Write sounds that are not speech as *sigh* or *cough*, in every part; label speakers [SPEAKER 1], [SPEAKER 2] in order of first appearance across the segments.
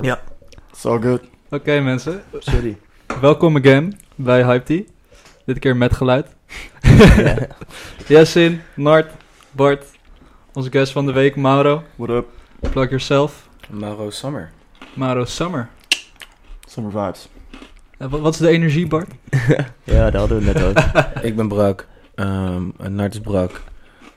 [SPEAKER 1] Ja.
[SPEAKER 2] It's all good.
[SPEAKER 3] Oké mensen,
[SPEAKER 1] Sorry.
[SPEAKER 3] welkom again bij Hype Tea. Dit keer met
[SPEAKER 4] *laughs*
[SPEAKER 3] geluid.
[SPEAKER 1] Ja.
[SPEAKER 3] Jessin, Nart, Bart, onze guest van de week Mauro.
[SPEAKER 2] What up?
[SPEAKER 3] Plug yourself,
[SPEAKER 4] Mauro Summer.
[SPEAKER 3] Mauro Summer.
[SPEAKER 2] Summer vibes.
[SPEAKER 3] En wa- wat is de energie Bart?
[SPEAKER 1] ja, dat hadden we net
[SPEAKER 4] *laughs*
[SPEAKER 1] ook.
[SPEAKER 4] Ik ben brak. Ehm Nart is brak.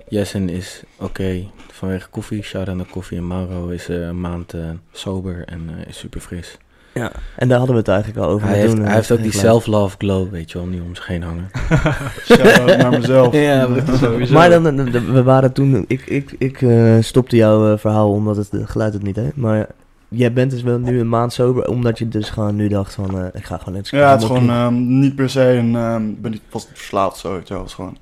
[SPEAKER 4] Jessen is oké vanwege koffie. Shout aan de koffie. En Mauro is eh, een maand eh, sober en eh, is super fris.
[SPEAKER 1] Ja. En daar hadden we het eigenlijk al over.
[SPEAKER 4] Hij
[SPEAKER 1] met
[SPEAKER 4] heeft,
[SPEAKER 1] doen,
[SPEAKER 4] hij
[SPEAKER 1] hè.
[SPEAKER 4] heeft ook die
[SPEAKER 1] Gelijk.
[SPEAKER 4] self-love glow, weet je wel, nu om zich heen hangen.
[SPEAKER 2] Shout out
[SPEAKER 4] *laughs*
[SPEAKER 2] naar mezelf. *laughs*
[SPEAKER 4] Ja,
[SPEAKER 3] Sowieso.
[SPEAKER 1] Maar dan, dan- dan- we waren toen... Ik, ik, ik eh, stopte jouw eh, verhaal omdat het eh, geluid het niet deed. Maar jij bent dus wel nu een maand sober. Omdat je dus gewoon nu dacht van... eh, ik ga gewoon niks
[SPEAKER 2] Ja, het is gewoon ehm, niet per se een... ehm, ben niet, was niet verslaafd, zo. Het was
[SPEAKER 4] *laughs*
[SPEAKER 2] gewoon...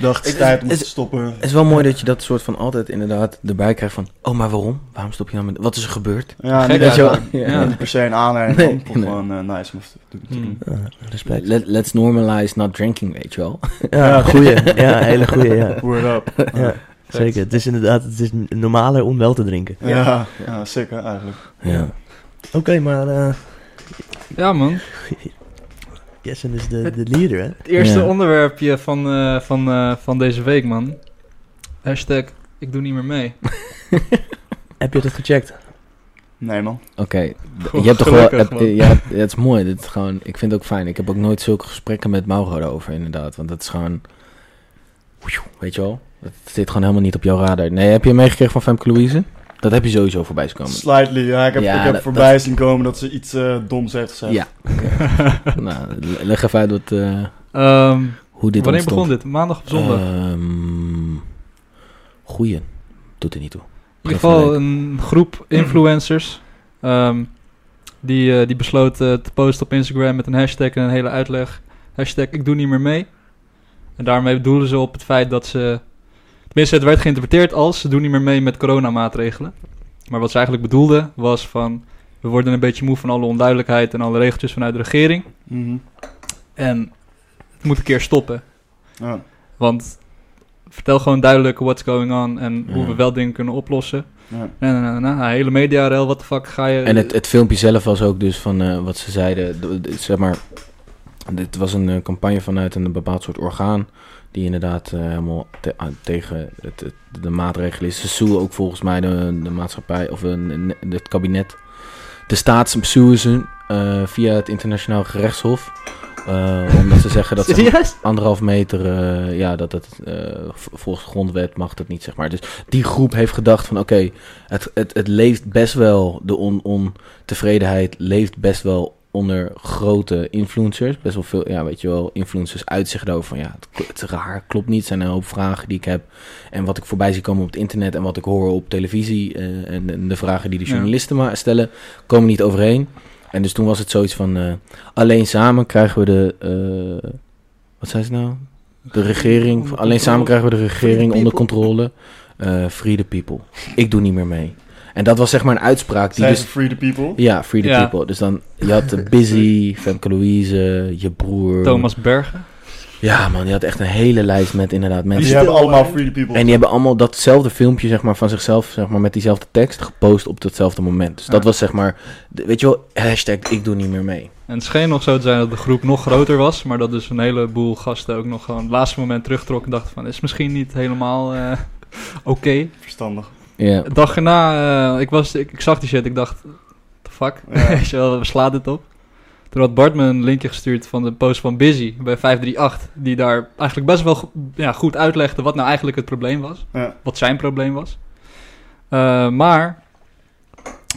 [SPEAKER 2] dacht, het is
[SPEAKER 4] Ik-
[SPEAKER 2] tijd om
[SPEAKER 4] is-
[SPEAKER 2] te stoppen.
[SPEAKER 4] Het is wel mooi dat je dat soort van altijd inderdaad erbij krijgt van... Oh, maar waarom? Waarom stop je nou met... Wat is er gebeurd?
[SPEAKER 2] Ja,
[SPEAKER 3] Gek
[SPEAKER 2] niet,
[SPEAKER 3] dat je
[SPEAKER 2] ja,
[SPEAKER 4] wel-
[SPEAKER 2] ja,
[SPEAKER 3] ja.
[SPEAKER 2] niet per se een aanleiding.
[SPEAKER 4] Nee,
[SPEAKER 2] ik vond het gewoon eh, nice om te te doen.
[SPEAKER 3] Hmm.
[SPEAKER 1] Ah, respect.
[SPEAKER 4] Let- let's normalize not drinking, weet je wel.
[SPEAKER 1] Ja, goeie. Ja, hele goeie,
[SPEAKER 2] *laughs*
[SPEAKER 1] ja.
[SPEAKER 2] Word up.
[SPEAKER 1] ja. Zeker, het is inderdaad het is normaler om wel te drinken.
[SPEAKER 2] Ja, ja. sick hè, eigenlijk.
[SPEAKER 4] Ja.
[SPEAKER 1] Oké, maar eh
[SPEAKER 3] Ja man,
[SPEAKER 1] Jessen is de, de leader, hè?
[SPEAKER 3] het eerste
[SPEAKER 4] Ja.
[SPEAKER 3] onderwerpje van, eh, van, eh, van deze week man. Hashtag, ik doe niet meer mee.
[SPEAKER 1] Heb je dat gecheckt?
[SPEAKER 2] Nee, man.
[SPEAKER 4] Oké,
[SPEAKER 3] Goh,
[SPEAKER 4] je hebt toch wel...
[SPEAKER 3] gelukkig,
[SPEAKER 4] heb-
[SPEAKER 3] man.
[SPEAKER 4] *laughs* eh, ja, het is mooi. Dit is gewoon, ik vind het ook fijn. Ik heb ook nooit zulke gesprekken met Mauro daarover, inderdaad. Want dat is gewoon... Weet je wel? Dat zit gewoon helemaal niet op jouw radar. Nee, heb je hem meegekregen van Femke Louise? Dat heb je sowieso voorbij zien komen.
[SPEAKER 2] Slightly. Ja, ik heb,
[SPEAKER 4] Ja,
[SPEAKER 2] ik heb
[SPEAKER 4] dat-
[SPEAKER 2] voorbij zien komen dat ze iets eh, doms heeft gezegd.
[SPEAKER 4] Ja. nou, le- leg even uit wat, eh,
[SPEAKER 3] Ehm,
[SPEAKER 4] hoe dit
[SPEAKER 3] wanneer
[SPEAKER 4] ontstond.
[SPEAKER 3] begon dit? Maandag of zondag?
[SPEAKER 4] Ehm, goeie. Doet er niet toe.
[SPEAKER 3] In ieder geval een groep influencers. ehm, die, eh, die besloot eh, te posten op Instagram met een hashtag en een hele uitleg. Hashtag ik doe niet meer mee. En daarmee bedoelen ze op het feit dat ze... Tenminste, het werd geïnterpreteerd als ze doen niet meer mee met coronamaatregelen. Maar wat ze eigenlijk bedoelden was van... We worden een beetje moe van alle onduidelijkheid en alle regeltjes vanuit de regering.
[SPEAKER 2] Mhm.
[SPEAKER 3] En het moet een keer stoppen.
[SPEAKER 2] Ja.
[SPEAKER 3] Want vertel gewoon duidelijk what's going on en hoe
[SPEAKER 4] Ja.
[SPEAKER 3] we wel dingen kunnen oplossen.
[SPEAKER 2] Ja.
[SPEAKER 3] Nee, nee, nee, nee. nou, Hele mediarel, wat de fuck ga je...
[SPEAKER 4] En het, het filmpje zelf was ook dus van eh, wat ze zeiden, d- d- zeg maar, dit was een eh, campagne vanuit een bepaald soort orgaan, die inderdaad eh, helemaal te- aan- tegen het, het- de maatregelen is. Ze suwen ook volgens mij de, de maatschappij, of een- een- het kabinet, de staat suwen ze eh, via het internationaal gerechtshof, eh, omdat ze
[SPEAKER 3] *laughs*
[SPEAKER 4] zeggen dat ze
[SPEAKER 3] Serieus?
[SPEAKER 4] anderhalf meter, eh, ja, dat het eh, v- volgens de grondwet mag dat niet, zeg maar. Dus die groep heeft gedacht van, oké, het, het, het leeft best wel, de on, ontevredenheid leeft best wel onder grote influencers. Best wel veel, ja, weet je wel, influencers uit zich daarover van, ja, het, kl- het is raar, klopt niet, zijn een hoop vragen die ik heb. En wat ik voorbij zie komen op het internet en wat ik hoor op televisie eh, en, en de vragen die de
[SPEAKER 3] Ja.
[SPEAKER 4] journalisten maar stellen, komen niet overeen. En dus toen was het zoiets van, eh, alleen samen krijgen we de... eh, wat zijn ze nou? De regering.
[SPEAKER 3] Onder
[SPEAKER 4] Alleen samen
[SPEAKER 3] controle.
[SPEAKER 4] krijgen we de regering
[SPEAKER 3] Free the
[SPEAKER 4] onder controle. Eh free the people. Ik doe niet meer mee. En dat was zeg maar een uitspraak die
[SPEAKER 2] Zij
[SPEAKER 4] dus...
[SPEAKER 2] is free the people.
[SPEAKER 4] Ja, free the
[SPEAKER 3] Ja.
[SPEAKER 4] people. Dus dan, je had eh, Busy, Femke Louise, je broer.
[SPEAKER 3] Thomas Bergen.
[SPEAKER 4] Ja man, je had echt een hele lijst met inderdaad
[SPEAKER 2] Die
[SPEAKER 4] mensen.
[SPEAKER 2] hebben allemaal free the people.
[SPEAKER 4] En die hebben allemaal datzelfde filmpje zeg maar, van zichzelf, zeg maar, met diezelfde tekst, gepost op datzelfde moment. Dus dat
[SPEAKER 3] Ja.
[SPEAKER 4] was zeg maar, de- weet je wel, hashtag ik doe niet meer mee.
[SPEAKER 3] En het scheen nog zo te zijn dat de groep nog groter was, maar dat dus een heleboel gasten ook nog gewoon het laatste moment terugtrok en dachten van, is misschien niet helemaal eh, *laughs* oké.
[SPEAKER 2] Verstandig.
[SPEAKER 4] Ja.
[SPEAKER 3] De dag erna, eh, ik, was, ik, ik zag die shit, ik dacht, what the fuck,
[SPEAKER 2] Ja.
[SPEAKER 3] *laughs* Weet je wel, we slaan dit op. Toen had Bart me een linkje gestuurd van de post van Busy bij 538, die daar eigenlijk best wel go- ja, goed uitlegde wat nou eigenlijk het probleem was.
[SPEAKER 2] Ja.
[SPEAKER 3] wat zijn probleem was. Eh, maar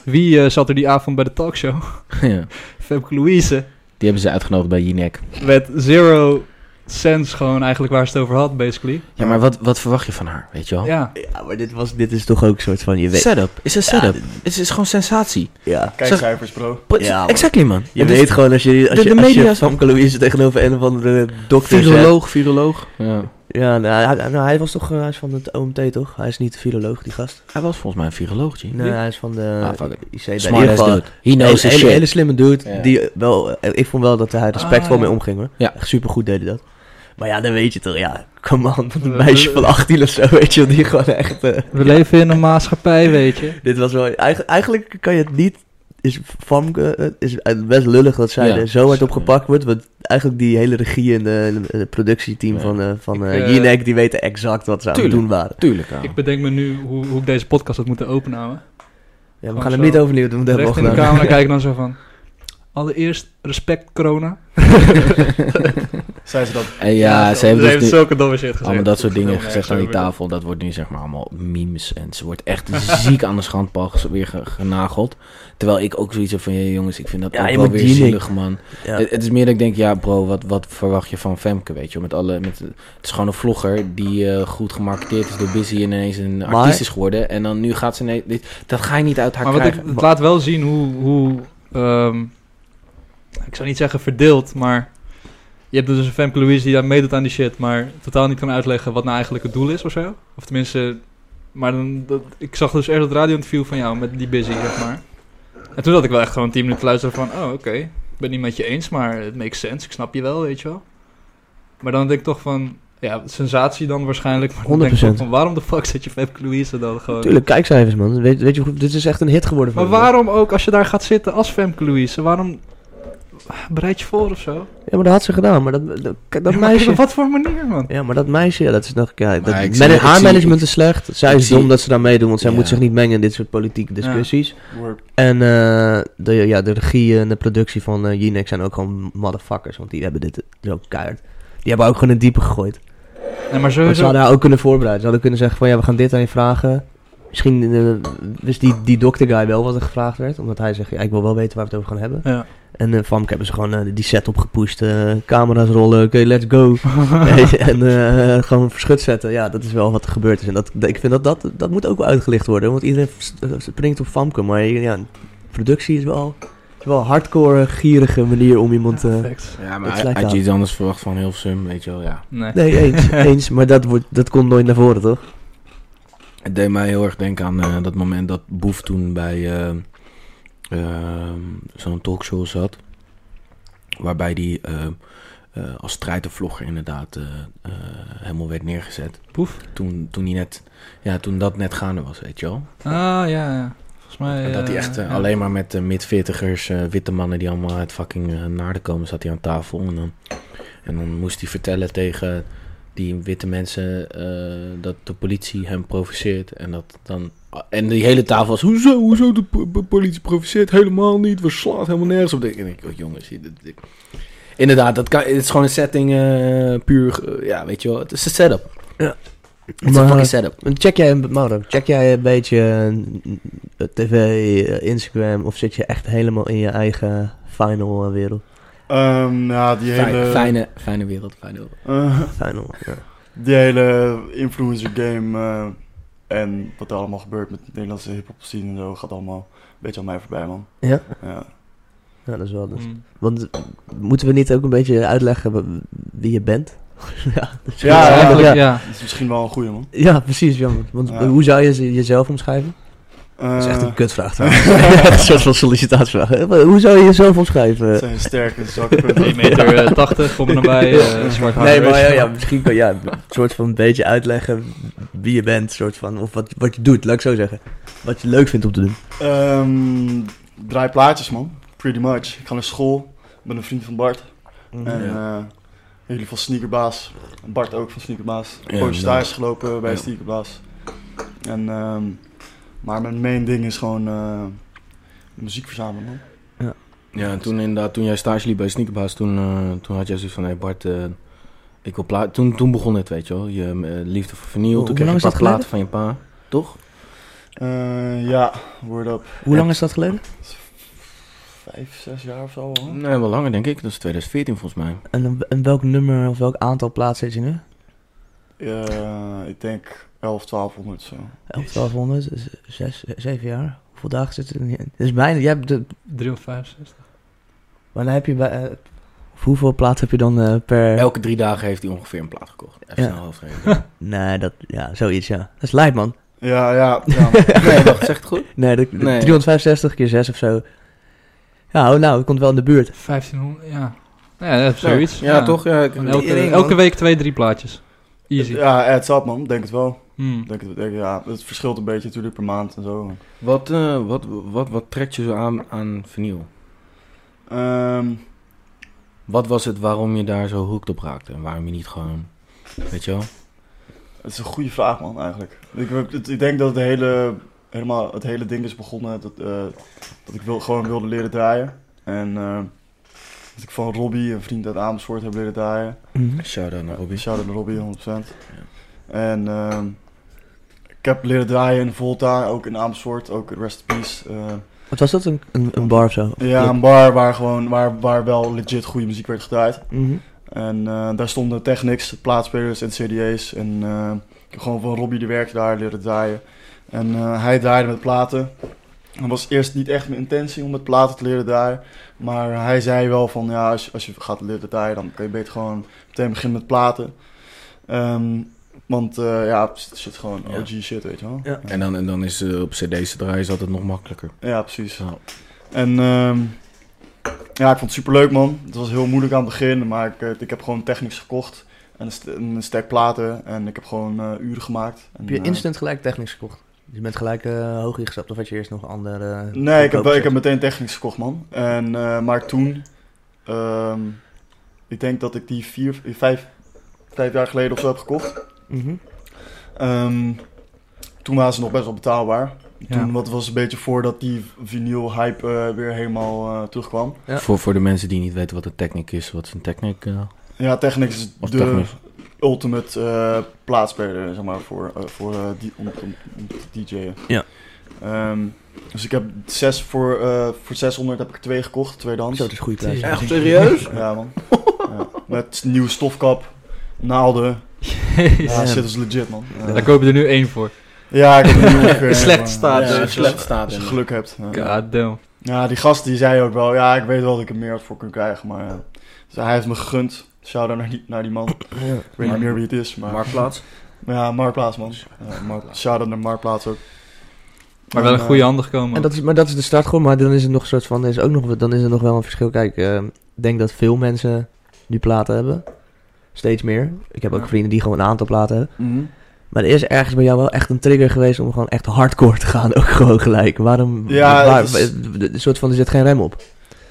[SPEAKER 3] wie eh, zat er die avond bij de talkshow? *laughs*
[SPEAKER 4] ja.
[SPEAKER 3] Femke Louise.
[SPEAKER 4] Die hebben ze uitgenodigd bij Jinek.
[SPEAKER 3] Met zero sense gewoon eigenlijk waar ze het over had, basically.
[SPEAKER 4] Ja, maar wat, wat verwacht je van haar, weet je wel?
[SPEAKER 3] Ja.
[SPEAKER 1] Ja, maar dit, was, dit is toch ook een soort van, je weet...
[SPEAKER 4] Setup. Is een
[SPEAKER 1] Ja,
[SPEAKER 4] setup.
[SPEAKER 1] dit-
[SPEAKER 4] Het is gewoon sensatie.
[SPEAKER 1] Ja.
[SPEAKER 2] Kijkcijfers, bro.
[SPEAKER 4] But-
[SPEAKER 1] Ja, man.
[SPEAKER 4] exactly, man.
[SPEAKER 1] Je
[SPEAKER 4] Het is
[SPEAKER 1] weet gewoon, als je, als
[SPEAKER 4] de-
[SPEAKER 1] je,
[SPEAKER 4] de
[SPEAKER 1] als je
[SPEAKER 4] media is-
[SPEAKER 1] Famke Louise tegenover een of andere dokter zet-
[SPEAKER 4] viroloog, viroloog. Ja.
[SPEAKER 1] Ja, nou, hij, nou, hij was toch eh, hij is van het OMT, toch? Hij is niet viroloog, die gast.
[SPEAKER 4] Hij was volgens mij een viroloog, G.
[SPEAKER 1] Nee, hij is van de
[SPEAKER 4] Ah, fuck it.
[SPEAKER 1] IC. daar. In
[SPEAKER 4] Smart
[SPEAKER 1] ieder
[SPEAKER 4] ass
[SPEAKER 1] geval,
[SPEAKER 4] dude. He
[SPEAKER 1] Een
[SPEAKER 4] knows
[SPEAKER 1] hele,
[SPEAKER 4] his
[SPEAKER 1] hele,
[SPEAKER 4] shit.
[SPEAKER 1] hele slimme dude.
[SPEAKER 4] Ja.
[SPEAKER 1] Die wel, eh, ik vond wel dat hij respectvol
[SPEAKER 3] Ah, ja.
[SPEAKER 1] mee omging hoor.
[SPEAKER 4] Ja.
[SPEAKER 1] Echt supergoed deed hij dat. Maar ja, dan weet je toch, ja, *laughs* come on, een
[SPEAKER 3] Eh,
[SPEAKER 1] meisje
[SPEAKER 3] eh.
[SPEAKER 1] van 18 of zo, weet je wel, die gewoon echt... eh,
[SPEAKER 3] We leven in een maatschappij, weet je.
[SPEAKER 1] dit was wel, eigenlijk, eigenlijk kan je het niet is Famke, eh, is eh, best lullig dat zij
[SPEAKER 4] Ja.
[SPEAKER 1] er zo hard op
[SPEAKER 4] Ja.
[SPEAKER 1] gepakt wordt. Want eigenlijk die hele regie en eh, het productieteam
[SPEAKER 4] Ja.
[SPEAKER 1] van, eh van
[SPEAKER 3] Ik,
[SPEAKER 1] eh
[SPEAKER 3] eh,
[SPEAKER 1] Jinek, die weten exact wat ze aan het
[SPEAKER 4] Tuurlijk.
[SPEAKER 1] doen waren.
[SPEAKER 4] Tuurlijk, ja.
[SPEAKER 3] Ik bedenk me nu hoe, hoe ik deze podcast had moeten openhouden.
[SPEAKER 1] Ja, we
[SPEAKER 3] Gewoon
[SPEAKER 1] gaan hem
[SPEAKER 3] zo
[SPEAKER 1] niet overnieuw doen, dat hebben we al
[SPEAKER 3] Recht in de
[SPEAKER 4] *laughs*
[SPEAKER 1] gedaan.
[SPEAKER 3] camera *laughs* kijken dan zo van... Allereerst respect corona.
[SPEAKER 2] Zei ze dat?
[SPEAKER 4] *laughs* En ja, ze hebben dus nu
[SPEAKER 3] zulke domme shit gezegd.
[SPEAKER 4] allemaal dat soort dingen
[SPEAKER 3] Nee,
[SPEAKER 4] gezegd
[SPEAKER 3] zo
[SPEAKER 4] aan die
[SPEAKER 3] weer dat.
[SPEAKER 4] tafel. Dat wordt nu zeg maar allemaal memes. En ze wordt echt *laughs* ziek aan de schandpaal ges- weer ge- genageld. Terwijl ik ook zoiets heb van, "Jee, jongens, ik vind dat
[SPEAKER 1] Ja,
[SPEAKER 4] ook
[SPEAKER 1] je
[SPEAKER 4] wel
[SPEAKER 1] moet
[SPEAKER 4] weer
[SPEAKER 1] die
[SPEAKER 4] zielig, man.
[SPEAKER 1] Ja.
[SPEAKER 4] Het, het is meer dat ik denk, ja bro, wat, wat verwacht je van Femke, weet je? wel, Met alle, met, het is gewoon een vlogger die eh, goed gemarketeerd is door Busy en ineens een artiest is geworden. En dan nu gaat ze... Nee, dit, dat ga je niet uit haar
[SPEAKER 3] Maar wat ik,
[SPEAKER 4] krijgen.
[SPEAKER 3] het laat wel zien hoe... hoe ehm, ik zou niet zeggen verdeeld, maar... Je hebt dus een Femke Louise die daar meedoet aan die shit... maar totaal niet kan uitleggen wat nou eigenlijk het doel is of zo. Of tenminste... Maar dan, dat, ik zag dus ergens het radio-interview van jou met die busy, zeg maar. En toen had ik wel echt gewoon 10 minuten luisteren van... Oh, oké, ik ben niet met je eens, maar het makes sense. Ik snap je wel, weet je wel. Maar dan denk ik toch van... Ja, sensatie dan waarschijnlijk. Maar dan denk ik
[SPEAKER 1] 100%.
[SPEAKER 3] ook van, waarom de fuck zet je Femke Louise dan gewoon...
[SPEAKER 1] Tuurlijk, kijkcijfers man. Weet, weet je goed, dit is echt een hit geworden
[SPEAKER 3] Maar
[SPEAKER 1] van
[SPEAKER 3] waarom ook als je daar gaat zitten als Femke Louise? Waarom bereid je voor of zo?
[SPEAKER 1] Ja, maar dat had ze gedaan, maar dat, dat, dat
[SPEAKER 3] Ja, maar
[SPEAKER 1] meisje...
[SPEAKER 3] Op wat voor manier, man?
[SPEAKER 1] Ja, maar dat meisje, ja, dat is nog... Ja, dat,
[SPEAKER 4] ik
[SPEAKER 1] mana-
[SPEAKER 4] zie- ik
[SPEAKER 1] haar
[SPEAKER 4] zie-
[SPEAKER 1] management is slecht. Zij
[SPEAKER 4] ik
[SPEAKER 1] is
[SPEAKER 4] zie-
[SPEAKER 1] dom dat ze daar meedoen, want zij
[SPEAKER 4] Ja.
[SPEAKER 1] moet zich niet mengen in dit soort politieke discussies.
[SPEAKER 2] Word.
[SPEAKER 1] En eh, de, ja, de regie en de productie van eh Jinek zijn ook gewoon motherfuckers, want die hebben dit zo keihard. Die hebben ook gewoon een diepe gegooid.
[SPEAKER 3] Nee, maar
[SPEAKER 1] Want ze
[SPEAKER 3] sowieso...
[SPEAKER 1] hadden haar ook kunnen voorbereiden. Ze hadden kunnen zeggen van ja, we gaan dit aan je vragen. Misschien eh, wist die, die dokter guy wel wat er gevraagd werd, omdat hij zegt ja, ik wil wel weten waar we het over gaan hebben.
[SPEAKER 3] Ja.
[SPEAKER 1] En eh Famke hebben ze gewoon eh, die set opgepusht, eh, camera's rollen, oké, let's *laughs* go. Weet je, en eh, gewoon verschut zetten. Ja, dat is wel wat er gebeurd is. En dat, ik vind dat, dat dat moet ook wel uitgelicht worden. Want iedereen s- eh, springt op Famke. Maar ja, productie is wel, is wel een hardcore, gierige manier om iemand... eh,
[SPEAKER 3] Perfect.
[SPEAKER 4] Ja,
[SPEAKER 1] het
[SPEAKER 4] maar
[SPEAKER 1] lijkt
[SPEAKER 4] had je
[SPEAKER 1] aan.
[SPEAKER 4] iets anders verwacht van Hilversum, weet je wel, ja.
[SPEAKER 3] Nee.
[SPEAKER 1] nee, *laughs*
[SPEAKER 3] *laughs*
[SPEAKER 1] eens. eens maar dat, wordt, dat komt nooit naar voren, toch?
[SPEAKER 4] Het deed mij heel erg denken aan eh, dat moment dat Boef toen bij eh, ehm, zo'n talkshow zat. Waarbij die eh, eh, als strijdervlogger inderdaad eh, eh, helemaal werd neergezet.
[SPEAKER 3] Boef?
[SPEAKER 4] Toen, toen, die net, ja, toen dat net gaande was, weet je wel.
[SPEAKER 3] Ah, ja, ja. Volgens mij...
[SPEAKER 4] En dat hij
[SPEAKER 3] eh,
[SPEAKER 4] echt eh,
[SPEAKER 3] ja.
[SPEAKER 4] alleen maar met eh, mid-veertigers, eh, witte mannen die allemaal uit fucking eh, naarden komen, zat hij aan tafel. En dan, en dan moest hij vertellen tegen die witte mensen eh, dat de politie hem provoceert. En, dat dan, en die hele tafel was, hoezo, hoezo de po- po- politie provoceert? Helemaal niet, we slaan helemaal nergens op. En ik denk, oh, jongens, dit- dit- inderdaad, dat kan, het is gewoon een setting eh, puur, eh, ja, weet je wel, het is een setup.
[SPEAKER 1] Ja.
[SPEAKER 4] Het is een
[SPEAKER 1] Maar-
[SPEAKER 4] fucking setup.
[SPEAKER 1] En Check jij, Mauro, check jij een beetje eh, tv, eh, Instagram... of zit je echt helemaal in je eigen final eh, wereld?
[SPEAKER 2] Ehm, ja, die
[SPEAKER 4] Fijne,
[SPEAKER 2] hele,
[SPEAKER 4] fijne, fijne wereld, fijne wereld.
[SPEAKER 2] eh,
[SPEAKER 1] Final, ja.
[SPEAKER 2] *laughs* die hele influencer game eh, en wat er allemaal gebeurt met de Nederlandse hip-hop scene en zo gaat allemaal een beetje aan mij voorbij, man.
[SPEAKER 1] Ja?
[SPEAKER 2] Ja.
[SPEAKER 1] Ja, dat is wel... Dat.
[SPEAKER 3] Mm.
[SPEAKER 1] Want eh, moeten we niet ook een beetje uitleggen wa- wie je bent? ja, dat is
[SPEAKER 2] Ja,
[SPEAKER 1] goed.
[SPEAKER 3] eigenlijk, ja.
[SPEAKER 2] Dat is misschien wel een goede man.
[SPEAKER 1] *laughs* Ja, precies, jammer. Want
[SPEAKER 2] Ja.
[SPEAKER 1] hoe zou je ze- jezelf omschrijven? Dat is echt een
[SPEAKER 2] Eh, *laughs*
[SPEAKER 1] kutvraag trouwens. *laughs* Echt een soort van sollicitatievraag. hè? Maar Hoe zou je jezelf omschrijven?
[SPEAKER 2] het zijn sterke zakpunten.
[SPEAKER 1] *laughs*
[SPEAKER 3] 1 meter eh, 80, kom er naar bij. eh, zwart haar.
[SPEAKER 1] nee, maar ja, ja, misschien kan
[SPEAKER 2] *laughs*
[SPEAKER 1] jij een soort van een beetje uitleggen wie je bent. Soort van, of wat, wat je doet, laat ik zo zeggen. Wat je leuk vindt om te doen.
[SPEAKER 2] Ehm, draai plaatjes, man. Pretty much. Ik ga naar school. Ik ben een vriend van Bart. En eh, jullie van Sneakerbaas. Bart ook van Sneakerbaas. Ik
[SPEAKER 4] Ja,
[SPEAKER 2] heb ooit
[SPEAKER 4] inderdaad.
[SPEAKER 2] stage gelopen bij
[SPEAKER 4] Ja.
[SPEAKER 2] Sneakerbaas. En, ehm, maar mijn main ding is gewoon eh, muziek verzamelen, man.
[SPEAKER 4] Ja, en toen inderdaad, toen jij stage liep bij Sneakerbaas, toen, eh, toen had jij zoiets van, hé Bart, eh, ik wil plaat... Toen, toen begon het, weet je wel, je eh, liefde voor vinyl,
[SPEAKER 1] Hoe-
[SPEAKER 4] toen
[SPEAKER 1] hoe
[SPEAKER 4] kreeg je
[SPEAKER 1] lang
[SPEAKER 4] een
[SPEAKER 1] is
[SPEAKER 4] paar
[SPEAKER 1] dat geleden?
[SPEAKER 4] platen van je pa, toch?
[SPEAKER 2] Eh, ja, word up.
[SPEAKER 1] Hoe lang is dat geleden?
[SPEAKER 2] Vijf, zes jaar of zo, hoor.
[SPEAKER 4] Nee, wel langer denk ik, dat is 2014 volgens mij.
[SPEAKER 1] En, en welk nummer of welk aantal plaatsen zit je nu?
[SPEAKER 2] Eh, ik denk 11, 1200 zo.
[SPEAKER 1] 11, 1200, 6, 7 jaar. Hoeveel dagen zit er niet in? Dus bijna, jij hebt de,
[SPEAKER 3] 365.
[SPEAKER 1] wanneer heb je bij, eh, hoeveel plaatsen heb je dan eh, per...
[SPEAKER 4] Elke drie dagen heeft hij ongeveer een plaat gekocht. Even
[SPEAKER 1] Ja.
[SPEAKER 4] snel hoofdrekenen.
[SPEAKER 1] Nee, dat, ja, zoiets, ja. Dat is lijp, man.
[SPEAKER 2] Ja, ja.
[SPEAKER 4] *laughs*
[SPEAKER 1] *laughs*
[SPEAKER 2] ja.
[SPEAKER 4] *laughs* nee, wacht, zeg het goed?
[SPEAKER 1] Nee, dat,
[SPEAKER 4] Nee.
[SPEAKER 1] 365 keer 6 of zo. Ja, oh, nou, het komt wel in de buurt.
[SPEAKER 3] 1500, ja. Ja, dat is *laughs* zoiets.
[SPEAKER 4] Ja, toch? Ja, ik-
[SPEAKER 3] Elke,
[SPEAKER 1] Iedereen,
[SPEAKER 3] elke
[SPEAKER 1] man.
[SPEAKER 3] week twee, drie plaatjes. Easy.
[SPEAKER 2] Ja, adds up, man. Denk het wel.
[SPEAKER 3] Hmm.
[SPEAKER 2] Ik Denk, het- denk, ja, het verschilt een beetje natuurlijk per maand en zo.
[SPEAKER 4] Wat, eh, wat, wat, wat trekt je zo aan aan vinyl?
[SPEAKER 2] Ehm,
[SPEAKER 4] Wat was het waarom je daar zo hoekt op raakte? En waarom je niet gewoon... Weet je wel?
[SPEAKER 2] het is een goede vraag, man, eigenlijk. Ik, heb- het- ik denk dat het hele, helemaal, het hele ding is begonnen dat, eh, dat ik wil, gewoon wilde leren draaien. En ehm, dat ik van Robbie, een vriend uit Amersfoort, heb leren draaien.
[SPEAKER 4] Shout-out naar Robbie.
[SPEAKER 2] Shout-out naar Robbie, 100%. En ehm, ik heb leren draaien in Volta, ook in Amersfoort, ook in Rest in Peace. eh,
[SPEAKER 1] Wat was dat? Een, een, een bar of zo? Of
[SPEAKER 2] ja,
[SPEAKER 1] club?
[SPEAKER 2] een bar waar, gewoon, waar, waar wel legit goede muziek werd gedraaid.
[SPEAKER 1] Mhm.
[SPEAKER 2] En eh, daar stonden Technics, plaatspelers en CD's. En eh, ik heb gewoon van Robbie die werkte daar leren draaien. En eh, hij draaide met platen. Het was eerst niet echt mijn intentie om met platen te leren draaien. Maar hij zei wel van ja, als, je- als je gaat leren draaien, dan kan je beter gewoon meteen beginnen met platen. Ehm, want eh, ja, het zit gewoon
[SPEAKER 4] Ja.
[SPEAKER 2] OG shit, weet je wel.
[SPEAKER 1] Ja.
[SPEAKER 4] En dan, en dan is eh, op cd's te draaien is altijd nog makkelijker.
[SPEAKER 2] Ja, precies.
[SPEAKER 4] Ja.
[SPEAKER 2] En ehm, ja, ik vond het superleuk, man. Het was heel moeilijk aan het begin, maar ik, eh, ik heb gewoon technics gekocht. En een, st- een stack platen en ik heb gewoon eh, uren gemaakt. En,
[SPEAKER 1] Heb je
[SPEAKER 2] eh,
[SPEAKER 1] instant gelijk technics gekocht? Dus je bent gelijk eh, hoog ingestapt of had je eerst nog andere... eh,
[SPEAKER 2] Nee, ik heb, wel-
[SPEAKER 1] goedkope
[SPEAKER 2] ik heb
[SPEAKER 1] sets?
[SPEAKER 2] meteen technics gekocht, man. En, eh, maar toen, ehm, ik denk dat ik die vier, vijf, vijf jaar geleden of zo heb gekocht.
[SPEAKER 1] Mhm.
[SPEAKER 2] Ehm, toen waren ze nog best wel betaalbaar.
[SPEAKER 3] Ja.
[SPEAKER 2] Toen, wat was een beetje voordat die vinyl hype eh, weer helemaal eh, terugkwam.
[SPEAKER 1] Ja.
[SPEAKER 4] Voor, voor de mensen die niet weten wat een technic is, wat is een technic? eh?
[SPEAKER 2] Ja, Technics is
[SPEAKER 4] Of
[SPEAKER 2] de
[SPEAKER 4] Technics.
[SPEAKER 2] ultimate eh, plaatspeler, zeg maar, voor, eh, voor eh, die, om, om, om te DJ'en.
[SPEAKER 1] Ja.
[SPEAKER 2] Ehm, dus ik heb zes voor, eh, voor 600 heb ik er twee gekocht, tweedehands.
[SPEAKER 1] Zo, dus- het is een goede prijs.
[SPEAKER 3] Echt *laughs*
[SPEAKER 4] serieus?
[SPEAKER 2] Ja, man. ja. Met nieuwe stofkap, naalden. Ja,
[SPEAKER 1] Damn.
[SPEAKER 2] shit, dat is legit, man. Ja.
[SPEAKER 3] Daar koop je er nu één voor.
[SPEAKER 2] Ja, ik heb een nieuwe.
[SPEAKER 3] In
[SPEAKER 2] eh,
[SPEAKER 3] slechte
[SPEAKER 2] maar-
[SPEAKER 3] staat,
[SPEAKER 2] Ja,
[SPEAKER 3] dus.
[SPEAKER 2] als je-
[SPEAKER 4] Slecht staat.
[SPEAKER 2] Als je
[SPEAKER 4] in.
[SPEAKER 2] geluk hebt. ja.
[SPEAKER 3] God damn.
[SPEAKER 2] Ja, die gast die zei ook wel, ja, ik weet wel dat ik er meer voor kan krijgen, maar ja. Dus hij heeft me gegund. Shout-out naar die, naar die man.
[SPEAKER 1] Ja.
[SPEAKER 2] Ik weet niet meer wie het is, maar...
[SPEAKER 4] Marktplaats.
[SPEAKER 2] Ja, Marktplaats, man.
[SPEAKER 4] Dus-
[SPEAKER 2] Ja, Mark, shout-out naar Marktplaats ook.
[SPEAKER 3] Maar wel een
[SPEAKER 2] En,
[SPEAKER 3] goede
[SPEAKER 2] eh,
[SPEAKER 3] handen gekomen.
[SPEAKER 1] En dat is, maar dat is de start gewoon, maar dan is het nog een soort van, er is ook nog, dan is er nog wel een verschil. Kijk, eh, ik denk dat veel mensen die platen hebben, steeds meer. Ik heb ook
[SPEAKER 3] Ja.
[SPEAKER 1] vrienden die gewoon een aantal platen hebben.
[SPEAKER 2] mhm.
[SPEAKER 1] Maar er is ergens bij jou wel echt een trigger geweest om gewoon echt hardcore te gaan, *laughs* ook gewoon gelijk. Waarom,
[SPEAKER 2] Ja,
[SPEAKER 1] waar-
[SPEAKER 2] het is-
[SPEAKER 1] wa- een soort van, er zit geen rem op.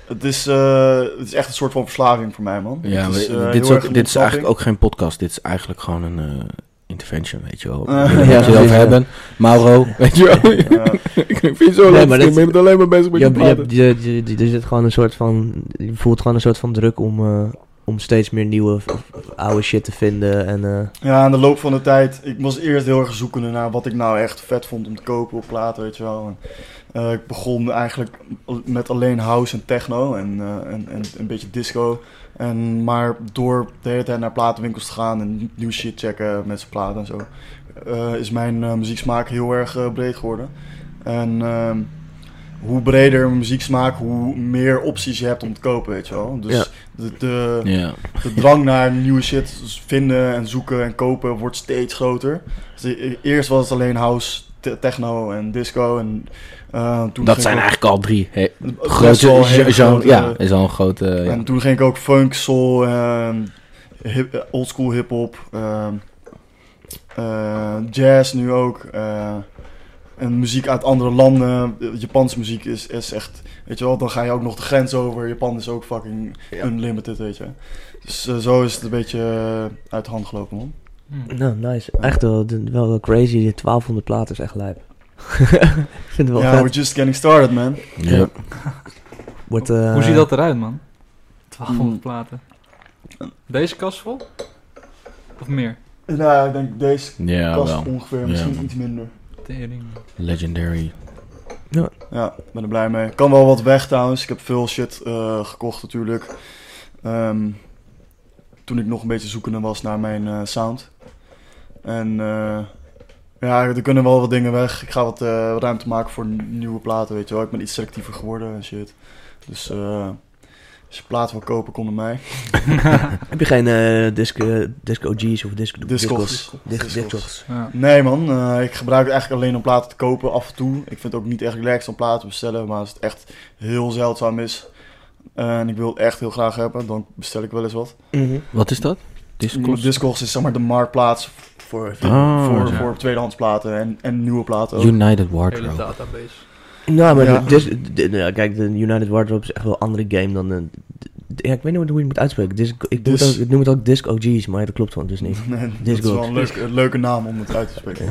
[SPEAKER 2] Het, is, eh, het is echt een soort van verslaving voor mij, man.
[SPEAKER 4] Ja,
[SPEAKER 2] Het
[SPEAKER 4] maar
[SPEAKER 2] is, eh, heel
[SPEAKER 4] dit, is
[SPEAKER 2] erg
[SPEAKER 4] ook,
[SPEAKER 2] een
[SPEAKER 4] dit is
[SPEAKER 2] ontsnapping.
[SPEAKER 4] eigenlijk ook geen podcast. Dit is eigenlijk gewoon een eh, intervention, weet
[SPEAKER 2] *laughs*
[SPEAKER 4] je wel.
[SPEAKER 2] Eh,
[SPEAKER 4] Uh,
[SPEAKER 1] ja,
[SPEAKER 4] ja, zelf
[SPEAKER 1] precies, ja.
[SPEAKER 4] hebben. Mauro, *laughs* weet je wel.
[SPEAKER 2] *laughs* Ja,
[SPEAKER 4] *laughs* ik vind het zo
[SPEAKER 1] Nee,
[SPEAKER 4] leuk.
[SPEAKER 1] maar
[SPEAKER 4] ik
[SPEAKER 1] dat-
[SPEAKER 4] ben alleen maar bezig met
[SPEAKER 1] Je,
[SPEAKER 4] je
[SPEAKER 1] hebt- je,
[SPEAKER 4] praten.
[SPEAKER 1] hebt- je, je, je- er zit gewoon een soort van, je voelt gewoon een soort van druk om, eh, om steeds meer nieuwe of, of oude shit te vinden. En, eh,
[SPEAKER 2] ja, aan de loop van de tijd. Ik was eerst heel erg zoekende naar wat ik nou echt vet vond om te kopen op platen, weet je wel. En, eh, ik begon eigenlijk met alleen house en techno en, eh, en, en een beetje disco. En, maar door de hele tijd naar platenwinkels te gaan en nieuw shit checken met zijn platen en zo, eh, is mijn eh, muzieksmaak heel erg eh, breed geworden. En ehm, hoe breder een muzieksmaak, hoe meer opties je hebt om te kopen, weet je wel. Dus
[SPEAKER 1] Ja.
[SPEAKER 2] de, de,
[SPEAKER 4] Ja.
[SPEAKER 2] de drang naar nieuwe shit vinden en zoeken en kopen wordt steeds groter. Dus e- e- eerst was het alleen house, te- techno en disco. En, eh, toen
[SPEAKER 4] Dat
[SPEAKER 2] ging
[SPEAKER 4] zijn
[SPEAKER 2] ik ook-
[SPEAKER 4] eigenlijk al drie. Hey,
[SPEAKER 2] best
[SPEAKER 4] grote
[SPEAKER 2] wel hele
[SPEAKER 4] gen- genre.
[SPEAKER 2] grote-
[SPEAKER 4] Ja, is al een grote... eh, ja.
[SPEAKER 2] En toen ging ik ook funk, soul, en hip, eh, oldschool hip-hop, ehm, eh, jazz nu ook. eh, en muziek uit andere landen. Japanse muziek is, is echt, weet je wel, dan ga je ook nog de grens over. Japan is ook fucking
[SPEAKER 1] Ja.
[SPEAKER 2] unlimited, weet je. Dus eh, zo is het een beetje eh, uit de hand gelopen, man.
[SPEAKER 3] Hmm.
[SPEAKER 1] nou, nice. Echt wel, wel crazy, die 1200 platen is echt lijp. *laughs* Ik vind het wel
[SPEAKER 2] Ja,
[SPEAKER 1] vet.
[SPEAKER 2] we're just getting started, man.
[SPEAKER 4] Ja.
[SPEAKER 1] Wordt, eh,
[SPEAKER 3] Hoe ziet dat eruit, man? 1200
[SPEAKER 2] Mm.
[SPEAKER 3] platen. Deze kast vol? Of meer?
[SPEAKER 2] Nou, ik denk deze
[SPEAKER 4] Ja,
[SPEAKER 2] kast
[SPEAKER 4] wel.
[SPEAKER 2] ongeveer,
[SPEAKER 4] Ja,
[SPEAKER 2] misschien
[SPEAKER 4] man.
[SPEAKER 2] iets minder.
[SPEAKER 3] Tering.
[SPEAKER 4] Legendary.
[SPEAKER 2] Ja, ik ben er blij mee. Kan wel wat weg trouwens. Ik heb veel shit eh, gekocht natuurlijk. Ehm, toen ik nog een beetje zoekende was naar mijn eh, sound. En eh, ja, er kunnen wel wat dingen weg. Ik ga wat eh, ruimte maken voor n- nieuwe platen, weet je wel. Ik ben iets selectiever geworden en shit. Dus eh, als je plaat wil kopen, kom naar mij.
[SPEAKER 1] Heb je geen eh, disco, disco G's of disco
[SPEAKER 2] Discos.
[SPEAKER 1] Discos.
[SPEAKER 2] Discos.
[SPEAKER 1] Discos.
[SPEAKER 3] Ja.
[SPEAKER 2] Nee man, eh, ik gebruik het eigenlijk alleen om platen te kopen af en toe. Ik vind het ook niet echt relaxed om platen te bestellen, maar als het echt heel zeldzaam is eh, en ik wil het echt heel graag hebben, dan bestel ik wel eens wat.
[SPEAKER 1] Mhm.
[SPEAKER 4] Wat is dat?
[SPEAKER 2] Discogs is zeg maar de marktplaats voor,
[SPEAKER 4] Ah,
[SPEAKER 2] voor,
[SPEAKER 4] ja.
[SPEAKER 2] voor tweedehands platen en, en nieuwe platen. ook.
[SPEAKER 4] United
[SPEAKER 3] hele
[SPEAKER 4] Wardrobe.
[SPEAKER 3] database.
[SPEAKER 1] Nou, maar
[SPEAKER 2] Ja.
[SPEAKER 1] Dis- di- nou ja, kijk, de United Wardrobe is echt wel een andere game dan... een- d- ja, ik weet niet hoe je het moet uitspreken. Disc, ik, noem
[SPEAKER 2] Dis-
[SPEAKER 1] het ook, ik noem het ook Disc OG's, maar dat klopt dan dus niet.
[SPEAKER 2] *laughs* Nee, dat is
[SPEAKER 1] Discord.
[SPEAKER 2] wel een, leuk- een leuke naam om het uit te spreken.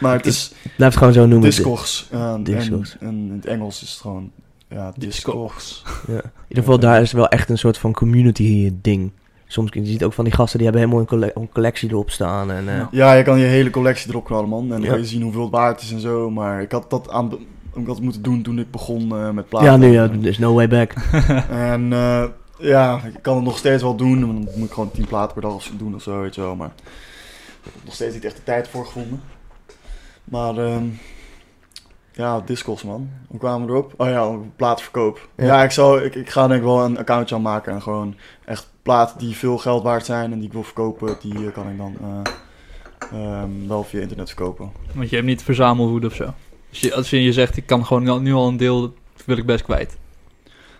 [SPEAKER 2] maar het is
[SPEAKER 1] Laat het gewoon zo noemen.
[SPEAKER 2] Discogs. eh, en-
[SPEAKER 1] Discogs.
[SPEAKER 2] En in het Engels is het gewoon ja, Discogs.
[SPEAKER 1] Ja. In ieder geval, daar is wel echt een soort van community ding. Soms kun je ziet ook van die gasten die hebben helemaal een, colle- een collectie erop staan. En, eh,
[SPEAKER 3] Ja.
[SPEAKER 2] Ja, je kan je hele collectie erop knallen, man. En dan
[SPEAKER 1] Ja.
[SPEAKER 2] kan je zien hoeveel het waard is en zo. Maar ik had dat aan be- ik had het moeten doen toen ik begon eh, met platen.
[SPEAKER 1] ja, nu, ja, there's no way back.
[SPEAKER 2] *laughs* En eh, ja, ik kan het nog steeds wel doen. want Dan moet ik gewoon 10 platen per dag of zo doen of zo, weet je wel. Maar ik heb er nog steeds niet echt de tijd voor gevonden. Maar ehm, ja, Discos man. Hoe kwamen we erop? Oh ja, platenverkoop.
[SPEAKER 1] Ja.
[SPEAKER 2] Ja, ik, zou, ik, ik ga denk ik wel een accountje aanmaken. En gewoon echt platen die veel geld waard zijn en die ik wil verkopen, die eh, kan ik dan eh, ehm, wel via internet verkopen.
[SPEAKER 3] Want je hebt niet verzamelhoed of zo. Dus je, als je je zegt, ik kan gewoon al- nu al een deel, dat wil ik best kwijt.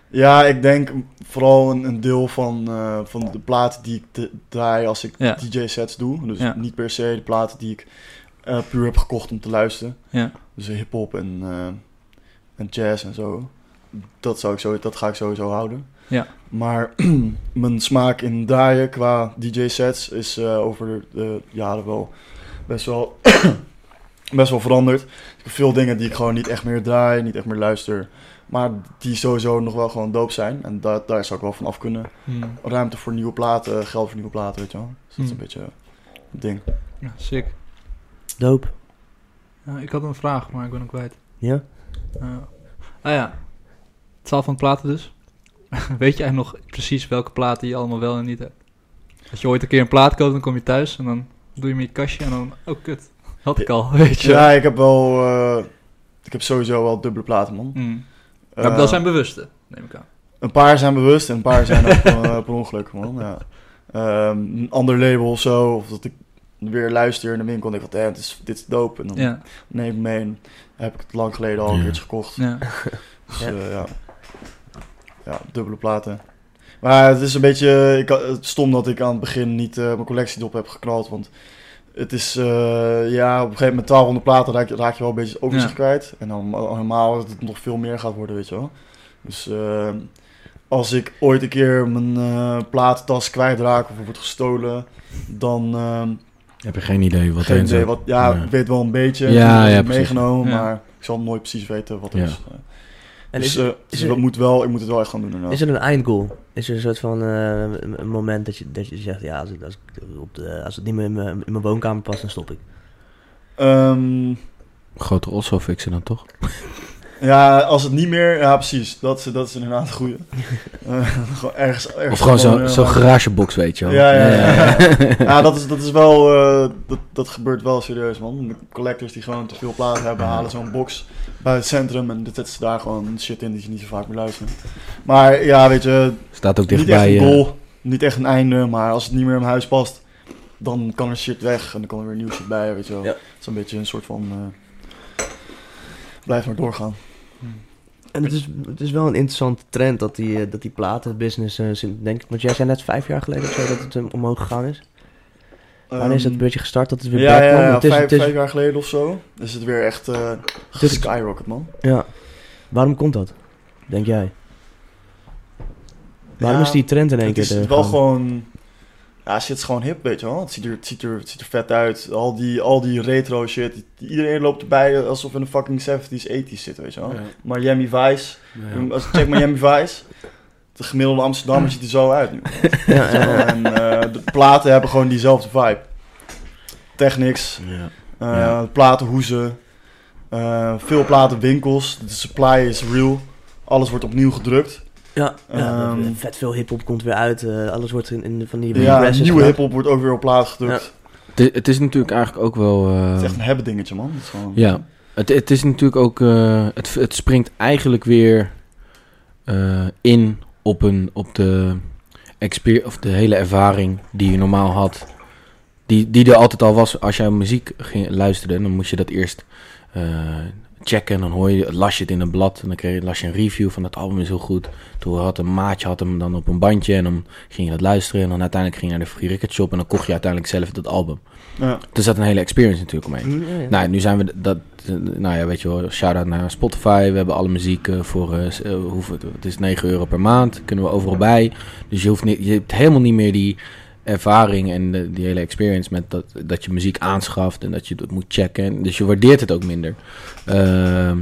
[SPEAKER 2] Ja, ik denk vooral een, een deel van, eh, van de platen die ik te- draai als ik
[SPEAKER 3] Ja.
[SPEAKER 2] DJ-sets doe. Dus
[SPEAKER 3] Ja.
[SPEAKER 2] niet per se de platen die ik eh, puur heb gekocht om te luisteren.
[SPEAKER 3] Ja.
[SPEAKER 2] Dus hip-hop en, eh, en jazz en zo. Dat, zou ik zo. dat ga ik sowieso houden.
[SPEAKER 3] Ja.
[SPEAKER 2] Maar *clears throat* mijn smaak in draaien qua DJ-sets is eh, over de jaren wel best wel, *clears throat* best wel veranderd. Ik heb veel dingen die ik gewoon niet echt meer draai, niet echt meer luister. Maar die sowieso nog wel gewoon doop zijn. En daar daar zou ik wel van af kunnen.
[SPEAKER 3] Hmm.
[SPEAKER 2] Ruimte voor nieuwe platen, geld voor nieuwe platen, weet je wel. Dus dat is een
[SPEAKER 3] Hmm.
[SPEAKER 2] beetje het ding.
[SPEAKER 3] Ja, sick.
[SPEAKER 1] Dope.
[SPEAKER 3] Ja, ik had een vraag, maar ik ben hem kwijt.
[SPEAKER 1] Ja?
[SPEAKER 3] Ja. ah ja, het zal van platen dus. *laughs* Weet jij nog precies welke platen je allemaal wel en niet hebt? Als je ooit een keer een plaat koopt, dan kom je thuis en dan doe je hem in je kastje en dan, oh kut, had ik al, *laughs* weet je.
[SPEAKER 2] Ja, ik heb wel... eh, ik heb sowieso wel dubbele platen, man.
[SPEAKER 3] Hmm. Maar dat
[SPEAKER 2] Eh,
[SPEAKER 3] zijn bewuste, neem ik aan.
[SPEAKER 2] Een paar zijn bewust en een paar zijn ook gewoon, eh, *laughs* per ongeluk, man. Ja. Ehm, een ander label of zo, of dat ik weer luister in de winkel en denk van, eh, dit is, dit is dope. En dan
[SPEAKER 3] Ja,
[SPEAKER 2] neem ik mee en heb ik het lang geleden al een
[SPEAKER 4] Ja.
[SPEAKER 2] keertje gekocht.
[SPEAKER 3] ja.
[SPEAKER 2] Dus
[SPEAKER 1] Ja.
[SPEAKER 2] ja. ja. ja, dubbele platen. Maar het is een beetje eh, ik, had- het is stom dat ik aan het begin niet eh, mijn collectie op heb geknald. Want het is, eh, ja, op een gegeven moment 1200 platen raak je, raak je wel een beetje het overzicht
[SPEAKER 3] Ja.
[SPEAKER 2] kwijt. En dan al- helemaal dat het nog veel meer gaat worden, weet je wel. Dus eh, als ik ooit een keer mijn eh platentas kwijtraak of wordt gestolen, dan... ehm,
[SPEAKER 4] Heb je geen idee wat
[SPEAKER 2] geen
[SPEAKER 4] heen
[SPEAKER 2] idee
[SPEAKER 4] zou-
[SPEAKER 2] wat. Ja,
[SPEAKER 4] Ja.
[SPEAKER 2] ik weet wel een beetje.
[SPEAKER 4] Ja,
[SPEAKER 2] ik heb het
[SPEAKER 4] ja, precies.
[SPEAKER 2] meegenomen,
[SPEAKER 3] Ja.
[SPEAKER 2] maar ik zal nooit precies weten wat
[SPEAKER 4] Ja.
[SPEAKER 2] het is.
[SPEAKER 1] En
[SPEAKER 2] dus
[SPEAKER 1] is,
[SPEAKER 2] eh,
[SPEAKER 1] is
[SPEAKER 2] dus
[SPEAKER 1] er-
[SPEAKER 2] dat moet wel, ik moet het wel echt gaan doen. inderdaad.
[SPEAKER 1] is er een eindgoal? Is er een soort van eh, een- een moment dat je, dat je zegt, ja, als, ik- als, ik op de, als het niet meer in mijn, in mijn woonkamer past, dan stop ik.
[SPEAKER 2] Ehm,
[SPEAKER 4] Grote osso fixen dan toch?
[SPEAKER 2] ja, als het niet meer. Ja, precies. Dat is, dat is inderdaad een
[SPEAKER 1] *laughs*
[SPEAKER 2] goede. gewoon ergens, ergens
[SPEAKER 4] Of gewoon zo'n
[SPEAKER 2] eh,
[SPEAKER 4] zo
[SPEAKER 2] maar-
[SPEAKER 4] garagebox, weet je wel.
[SPEAKER 2] Ja, ja, ja. ja, dat is, dat is wel. eh, dat, dat gebeurt wel serieus, man. De collectors die gewoon te veel platen hebben, halen zo'n box bij het centrum en zetten ze daar gewoon shit in die ze niet zo vaak meer luisteren. Maar ja, weet je,
[SPEAKER 4] Staat ook
[SPEAKER 2] niet echt
[SPEAKER 4] dichtbij.
[SPEAKER 2] een
[SPEAKER 4] eh,
[SPEAKER 2] goal, niet echt een einde, maar als het niet meer in mijn huis past, dan kan er shit weg en dan kan er weer nieuw shit bij, weet je wel.
[SPEAKER 1] Ja.
[SPEAKER 2] Het is een beetje een soort van, eh, blijf maar doorgaan.
[SPEAKER 1] En het is, het is wel een interessante trend dat die, eh, dat die platenbusiness, eh, zit- denk ik, want jij zei net vijf jaar geleden of zo dat het eh, omhoog gegaan is. Wanneer is het een beetje gestart dat het weer
[SPEAKER 2] Ehm, ja,
[SPEAKER 1] back
[SPEAKER 2] ja,
[SPEAKER 1] kwam?
[SPEAKER 2] ja,
[SPEAKER 1] Want het is-
[SPEAKER 2] vijf,
[SPEAKER 1] het is-
[SPEAKER 2] vijf jaar geleden of zo is het weer echt eh
[SPEAKER 1] is-
[SPEAKER 2] skyrocket, man.
[SPEAKER 1] ja. Waarom komt dat, denk jij? Waarom
[SPEAKER 2] Ja,
[SPEAKER 1] is die trend in één
[SPEAKER 2] Het
[SPEAKER 1] keer eh,
[SPEAKER 2] is
[SPEAKER 1] er
[SPEAKER 2] wel
[SPEAKER 1] gewoon-
[SPEAKER 2] gewoon... Ja, shit is gewoon hip, weet je wel. Het ziet er, het ziet er, het ziet er vet uit. Al die, al die retro shit. die- Iedereen loopt erbij alsof we in de fucking 70s, 80s zitten, weet je wel. Miami Vice. Als ik check
[SPEAKER 4] *laughs*
[SPEAKER 2] Miami Vice, de gemiddelde Amsterdammer ziet er zo uit nu. *laughs*
[SPEAKER 1] Ja, ja, ja.
[SPEAKER 2] En eh, de platen hebben gewoon diezelfde vibe. Technics,
[SPEAKER 4] Ja.
[SPEAKER 2] eh,
[SPEAKER 4] Ja.
[SPEAKER 2] platenhoezen, eh, veel platenwinkels. De supply is real. Alles wordt opnieuw gedrukt.
[SPEAKER 1] Ja, ja,
[SPEAKER 2] Ehm,
[SPEAKER 1] vet veel hip-hop komt weer uit. eh, alles wordt in, in van die
[SPEAKER 2] Ja,
[SPEAKER 1] presses
[SPEAKER 2] nieuwe
[SPEAKER 1] gedaan.
[SPEAKER 2] hiphop wordt ook weer op plaat gedrukt.
[SPEAKER 4] Het is- Het is natuurlijk eigenlijk ook wel... eh,
[SPEAKER 2] Het is echt een hebben dingetje, man. Het is gewoon-
[SPEAKER 4] Ja, het, het is natuurlijk ook. eh, het, het springt eigenlijk weer eh, in op, een, op de, exper- of de hele ervaring die je normaal had. Die, die er altijd al was als jij muziek ging luisterde. Dan moest je dat eerst eh, checken. En dan hoor je, las je het in een blad. En dan kreeg je, las je een review van dat album is heel goed. Toen had een maatje had hem dan op een bandje. En dan ging je dat luisteren. En dan uiteindelijk ging je naar de Free Record Shop. En dan kocht je uiteindelijk zelf dat album. Dus
[SPEAKER 2] Ja.
[SPEAKER 4] Er zat een hele experience natuurlijk omheen.
[SPEAKER 1] Ja, ja.
[SPEAKER 4] Nou, nu zijn we dat. Nou ja, weet je wel, shout-out naar Spotify. We hebben alle muziek eh, voor. eh, s- eh, hoeveel, het is 9 euro per maand. Kunnen we overal bij. Dus je, hoeft niet, je hebt helemaal niet meer die ervaring en de- die hele experience met dat, dat je muziek aanschaft en dat je dat moet checken. En Dus je waardeert het ook minder. Ehm,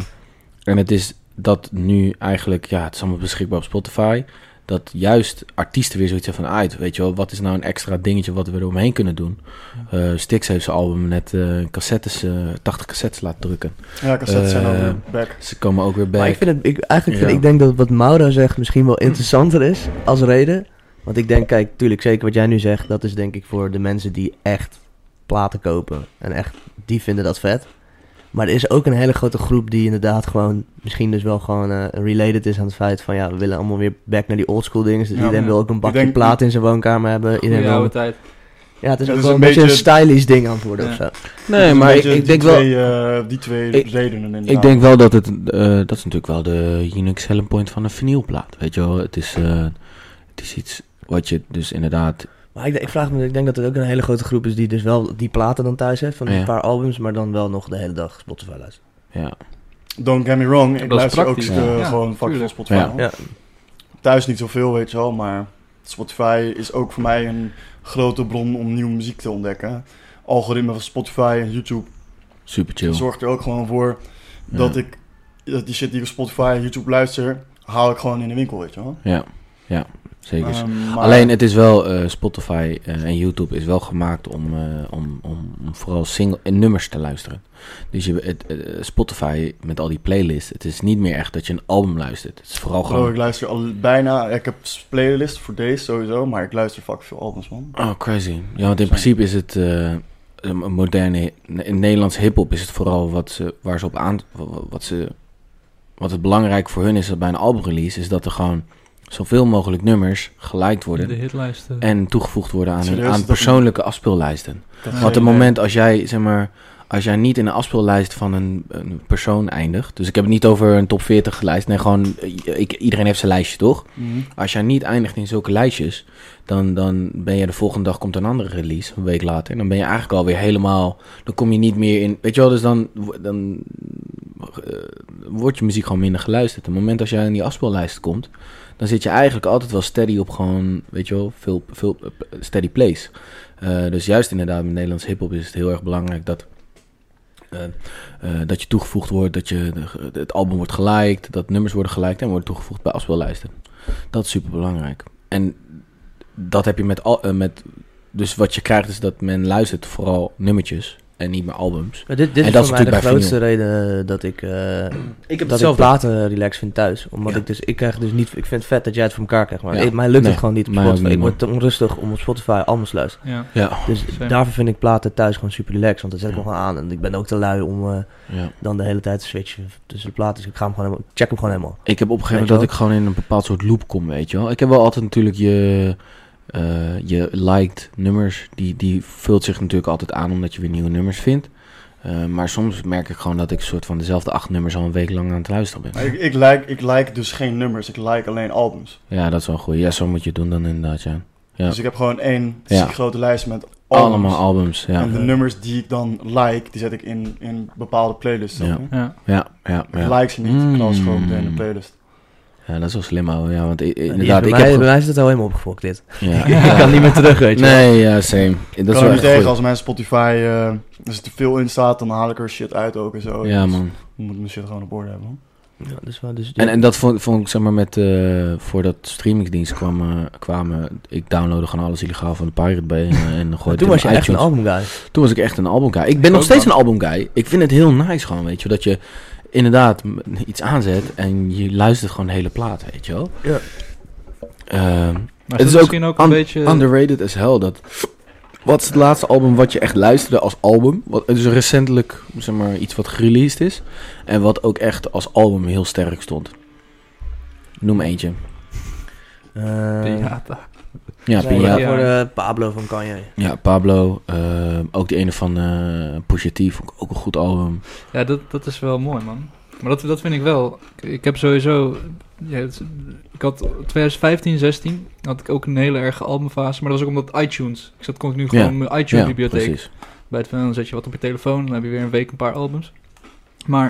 [SPEAKER 4] en het is dat nu eigenlijk, ja, het is allemaal beschikbaar op Spotify. Dat juist artiesten weer zoiets hebben van uit. Weet je wel, wat is nou een extra dingetje wat we er omheen kunnen doen? eh Stix heeft zijn album net eh, cassettes, eh, 80 cassettes laten drukken.
[SPEAKER 2] ja, cassettes zijn
[SPEAKER 4] Eh,
[SPEAKER 2] ook weer back.
[SPEAKER 4] Ze komen ook weer bij.
[SPEAKER 1] Maar ik vind het, ik, eigenlijk vind
[SPEAKER 4] Ja.
[SPEAKER 1] ik denk dat wat Maura zegt misschien wel interessanter is als reden. Want ik denk, kijk, tuurlijk, zeker wat jij nu zegt, dat is denk ik voor de mensen die echt platen kopen. En echt, die vinden dat vet. Maar er is ook een hele grote groep die inderdaad gewoon, misschien dus wel gewoon eh, related is aan het feit van, ja, we willen allemaal weer back naar die oldschool dingen. Dus
[SPEAKER 2] Ja,
[SPEAKER 1] iedereen
[SPEAKER 2] ja.
[SPEAKER 1] wil ook een
[SPEAKER 2] Ik
[SPEAKER 1] bakje
[SPEAKER 2] denk-
[SPEAKER 1] plaat in zijn woonkamer hebben. Iedereen
[SPEAKER 3] Goeie
[SPEAKER 1] wil-
[SPEAKER 3] oude tijd.
[SPEAKER 1] ja, het is
[SPEAKER 2] Ja, dat
[SPEAKER 1] ook wel
[SPEAKER 2] is
[SPEAKER 1] een
[SPEAKER 2] een
[SPEAKER 1] beetje een
[SPEAKER 2] beetje-
[SPEAKER 1] stylish ding aan het worden
[SPEAKER 3] Ja.
[SPEAKER 1] of zo.
[SPEAKER 4] nee,
[SPEAKER 2] Dus
[SPEAKER 4] maar
[SPEAKER 2] een
[SPEAKER 4] ik,
[SPEAKER 2] beetje
[SPEAKER 4] ik
[SPEAKER 2] die
[SPEAKER 4] denk wel.
[SPEAKER 2] twee, eh, die twee
[SPEAKER 4] Ik-
[SPEAKER 2] redenen inderdaad.
[SPEAKER 4] Ik denk wel dat het. eh, dat is natuurlijk wel de Unix selling point van een vinylplaat. Weet je wel, het is, eh, het is iets wat je dus inderdaad.
[SPEAKER 1] Maar ik, ik vraag me, ik denk dat er ook een hele grote groep is die dus wel die platen dan thuis heeft van een
[SPEAKER 4] Ja.
[SPEAKER 1] paar albums, maar dan wel nog de hele dag Spotify luistert.
[SPEAKER 4] Ja,
[SPEAKER 2] Don't get me wrong, ik
[SPEAKER 3] Dat is
[SPEAKER 2] luister ook
[SPEAKER 3] praktisch,
[SPEAKER 2] eh,
[SPEAKER 3] ja. Ja,
[SPEAKER 2] gewoon fucking
[SPEAKER 3] tuurlijk.
[SPEAKER 2] veel Spotify.
[SPEAKER 4] Ja.
[SPEAKER 2] hoor.
[SPEAKER 1] Ja.
[SPEAKER 2] Thuis niet zoveel, weet je wel, maar Spotify is ook voor mij een grote bron om nieuwe muziek te ontdekken. Algoritme van Spotify en YouTube
[SPEAKER 4] super chill. eh,
[SPEAKER 2] zorgt er ook gewoon voor dat
[SPEAKER 4] Ja.
[SPEAKER 2] ik dat die shit die ik op Spotify en YouTube luister, haal ik gewoon in de winkel, weet je wel.
[SPEAKER 4] Ja, ja zeker.
[SPEAKER 2] Ehm, maar-
[SPEAKER 4] Alleen het is wel, eh, Spotify eh, en YouTube is wel gemaakt om, eh, om, om, om vooral single en nummers te luisteren. Dus je, het, eh, Spotify met al die playlists, het is niet meer echt dat je een album luistert. Het is vooral
[SPEAKER 2] Bro,
[SPEAKER 4] gewoon...
[SPEAKER 2] ik luister al bijna. Ik heb playlist voor deze sowieso, maar ik luister fucking veel albums, man.
[SPEAKER 4] Oh, crazy. Ja, want in principe is het eh, een moderne... In Nederlands hiphop is het vooral wat ze, waar ze op aan... Wat, ze, wat het belangrijk voor hun is dat bij een albumrelease, is dat er gewoon zoveel mogelijk nummers geliked
[SPEAKER 3] De
[SPEAKER 4] worden...
[SPEAKER 3] hitlijsten.
[SPEAKER 4] En toegevoegd worden aan, hun,
[SPEAKER 2] Serieus,
[SPEAKER 4] aan
[SPEAKER 2] dat-
[SPEAKER 4] persoonlijke afspeellijsten.
[SPEAKER 3] Ja.
[SPEAKER 4] Want
[SPEAKER 2] een
[SPEAKER 4] het moment als jij, zeg maar, als jij niet in de afspeellijst van een, een persoon eindigt. Dus ik heb het niet over een top 40 lijst. Nee, gewoon, eh, ik, iedereen heeft zijn lijstje, toch?
[SPEAKER 2] Mhm.
[SPEAKER 4] Als jij niet eindigt in zulke lijstjes, dan, dan ben je de volgende dag komt een andere release, een week later. En dan ben je eigenlijk alweer helemaal, dan kom je niet meer in, weet je wel, dus dan, wo- dan eh, wordt je muziek gewoon minder geluisterd. Op het moment als jij in die afspeellijst komt, dan zit je eigenlijk altijd wel steady op gewoon, weet je wel, veel, veel eh, steady place. Eh, dus juist inderdaad met Nederlands hiphop is het heel erg belangrijk dat eh, eh, dat je toegevoegd wordt, dat je de- het album wordt geliked, dat nummers worden geliked en worden toegevoegd bij afspeellijsten. Dat is super belangrijk. En dat heb je met, al, eh, met. Dus wat je krijgt is dat men luistert vooral nummertjes en niet meer albums.
[SPEAKER 1] Maar dit dit
[SPEAKER 4] En
[SPEAKER 1] is
[SPEAKER 4] dat
[SPEAKER 1] voor
[SPEAKER 4] is
[SPEAKER 1] mij de
[SPEAKER 4] natuurlijk bij
[SPEAKER 1] grootste reden dat ik, eh,
[SPEAKER 4] Ik
[SPEAKER 1] dat ik platen relax vind thuis. Omdat
[SPEAKER 4] Ja.
[SPEAKER 1] ik dus, ik krijg dus niet, ik vind het vet dat jij het voor elkaar krijgt, maar
[SPEAKER 4] Ja.
[SPEAKER 1] ik- mij lukt
[SPEAKER 4] Nee,
[SPEAKER 1] het gewoon niet op
[SPEAKER 4] mij ook
[SPEAKER 1] Spotify.
[SPEAKER 4] niet,
[SPEAKER 1] ik
[SPEAKER 4] man.
[SPEAKER 1] word te onrustig om op Spotify albums te luisteren.
[SPEAKER 3] Ja.
[SPEAKER 4] Ja,
[SPEAKER 1] Dus
[SPEAKER 3] Same.
[SPEAKER 1] daarvoor vind ik platen thuis gewoon super relax, want dat zet ik
[SPEAKER 4] Ja.
[SPEAKER 1] me gewoon aan. En ik ben ook te lui om eh,
[SPEAKER 4] ja.
[SPEAKER 1] dan de hele tijd te switchen tussen de platen. Dus ik ga hem gewoon helemaal, check hem gewoon helemaal.
[SPEAKER 4] Ik heb opgegeven
[SPEAKER 1] Weet je
[SPEAKER 4] dat
[SPEAKER 1] wel?
[SPEAKER 4] ik gewoon in een bepaald soort loop kom, weet je wel. Ik heb wel altijd natuurlijk je, eh, je liked nummers. Die, die vult zich natuurlijk altijd aan omdat je weer nieuwe nummers vindt. Eh, maar soms merk ik gewoon dat ik soort van dezelfde acht nummers al een week lang aan het luisteren ben.
[SPEAKER 2] Ik, ik, like, ik like dus geen nummers, ik like alleen albums.
[SPEAKER 4] Ja, dat is wel een goeie. Ja, zo moet je het doen dan inderdaad, ja. Ja.
[SPEAKER 2] Dus ik heb gewoon één
[SPEAKER 4] Ja.
[SPEAKER 2] ziek grote lijst met albums.
[SPEAKER 4] Allemaal albums, ja.
[SPEAKER 2] En de nummers die ik dan like, die zet ik in, in bepaalde playlists.
[SPEAKER 4] Ja.
[SPEAKER 2] Ja.
[SPEAKER 3] Ja.
[SPEAKER 4] Ja, ja, ja.
[SPEAKER 2] Ik like ze niet,
[SPEAKER 4] Mm.
[SPEAKER 2] ik knal ze gewoon meteen in de playlist.
[SPEAKER 4] Ja, dat is wel slim, ouwe. Ja, want i-
[SPEAKER 1] Ja, die
[SPEAKER 4] inderdaad,
[SPEAKER 1] is
[SPEAKER 4] ik
[SPEAKER 1] bij, mij,
[SPEAKER 4] heb...
[SPEAKER 1] bij
[SPEAKER 4] ge-
[SPEAKER 1] mij is het al helemaal opgefokt dit.
[SPEAKER 4] Ja,
[SPEAKER 1] *laughs* Ik kan niet meer terug, weet je wel.
[SPEAKER 4] Nee, ja, same. Dat
[SPEAKER 2] Ik
[SPEAKER 4] is
[SPEAKER 2] kan
[SPEAKER 4] wel
[SPEAKER 2] er niet
[SPEAKER 4] echt
[SPEAKER 2] tegen
[SPEAKER 4] goed.
[SPEAKER 2] als mijn Spotify, eh, als er te veel in staat, dan haal ik er shit uit ook en zo.
[SPEAKER 4] Ja,
[SPEAKER 2] Dus
[SPEAKER 4] man.
[SPEAKER 2] Ik moet mijn shit gewoon op orde hebben. man.
[SPEAKER 1] Ja, dus, wel- dus,
[SPEAKER 4] En, en dat vond, vond ik, zeg maar, met... eh, voordat streamingsdienst kwam, eh, kwamen... Ik downloadde gewoon alles illegaal van de Pirate Bay en, eh,
[SPEAKER 1] *laughs*
[SPEAKER 4] en gooide
[SPEAKER 1] toen
[SPEAKER 4] het
[SPEAKER 1] was je
[SPEAKER 4] in
[SPEAKER 1] echt een
[SPEAKER 4] iTunes.
[SPEAKER 1] album guy.
[SPEAKER 4] Toen was ik echt een albumguy. Ik ben nog
[SPEAKER 3] Ook
[SPEAKER 4] steeds
[SPEAKER 3] wel.
[SPEAKER 4] een albumguy. Ik vind het heel nice gewoon, weet je. wel, Dat je inderdaad m- iets aanzet en je luistert gewoon de hele plaat, weet je wel.
[SPEAKER 1] Ja.
[SPEAKER 4] Ehm,
[SPEAKER 3] Maar
[SPEAKER 4] Het
[SPEAKER 3] het
[SPEAKER 4] is
[SPEAKER 3] is
[SPEAKER 4] ook
[SPEAKER 3] misschien ook een
[SPEAKER 4] un-
[SPEAKER 3] beetje...
[SPEAKER 4] Underrated as hell. Dat, wat is het laatste album wat je echt luisterde als album? Wat, dus recentelijk zeg maar, iets wat gereleased is. En wat ook echt als album heel sterk stond. Noem eentje.
[SPEAKER 1] Eh,
[SPEAKER 3] Piata.
[SPEAKER 2] Nee,
[SPEAKER 4] Ja,
[SPEAKER 1] Voor,
[SPEAKER 4] Pia-
[SPEAKER 1] eh,
[SPEAKER 3] ja.
[SPEAKER 1] voor eh, Pablo van Kanye.
[SPEAKER 4] ja, Pablo. eh, ook die ene van eh Pusha T vond ik ook een goed album.
[SPEAKER 3] Ja, dat, dat is wel mooi, man. Maar dat, dat vind ik wel. Ik, ik heb sowieso... ja, het- ik had 2015, 16 had ik ook een hele erge albumfase. Maar dat was ook omdat iTunes. Ik zat continu gewoon
[SPEAKER 4] Ja.
[SPEAKER 3] in mijn
[SPEAKER 4] Ja,
[SPEAKER 3] iTunes-bibliotheek.
[SPEAKER 4] precies.
[SPEAKER 3] bij het van, dan zet je wat op je telefoon, dan heb je weer een week een paar albums. Maar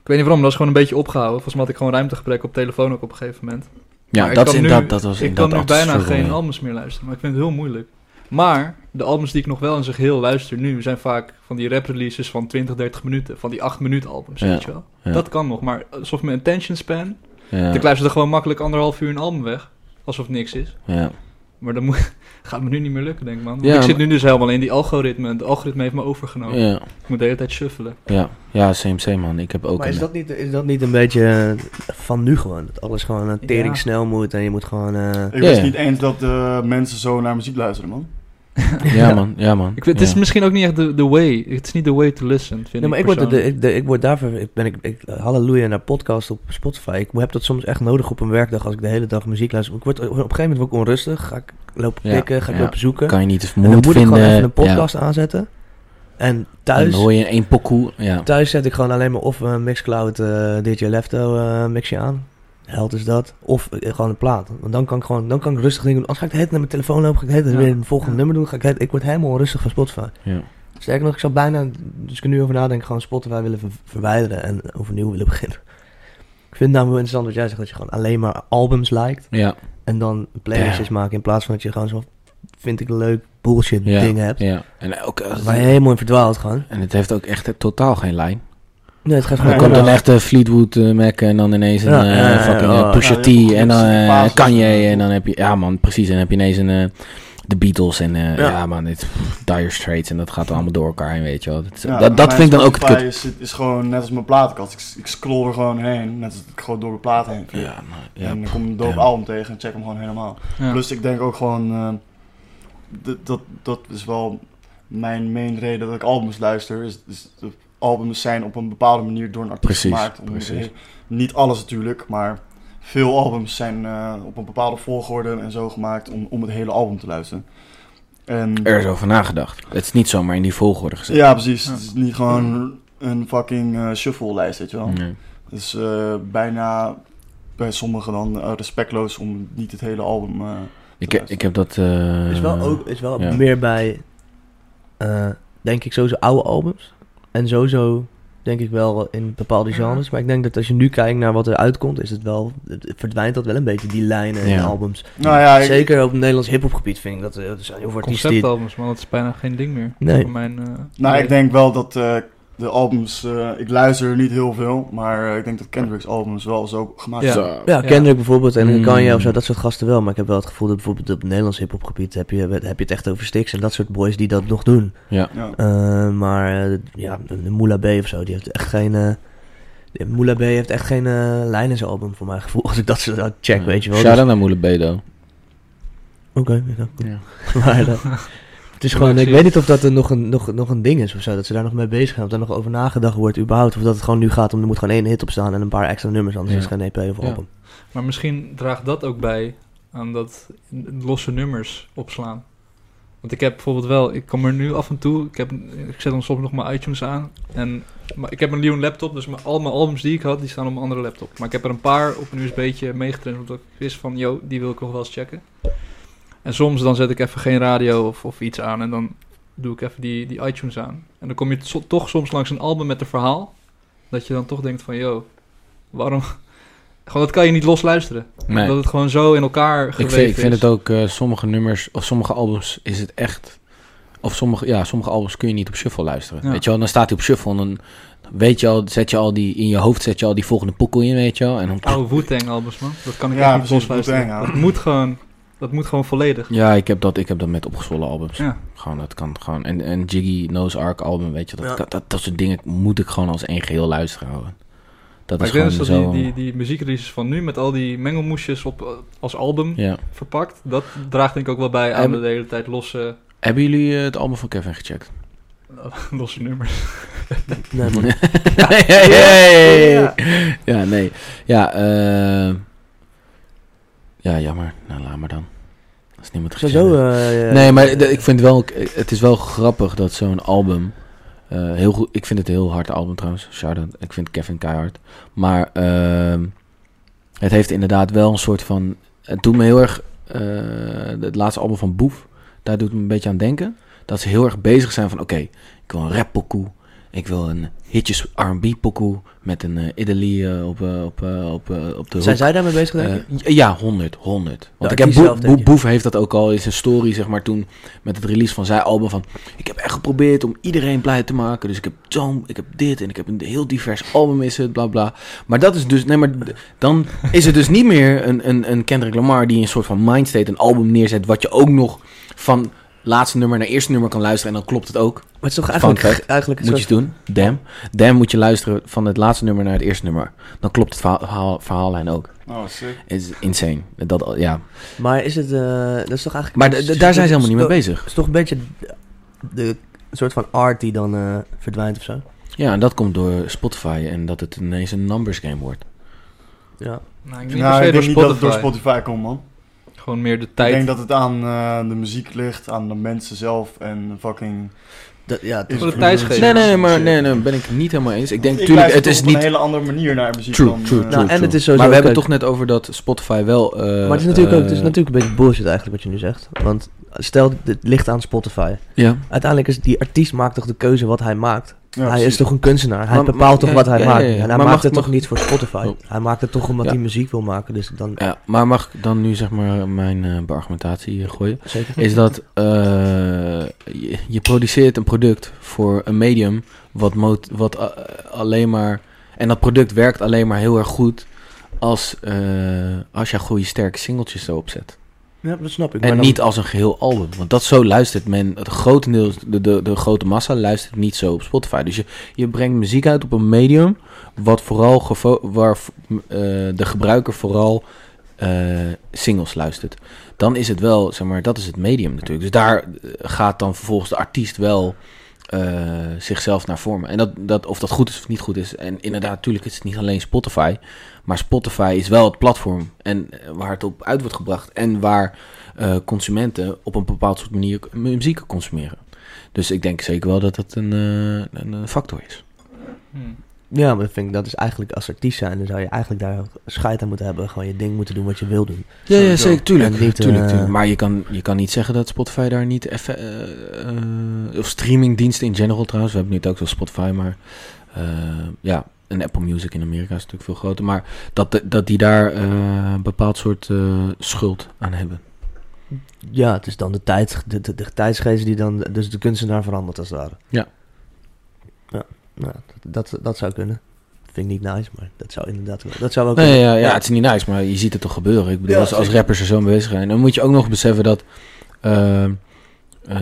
[SPEAKER 3] ik weet niet waarom, dat is gewoon een beetje opgehouden. Volgens mij had ik gewoon ruimtegebrek op telefoon ook op een gegeven moment.
[SPEAKER 4] Ja,
[SPEAKER 3] Maar ik
[SPEAKER 4] dat, is
[SPEAKER 3] kan nu-
[SPEAKER 4] inderdaad, dat was
[SPEAKER 3] ik kan
[SPEAKER 4] inderdaad
[SPEAKER 3] nu
[SPEAKER 4] altijd
[SPEAKER 3] bijna
[SPEAKER 4] vervelend.
[SPEAKER 3] geen albums meer luisteren, maar ik vind het heel moeilijk. Maar de albums die ik nog wel in zich heel luister nu zijn vaak van die rap releases van 20, 30 minuten, van die 8 minuut albums,
[SPEAKER 4] Ja,
[SPEAKER 3] weet je wel.
[SPEAKER 4] ja.
[SPEAKER 3] Dat kan nog, maar alsof mijn attention span,
[SPEAKER 4] Ja,
[SPEAKER 3] ik luister er gewoon makkelijk anderhalf uur een album weg, alsof het niks is.
[SPEAKER 4] ja.
[SPEAKER 3] Maar dat moet, *laughs* gaat me nu niet meer lukken, denk ik man. Want
[SPEAKER 4] Ja,
[SPEAKER 3] ik zit
[SPEAKER 4] maar-
[SPEAKER 3] nu dus helemaal in die algoritme, het algoritme heeft me overgenomen.
[SPEAKER 4] Ja,
[SPEAKER 3] Ik moet de hele tijd shuffelen.
[SPEAKER 4] ja, ja, same, same man. Ik heb ook
[SPEAKER 1] maar is
[SPEAKER 4] een- eh,
[SPEAKER 1] dat, niet, is dat niet een beetje eh, van nu gewoon? Dat alles gewoon eh, tering snel moet en je moet gewoon... eh,
[SPEAKER 2] Ik
[SPEAKER 4] Ja,
[SPEAKER 2] wist
[SPEAKER 4] ja.
[SPEAKER 2] niet eens dat eh, mensen zo naar muziek luisteren, man.
[SPEAKER 4] Ja man, ja man.
[SPEAKER 3] Ik vind,
[SPEAKER 4] ja.
[SPEAKER 3] Het is misschien ook niet echt de, de way. Het is niet de way to listen, vind
[SPEAKER 1] Nee, maar ik word,
[SPEAKER 3] persoonlijk.
[SPEAKER 1] de, ik, de- ik word daarvoor, ik ben ik, ik halleluja naar podcast op Spotify. Ik heb dat soms echt nodig op een werkdag als ik de hele dag muziek luister. Ik word, op een gegeven moment word ik onrustig, ga ik lopen
[SPEAKER 4] Ja,
[SPEAKER 1] pikken, ga ik
[SPEAKER 4] ja.
[SPEAKER 1] lopen zoeken.
[SPEAKER 4] kan je niet te
[SPEAKER 1] en dan
[SPEAKER 4] vermoeiend
[SPEAKER 1] moet ik
[SPEAKER 4] vinden.
[SPEAKER 1] gewoon even een
[SPEAKER 4] Ja.
[SPEAKER 1] podcast aanzetten. En
[SPEAKER 4] Dan
[SPEAKER 1] thuis,
[SPEAKER 4] hoor je één pokoe. Ja.
[SPEAKER 1] thuis zet ik gewoon alleen maar of een Mixcloud eh DJ Lefto eh, mixje aan. Held is dat. Of eh, gewoon een plaat. Want dan kan ik gewoon, dan kan ik rustig dingen doen. Als ga ik de hele tijd naar mijn telefoon lopen, ga ik de hele tijd
[SPEAKER 3] Ja.
[SPEAKER 1] weer een volgende nummer doen. Ga ik, de hele- ik word helemaal onrustig van Spotify.
[SPEAKER 4] Ja.
[SPEAKER 1] Sterker nog, ik zou bijna, dus ik er nu over nadenken, gewoon Spotify willen ver- verwijderen en overnieuw willen *laughs* beginnen. Ik vind het namelijk wel interessant wat jij zegt, dat je gewoon alleen maar albums liked
[SPEAKER 4] Ja.
[SPEAKER 1] en dan playlistjes maakt in plaats van dat je gewoon zo, vind ik leuk, bullshit
[SPEAKER 4] Ja.
[SPEAKER 1] dingen hebt.
[SPEAKER 4] ja. En, ook, eh,
[SPEAKER 1] Waar je helemaal in verdwaald gewoon.
[SPEAKER 4] en het heeft ook echt totaal geen lijn.
[SPEAKER 1] Nee, het gaat
[SPEAKER 4] Dan
[SPEAKER 1] gewoon...
[SPEAKER 2] Ja,
[SPEAKER 4] komt
[SPEAKER 2] ja.
[SPEAKER 4] dan echt eh, Fleetwood eh, Mac en dan ineens een
[SPEAKER 1] Ja,
[SPEAKER 4] eh,
[SPEAKER 1] ja, ja,
[SPEAKER 4] fucking
[SPEAKER 1] ja.
[SPEAKER 4] eh, Pusha
[SPEAKER 2] Ja,
[SPEAKER 4] T
[SPEAKER 2] ja,
[SPEAKER 4] en dan
[SPEAKER 2] ja,
[SPEAKER 4] eh,
[SPEAKER 2] basis.
[SPEAKER 4] Kanye en dan heb je... Ja man, precies. En dan heb je ineens een... eh, de Beatles en eh,
[SPEAKER 1] Ja.
[SPEAKER 4] ja. man, dit, pff, Dire Straits en dat gaat allemaal door elkaar heen, weet je wel. Dat,
[SPEAKER 2] Ja,
[SPEAKER 4] dat, dat
[SPEAKER 2] mijn
[SPEAKER 4] vind ik dan ook het
[SPEAKER 2] Spotify
[SPEAKER 4] kut.
[SPEAKER 2] Is, is gewoon net als mijn platenkast. Ik, ik scroll er gewoon heen, net als ik gewoon door de plaat heen. vlieg.
[SPEAKER 4] Ja, maar- ja,
[SPEAKER 2] en dan kom ik een dope
[SPEAKER 4] ja.
[SPEAKER 2] album tegen en check hem gewoon helemaal.
[SPEAKER 3] Ja.
[SPEAKER 2] Plus ik denk ook gewoon, eh, d- dat, dat is wel mijn main reden dat ik albums luister. Is, is de albums zijn op een bepaalde manier door een artiest
[SPEAKER 4] Precies,
[SPEAKER 2] gemaakt. Om de
[SPEAKER 4] precies.
[SPEAKER 2] reden- Niet alles natuurlijk, maar veel albums zijn eh, op een bepaalde volgorde en zo gemaakt om, om het hele album te luisteren. En,
[SPEAKER 4] er is over nagedacht. Het is niet zomaar in die volgorde gezet.
[SPEAKER 2] ja, precies.
[SPEAKER 3] Ja.
[SPEAKER 2] Het is niet gewoon een fucking eh, shuffle-lijst, weet je wel.
[SPEAKER 4] Nee.
[SPEAKER 2] Het is eh, bijna bij sommigen dan eh, respectloos om niet het hele album... eh,
[SPEAKER 4] Ik, heb- ik heb dat... eh,
[SPEAKER 1] is wel, ook, is wel
[SPEAKER 4] ja.
[SPEAKER 1] meer bij, eh, denk ik, sowieso oude albums. En sowieso, denk ik wel, in bepaalde genres. Maar ik denk dat als je nu kijkt naar wat er uitkomt, is het wel, het verdwijnt dat wel een beetje, die lijnen in
[SPEAKER 4] Ja.
[SPEAKER 1] albums.
[SPEAKER 2] nou ja, ik-
[SPEAKER 1] Zeker op het Nederlands hiphopgebied vind ik dat, eh, er zijn heel veel artiesten die...
[SPEAKER 3] Conceptalbums, man, dat is bijna geen ding meer.
[SPEAKER 1] Nee.
[SPEAKER 3] Voor mijn, eh,
[SPEAKER 2] Nou,
[SPEAKER 3] idee.
[SPEAKER 2] ik denk wel dat eh, de albums... eh, ik luister niet heel veel, maar eh, ik denk dat Kendrick's albums wel zo gemaakt
[SPEAKER 3] Ja.
[SPEAKER 2] zijn.
[SPEAKER 4] Zo.
[SPEAKER 1] Ja,
[SPEAKER 3] Ja.
[SPEAKER 1] Kendrick bijvoorbeeld en
[SPEAKER 4] Mm.
[SPEAKER 1] Kanye of zo, dat soort gasten wel. Maar ik heb wel het gevoel dat bijvoorbeeld op het Nederlands hiphopgebied heb je, heb je het echt over Stix en dat soort boys die dat nog doen.
[SPEAKER 2] Ja.
[SPEAKER 1] Eh, maar eh, ja, de Moula B of zo, die heeft echt geen... eh de Moula B heeft echt geen eh, lijn in zijn album, voor mijn gevoel. *laughs* Als ik dat zo zo check,
[SPEAKER 4] Ja.
[SPEAKER 1] weet je wel.
[SPEAKER 4] Shout-out
[SPEAKER 1] Dus-
[SPEAKER 4] naar Moele Bedo.
[SPEAKER 1] Oké, ja, *laughs* cool.
[SPEAKER 4] Ja.
[SPEAKER 1] Maar eh, *laughs* het is
[SPEAKER 3] Ja,
[SPEAKER 1] gewoon... Ik
[SPEAKER 3] precies.
[SPEAKER 1] weet niet of dat er nog een, nog, nog een ding is of zo. Dat ze daar nog mee bezig gaan. Of daar nog over nagedacht wordt überhaupt. Of dat het gewoon nu gaat om... Er moet gewoon één hit op staan en een paar extra nummers. Anders
[SPEAKER 4] Ja.
[SPEAKER 1] is het geen EP of
[SPEAKER 4] Ja.
[SPEAKER 1] album.
[SPEAKER 3] Maar misschien draagt dat ook bij aan dat losse nummers opslaan. Want ik heb bijvoorbeeld wel, ik kom er nu af en toe, ik, heb, ik zet dan soms nog mijn iTunes aan. En, maar ik heb een Leon laptop, dus mijn, al mijn albums die ik had, die staan op mijn andere laptop. Maar ik heb er een paar op een USB'tje meegetraind, omdat ik wist van, yo, die wil ik nog wel eens checken. En soms dan zet ik even geen radio of, of iets aan en dan doe ik even die, die iTunes aan. En dan kom je so- toch soms langs een album met een verhaal, dat je dan toch denkt van, yo, waarom... *laughs* Gewoon, dat kan je niet los luisteren.
[SPEAKER 4] Nee.
[SPEAKER 3] Dat het gewoon zo in elkaar
[SPEAKER 4] Ik
[SPEAKER 3] geweven
[SPEAKER 4] vind, ik vind
[SPEAKER 3] is.
[SPEAKER 4] het ook, eh, sommige nummers, of sommige albums is het echt... Of sommige, ja, sommige albums kun je niet op shuffle luisteren.
[SPEAKER 3] Ja.
[SPEAKER 4] Weet je wel, dan staat hij op shuffle en dan weet je al, zet je al die, in je hoofd zet je al die volgende poekel in, weet je wel. En dan,
[SPEAKER 3] Oude Wu-Tang albums, man. Dat kan ik
[SPEAKER 2] Ja,
[SPEAKER 3] echt niet
[SPEAKER 2] precies,
[SPEAKER 3] los luisteren.
[SPEAKER 2] Wu-Tang, ja.
[SPEAKER 3] Dat moet gewoon, dat moet gewoon volledig.
[SPEAKER 4] ja, ik heb, dat, ik heb dat met opgezwollen albums.
[SPEAKER 3] Ja.
[SPEAKER 4] Gewoon, dat kan gewoon. En, en Jiggy Nose Ark album, weet je wel, dat,
[SPEAKER 1] Ja.
[SPEAKER 4] kan- dat, dat soort dingen moet ik gewoon als één geheel luisteren houden. Dat
[SPEAKER 3] Maar
[SPEAKER 4] is
[SPEAKER 3] ik denk
[SPEAKER 4] gewoon
[SPEAKER 3] dus dat
[SPEAKER 4] zo...
[SPEAKER 3] die, die, die muziekreleases van nu met al die mengelmoesjes op, eh, als album
[SPEAKER 4] ja.
[SPEAKER 3] verpakt, dat draagt denk ik ook wel bij aan
[SPEAKER 4] Hebben-
[SPEAKER 3] de hele tijd losse, *laughs*
[SPEAKER 4] Hebben jullie eh, het album van Kevin gecheckt?
[SPEAKER 3] losse nummers.
[SPEAKER 1] Nee, *laughs* man.
[SPEAKER 4] *laughs* Hey, hey, hey. Ja, nee. Ja, eh, ja, jammer. Nou, laat maar dan. Dat is niet meer te
[SPEAKER 1] Sowieso,
[SPEAKER 4] zeggen.
[SPEAKER 1] eh,
[SPEAKER 4] Nee, maar de- ik vind wel, het is wel grappig dat zo'n album. eh, heel goed, ik vind het een heel hard album trouwens. Shout out. Ik vind Kevin keihard. Maar ehm, het heeft inderdaad wel een soort van. Het doet me heel erg. eh, het laatste album van Boef. Daar doet het me een beetje aan denken. Dat ze heel erg bezig zijn van: oké, ik wil een rap pokoe. Ik wil een hitjes R&B pokoe. Met een eh Idoli eh, op, eh, op, eh, op, eh, op de
[SPEAKER 1] Zijn
[SPEAKER 4] hoek.
[SPEAKER 1] zij daarmee bezig, denk je?
[SPEAKER 4] Eh, j- ja, 100, 100. Want
[SPEAKER 1] Ja,
[SPEAKER 4] ik heb
[SPEAKER 1] die
[SPEAKER 4] Bo-
[SPEAKER 1] Nou, zelf, denk
[SPEAKER 4] Bo-
[SPEAKER 1] je.
[SPEAKER 4] Boef heeft dat ook al in zijn story, zeg maar, toen met het release van zijn album. Van, ik heb echt geprobeerd om iedereen blij te maken. Dus ik heb zo'n, ik heb dit en ik heb een heel divers album is het, bla bla. Maar dat is dus, nee, maar d-
[SPEAKER 1] *laughs*
[SPEAKER 4] dan is het dus niet meer een, een, een Kendrick Lamar die een soort van mindstate, een album neerzet. Wat je ook nog van laatste nummer naar eerste nummer kan luisteren en dan klopt het ook.
[SPEAKER 1] maar het is toch eigenlijk,
[SPEAKER 4] Fun fact.
[SPEAKER 1] eigenlijk een
[SPEAKER 4] Moet je
[SPEAKER 1] soort-
[SPEAKER 4] eens doen. Damn. Damn moet je luisteren van het laatste nummer naar het eerste nummer. Dan klopt het verhaal, verhaal- verhaallijn ook.
[SPEAKER 2] Oh, sick.
[SPEAKER 4] Het Nou, is insane. Dat, al- ja.
[SPEAKER 1] Maar is het... eh, dat is toch eigenlijk...
[SPEAKER 4] Maar d- d- daar zijn ze helemaal niet mee bezig.
[SPEAKER 1] Het is toch een beetje de soort van art die dan eh, verdwijnt of zo.
[SPEAKER 4] Ja, en dat komt door Spotify en dat het ineens een numbers game wordt.
[SPEAKER 1] Ja.
[SPEAKER 3] Nou, ik denk
[SPEAKER 2] Nou, ik
[SPEAKER 3] niet per
[SPEAKER 2] denk
[SPEAKER 3] se
[SPEAKER 2] niet
[SPEAKER 3] door
[SPEAKER 2] dat het door
[SPEAKER 3] Spotify.
[SPEAKER 2] Spotify komt, man.
[SPEAKER 3] Gewoon meer de
[SPEAKER 2] Ik
[SPEAKER 3] tijd.
[SPEAKER 2] denk dat het aan eh, de muziek ligt, aan de mensen zelf en fucking...
[SPEAKER 1] Dat, ja, het is-
[SPEAKER 3] Voor de tijdsgeest.
[SPEAKER 4] Nee, nee, nee, maar nee, nee, ben ik niet helemaal eens. Ik denk,
[SPEAKER 2] Ik
[SPEAKER 4] tuurlijk,
[SPEAKER 2] luister
[SPEAKER 4] het is
[SPEAKER 2] op een
[SPEAKER 4] niet...
[SPEAKER 2] hele andere manier naar muziek
[SPEAKER 4] True,
[SPEAKER 2] dan...
[SPEAKER 4] true,
[SPEAKER 2] eh,
[SPEAKER 4] true,
[SPEAKER 1] Nou, en
[SPEAKER 4] true.
[SPEAKER 1] het is sowieso-
[SPEAKER 4] Maar we hebben
[SPEAKER 1] kijk-
[SPEAKER 4] toch net over dat Spotify wel... eh,
[SPEAKER 1] maar het is natuurlijk ook
[SPEAKER 4] eh,
[SPEAKER 1] het is natuurlijk een beetje bullshit eigenlijk wat je nu zegt. Want stel, het ligt aan Spotify.
[SPEAKER 4] Ja.
[SPEAKER 1] Uiteindelijk is die artiest maakt toch de keuze wat hij maakt.
[SPEAKER 2] ja,
[SPEAKER 1] hij
[SPEAKER 2] precies.
[SPEAKER 1] is toch een kunstenaar. Hij
[SPEAKER 4] Maar-
[SPEAKER 1] bepaalt
[SPEAKER 4] maar-
[SPEAKER 1] toch
[SPEAKER 4] ja,
[SPEAKER 1] wat hij
[SPEAKER 4] ja, ja,
[SPEAKER 1] maakt.
[SPEAKER 4] ja.
[SPEAKER 1] En hij
[SPEAKER 4] Maar
[SPEAKER 1] maakt
[SPEAKER 4] mag-
[SPEAKER 1] het toch
[SPEAKER 4] mag-
[SPEAKER 1] niet voor Spotify.
[SPEAKER 4] Oh.
[SPEAKER 1] Hij maakt het toch omdat
[SPEAKER 4] Ja.
[SPEAKER 1] hij muziek wil maken. Dus dan
[SPEAKER 4] ja, maar mag ik dan nu zeg maar mijn eh, beargumentatie hier gooien?
[SPEAKER 1] zeker.
[SPEAKER 4] is dat eh, je, je produceert een product voor een medium wat, mot- wat eh, alleen maar... En dat product werkt alleen maar heel erg goed als, eh, als je goede sterke singeltjes erop zet.
[SPEAKER 1] Ja, dat snap
[SPEAKER 4] En
[SPEAKER 1] ik. maar dan-
[SPEAKER 4] niet als een geheel album. Want dat zo luistert men, het grotendeels, de, de, de grote massa luistert niet zo op Spotify. Dus je, je brengt muziek uit op een medium wat vooral gevo- waar eh, de gebruiker vooral eh, singles luistert. Dan is het wel, zeg maar, dat is het medium natuurlijk. Dus daar eh, gaat dan vervolgens de artiest wel eh, zichzelf naar vormen. En dat, dat, of dat goed is of niet goed is. En inderdaad, natuurlijk is het niet alleen Spotify. Maar Spotify is wel het platform en eh, waar het op uit wordt gebracht. En waar eh, consumenten op een bepaald soort manier k- muziek consumeren. Dus ik denk zeker wel dat dat een, eh, een eh, factor is.
[SPEAKER 3] Hmm.
[SPEAKER 1] Ja, maar dat vind ik, dat is eigenlijk als artiest zijn, dan zou je eigenlijk daar ook scheid aan moeten hebben. Gewoon je ding moeten doen wat je wil doen.
[SPEAKER 4] Ja,
[SPEAKER 2] ja, Sowieso. zeker,
[SPEAKER 1] tuurlijk, En niet, tuurlijk, eh, tuurlijk.
[SPEAKER 4] Maar je kan, je kan niet zeggen dat Spotify daar niet effe- eh, eh, of streamingdiensten in general trouwens. We hebben nu het ook wel Spotify, maar eh, ja, en Apple Music in Amerika is natuurlijk veel groter. Maar dat, de- dat die daar eh, een bepaald soort eh, schuld aan hebben.
[SPEAKER 1] Ja, het is dan de, tijd, de, de, de tijdsgeest die dan dus de kunstenaar verandert als het ware.
[SPEAKER 4] Ja.
[SPEAKER 1] Ja, nou, dat, dat zou kunnen. Vind ik niet nice, maar dat zou inderdaad wel. Dat zou wel
[SPEAKER 4] Nee,
[SPEAKER 1] kunnen.
[SPEAKER 4] ja, ja, het is niet nice, maar je ziet het toch gebeuren. Ik bedoel,
[SPEAKER 1] Ja,
[SPEAKER 4] als, als
[SPEAKER 1] zeker.
[SPEAKER 4] rappers er zo mee bezig zijn. Dan moet je ook nog beseffen dat... eh, eh,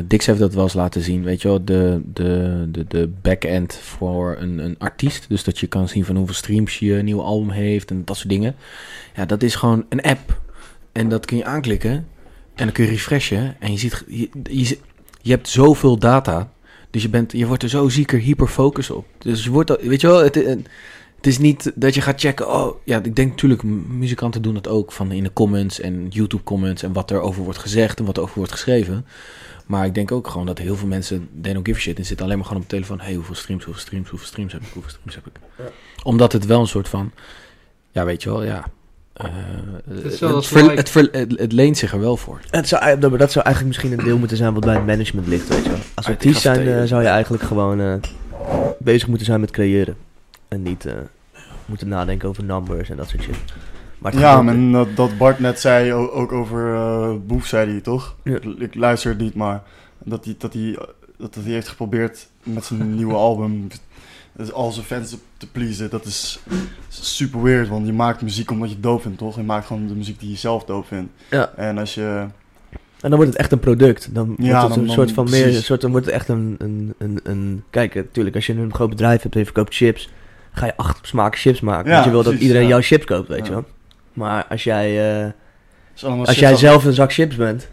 [SPEAKER 4] Dix heeft dat wel eens laten zien, weet je wel. De, de, de, de back-end voor een, een artiest. Dus dat je kan zien van hoeveel streams je nieuw album heeft en dat soort dingen. Ja, dat is gewoon een app. En dat kun je aanklikken. En dan kun je refreshen. En je ziet... ge- Je, je, zi- je hebt zoveel data. Dus je, bent, je wordt er zo zieker hyperfocus op. Dus je wordt... al- Weet je wel, het, het, het is niet dat je gaat checken. Oh, ja, ik denk natuurlijk, m- muzikanten doen dat ook van in de comments en YouTube comments en wat er over wordt gezegd en wat er over wordt geschreven. Maar ik denk ook gewoon dat heel veel mensen, they don't give a shit, en zitten alleen maar gewoon op de telefoon. hey, hoeveel streams, hoeveel streams, hoeveel streams heb ik, hoeveel streams heb ik. Omdat het wel een soort van, ja, weet je wel, ja. eh, het,
[SPEAKER 3] is wel als
[SPEAKER 4] ver-
[SPEAKER 3] like.
[SPEAKER 4] het, ver- het- het leent zich er wel voor.
[SPEAKER 1] Het zou, eh, maar dat zou eigenlijk misschien een deel moeten zijn wat bij het management ligt, weet je wel. Als
[SPEAKER 4] Ah, ik
[SPEAKER 1] artiest
[SPEAKER 4] gaf
[SPEAKER 1] zijn
[SPEAKER 4] het
[SPEAKER 1] eh,
[SPEAKER 4] tegen.
[SPEAKER 1] zou je eigenlijk gewoon eh, bezig moeten zijn met creëren. En niet eh, moeten nadenken over numbers en dat soort shit. Maar het
[SPEAKER 2] Ja,
[SPEAKER 1] gebeurt-
[SPEAKER 2] en dat, dat Bart net zei, o- ook over eh, Boef zei hij, toch?
[SPEAKER 1] Ja.
[SPEAKER 2] Ik, ik luister het niet, maar dat hij, dat, hij, dat hij heeft geprobeerd met zijn
[SPEAKER 1] *laughs*
[SPEAKER 2] nieuwe album dus al zijn fans te pleasen. Dat is super weird, want je maakt muziek omdat je doop vindt, toch? Je maakt gewoon de muziek die je zelf doop vindt.
[SPEAKER 1] Ja.
[SPEAKER 2] En als je...
[SPEAKER 1] En dan wordt het echt een product. Dan
[SPEAKER 2] Ja,
[SPEAKER 1] wordt het
[SPEAKER 2] dan-
[SPEAKER 1] een
[SPEAKER 2] dan-
[SPEAKER 1] soort van meer.
[SPEAKER 2] precies.
[SPEAKER 1] Een soort, dan wordt het echt een. een, een, een kijk, eh, natuurlijk, als je een groot bedrijf hebt en je verkoopt chips. ga je acht smaken chips maken.
[SPEAKER 2] Ja,
[SPEAKER 1] want je wil dat
[SPEAKER 2] precies,
[SPEAKER 1] iedereen
[SPEAKER 2] ja.
[SPEAKER 1] jouw chips koopt, weet
[SPEAKER 2] Ja.
[SPEAKER 1] je wel. Maar als jij, eh,
[SPEAKER 2] is allemaal
[SPEAKER 1] als
[SPEAKER 2] shit
[SPEAKER 1] jij
[SPEAKER 2] af-
[SPEAKER 1] zelf een zak chips bent.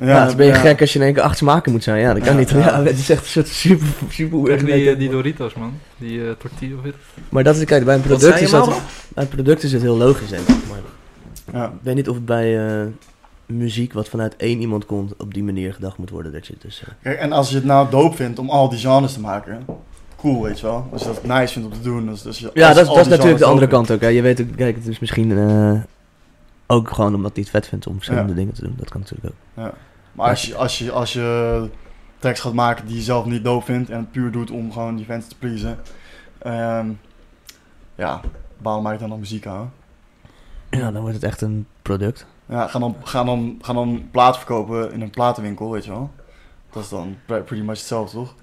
[SPEAKER 2] Ja,
[SPEAKER 1] Ja, dan ben je
[SPEAKER 2] ja.
[SPEAKER 1] gek als je in één keer acht smaken moet zijn. Ja, dat kan
[SPEAKER 2] Ja,
[SPEAKER 1] niet. *laughs* Ja,
[SPEAKER 2] ja.
[SPEAKER 1] het is echt een soort super. super
[SPEAKER 3] Echt
[SPEAKER 1] weird
[SPEAKER 3] die,
[SPEAKER 1] ding.
[SPEAKER 3] eh, die Doritos, man. Die eh, tortilla of weet ik.
[SPEAKER 1] Maar dat is, kijk, bij een
[SPEAKER 4] Wat
[SPEAKER 1] product
[SPEAKER 4] zei
[SPEAKER 1] is
[SPEAKER 4] je,
[SPEAKER 1] dat.
[SPEAKER 4] Mauro?
[SPEAKER 1] Bij een product is het heel logisch, denk ik. Maar
[SPEAKER 2] Ja.
[SPEAKER 1] ik weet niet of het bij. eh, muziek wat vanuit één iemand komt, op die manier gedacht moet worden. Dat je het dus, eh,
[SPEAKER 2] Kijk, en als je het nou doop vindt om al die genres te maken, cool, weet je wel. Als je dat nice vindt om te doen, dus, dus je-
[SPEAKER 1] Ja,
[SPEAKER 2] als
[SPEAKER 1] dat, is-
[SPEAKER 2] al
[SPEAKER 1] dat is
[SPEAKER 2] die
[SPEAKER 1] natuurlijk de andere
[SPEAKER 2] genres dope
[SPEAKER 1] kant ook. Hè. Je weet ook, kijk, het is misschien eh, ook gewoon omdat hij het vet vindt om verschillende dingen te doen. Dat kan natuurlijk ook.
[SPEAKER 2] vindt. Maar als je, als, je, als je tekst gaat maken die je zelf niet doop vindt en het puur doet om gewoon die fans te pleasen, ehm, ja, waarom maak je dan nog muziek aan?
[SPEAKER 1] Ja, dan wordt het echt een product.
[SPEAKER 2] Ja, ga dan, ga dan, ga dan plaat verkopen in een platenwinkel, weet je wel. Dat is dan pre- pretty much hetzelfde, toch?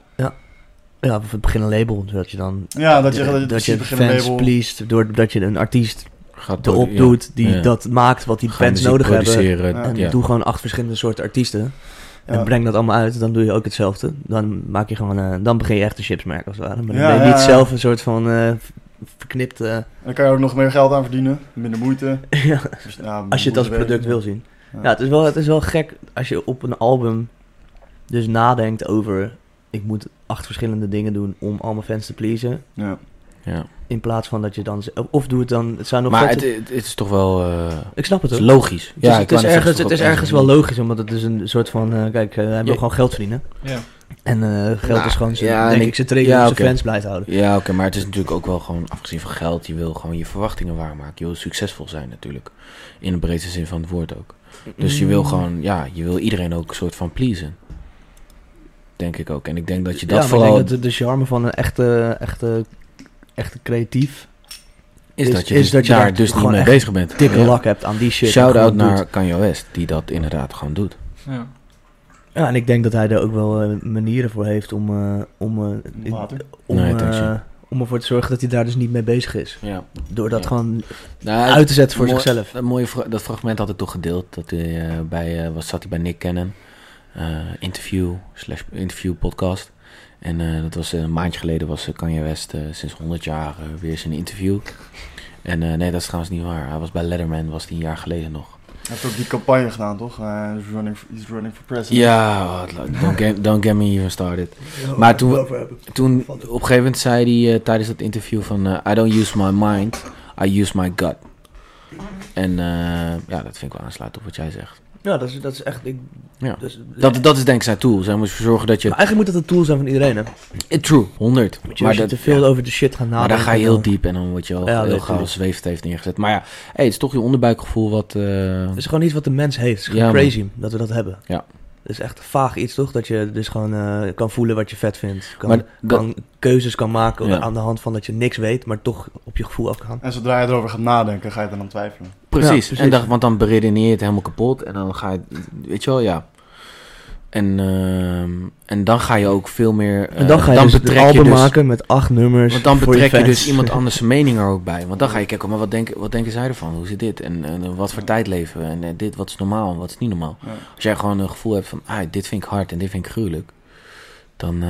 [SPEAKER 1] Ja, of het begin een label, zodat je dan...
[SPEAKER 2] Ja, dat je,
[SPEAKER 1] eh,
[SPEAKER 2] dat je,
[SPEAKER 1] dat je
[SPEAKER 2] begint een
[SPEAKER 1] fans
[SPEAKER 2] label...
[SPEAKER 1] pleased, doordat je een artiest
[SPEAKER 4] Gaat door-
[SPEAKER 1] erop
[SPEAKER 4] ja.
[SPEAKER 1] doet die
[SPEAKER 4] Ja.
[SPEAKER 1] dat maakt wat die
[SPEAKER 4] Ga
[SPEAKER 1] fans
[SPEAKER 4] muziek
[SPEAKER 1] nodig hebben.
[SPEAKER 4] produceren,
[SPEAKER 2] Ja.
[SPEAKER 1] En
[SPEAKER 4] ja.
[SPEAKER 1] doe gewoon acht verschillende soorten artiesten.
[SPEAKER 2] Ja.
[SPEAKER 1] En breng dat allemaal uit, dan doe je ook hetzelfde. Dan maak je gewoon, eh, dan begin je echt een chipsmerk als het ware. Maar dan
[SPEAKER 2] Ja,
[SPEAKER 1] ben je
[SPEAKER 2] ja,
[SPEAKER 1] niet
[SPEAKER 2] ja.
[SPEAKER 1] zelf een soort van eh, verknipt... eh,
[SPEAKER 2] Dan kan je ook nog meer geld aan verdienen, minder moeite.
[SPEAKER 1] *laughs* ja,
[SPEAKER 2] Dus, ja, minder
[SPEAKER 1] Als je het als
[SPEAKER 2] moeite
[SPEAKER 1] product
[SPEAKER 2] werken.
[SPEAKER 1] wil zien.
[SPEAKER 2] Ja.
[SPEAKER 1] Ja, het, is wel, het is wel gek als je op een album dus nadenkt over... ik moet acht verschillende dingen doen om al mijn fans te pleasen.
[SPEAKER 2] Ja.
[SPEAKER 4] Ja.
[SPEAKER 1] In plaats van dat je dan... z- Of doe het dan... Het zou nog
[SPEAKER 4] Maar
[SPEAKER 1] vet-
[SPEAKER 4] het, het, het is toch wel eh,
[SPEAKER 1] ik snap het
[SPEAKER 4] het is
[SPEAKER 1] hoor. Dus
[SPEAKER 4] logisch.
[SPEAKER 1] Het is, het is, ergens, het is ergens wel
[SPEAKER 4] logisch.
[SPEAKER 1] logisch, omdat het is een soort van... eh, kijk, eh, hij wil
[SPEAKER 4] Ja.
[SPEAKER 1] gewoon geld verdienen.
[SPEAKER 3] Ja.
[SPEAKER 1] En eh, geld
[SPEAKER 4] Nou,
[SPEAKER 1] is gewoon zijn,
[SPEAKER 4] ja, en
[SPEAKER 1] denk
[SPEAKER 4] ik-
[SPEAKER 1] ik, zijn trigger
[SPEAKER 4] ja,
[SPEAKER 1] om zijn
[SPEAKER 4] oké.
[SPEAKER 1] fans blij te houden.
[SPEAKER 4] Ja, oké, maar het is natuurlijk ook wel gewoon, afgezien van geld, je wil gewoon je verwachtingen waarmaken. Je wil succesvol zijn natuurlijk. In de breedste zin van het woord ook. Dus je
[SPEAKER 1] Mm.
[SPEAKER 4] wil gewoon, ja, je wil iedereen ook een soort van pleasen. Denk ik ook. En ik denk dat je
[SPEAKER 1] ja,
[SPEAKER 4] dat
[SPEAKER 1] maar
[SPEAKER 4] vooral...
[SPEAKER 1] ik denk dat de, de charme van een echte, echte, echte creatief...
[SPEAKER 4] is,
[SPEAKER 1] is-
[SPEAKER 4] dat je,
[SPEAKER 1] is
[SPEAKER 4] dus
[SPEAKER 1] dat je
[SPEAKER 4] daar
[SPEAKER 1] daar
[SPEAKER 4] dus niet
[SPEAKER 1] gewoon
[SPEAKER 4] mee
[SPEAKER 1] echt
[SPEAKER 4] bezig bent.
[SPEAKER 1] dikke
[SPEAKER 4] Ja.
[SPEAKER 1] lak hebt aan die shit. en
[SPEAKER 4] Shout-out
[SPEAKER 1] gewoon doet.
[SPEAKER 4] naar Kanye West, die dat inderdaad gewoon doet.
[SPEAKER 3] Ja.
[SPEAKER 1] Ja, en ik denk dat hij er ook wel eh, manieren voor heeft om, eh, om, eh, in-
[SPEAKER 2] Later.
[SPEAKER 1] om,
[SPEAKER 4] Nee, denk
[SPEAKER 1] eh,
[SPEAKER 4] je.
[SPEAKER 1] om ervoor te zorgen dat hij daar dus niet mee bezig is.
[SPEAKER 4] Ja.
[SPEAKER 1] Door dat
[SPEAKER 4] Ja.
[SPEAKER 1] gewoon
[SPEAKER 4] Nou,
[SPEAKER 1] uit te zetten voor zichzelf.
[SPEAKER 4] Dat, mooie, fra- dat fragment had ik toch gedeeld. Dat hij, eh, bij, eh, wat zat hij bij Nick Cannon? Eh, interview, slash interview podcast. En eh, dat was eh, een maandje geleden was eh, Kanye West eh, sinds 100 jaar eh, weer zijn interview. En eh, nee, dat is trouwens niet waar. Hij was bij Letterman, was die een jaar geleden nog.
[SPEAKER 2] Hij heeft ook die campagne gedaan, toch? Eh, he's, running, he's running for president.
[SPEAKER 4] Ja, wat- don't get, don't get me even started. Maar toen- Toen op een gegeven moment zei hij eh, tijdens dat interview van... eh, I don't use my mind, I use my gut. En eh, ja, dat vind ik wel aansluiten op wat jij zegt.
[SPEAKER 1] Ja, dat is, dat is echt... Ik,
[SPEAKER 4] Ja.
[SPEAKER 1] dus-
[SPEAKER 4] Dat, dat is denk ik zijn tool. Zij moet ervoor zorgen dat je...
[SPEAKER 1] Maar eigenlijk moet dat een tool zijn van iedereen, hè?
[SPEAKER 4] Eh, True, 100.
[SPEAKER 1] Want je, als je
[SPEAKER 4] dat-
[SPEAKER 1] te veel
[SPEAKER 4] ja.
[SPEAKER 1] over de shit gaat
[SPEAKER 4] maar
[SPEAKER 1] nadenken...
[SPEAKER 4] daar ga je heel
[SPEAKER 1] dan-
[SPEAKER 4] diep en dan word je al
[SPEAKER 1] Ja,
[SPEAKER 4] heel
[SPEAKER 1] natuurlijk.
[SPEAKER 4] gauw als zweeft heeft neergezet. Maar ja, hey, het is toch je onderbuikgevoel wat... eh,
[SPEAKER 1] Het is gewoon iets wat de mens heeft. Het is gewoon
[SPEAKER 4] Ja, man.
[SPEAKER 1] crazy dat we dat hebben.
[SPEAKER 4] Ja.
[SPEAKER 1] Het is echt vaag iets, toch? Dat je dus gewoon eh, kan voelen wat je vet vindt. Kan,
[SPEAKER 4] Maar dat-
[SPEAKER 1] kan keuzes kan maken
[SPEAKER 4] Ja.
[SPEAKER 1] aan de hand van dat je niks weet, maar toch op je gevoel afgaan.
[SPEAKER 2] En zodra je erover gaat nadenken, ga je er aan twijfelen.
[SPEAKER 4] Precies.
[SPEAKER 1] Ja, precies.
[SPEAKER 4] En dacht, want dan beredeneer je het helemaal kapot. En dan ga je, weet je wel, ja. En, ehm, en dan ga je ook veel meer. eh,
[SPEAKER 1] En dan ga je dus een
[SPEAKER 4] betrek
[SPEAKER 1] album
[SPEAKER 4] dus-
[SPEAKER 1] maken met acht nummers
[SPEAKER 4] Want dan
[SPEAKER 1] voor
[SPEAKER 4] betrek je
[SPEAKER 1] fans.
[SPEAKER 4] dus
[SPEAKER 1] *laughs*
[SPEAKER 4] *laughs* iemand anders zijn mening er ook bij. Want dan ga je kijken, maar wat denken, wat denken zij ervan? Hoe zit dit? En, en wat voor tijd leven we? En eh, dit, wat is normaal en wat is niet normaal?
[SPEAKER 2] Ja.
[SPEAKER 4] Als jij gewoon een gevoel hebt van, ah, dit vind ik hard en dit vind ik gruwelijk. Dan, eh,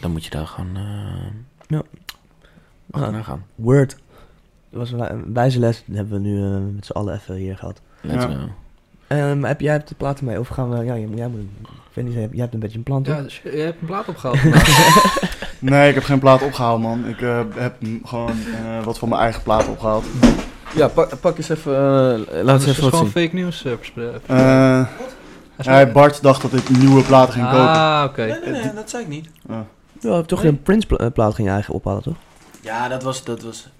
[SPEAKER 4] dan moet je daar gewoon eh
[SPEAKER 1] Ja.
[SPEAKER 4] achterna gaan.
[SPEAKER 1] Ah, Word. Dat was een wij- een wijze les. Die hebben we nu eh, met z'n allen even hier gehad.
[SPEAKER 4] Let's
[SPEAKER 2] Ja.
[SPEAKER 4] go.
[SPEAKER 1] Ehm, heb, jij hebt de platen mee? Of gaan we... Ja, jij, jij moet... Ik weet niet, jij hebt- jij hebt een beetje een plan, toch?
[SPEAKER 3] Ja, dus je hebt een plaat *laughs* opgehaald. vandaag.
[SPEAKER 2] Nee, ik heb geen plaat opgehaald, man. Ik eh, heb m- gewoon eh, wat van mijn eigen plaat opgehaald.
[SPEAKER 4] Ja, pak, pak eens even, eh, laat
[SPEAKER 3] dus
[SPEAKER 4] eens
[SPEAKER 3] het is
[SPEAKER 4] even wat
[SPEAKER 3] gewoon
[SPEAKER 4] zien.
[SPEAKER 3] fake news eh, verspreid.
[SPEAKER 2] Eh, ja, Bart dacht dat ik nieuwe platen ging kopen.
[SPEAKER 3] Ah, oké. *laughs*
[SPEAKER 2] nee, nee,
[SPEAKER 4] dat zei ik niet.
[SPEAKER 1] Ja, toch
[SPEAKER 4] Nee.
[SPEAKER 1] een Prince pla- eh, plaat ging je eigen ophalen, toch?
[SPEAKER 4] Ja, dat was, dat was...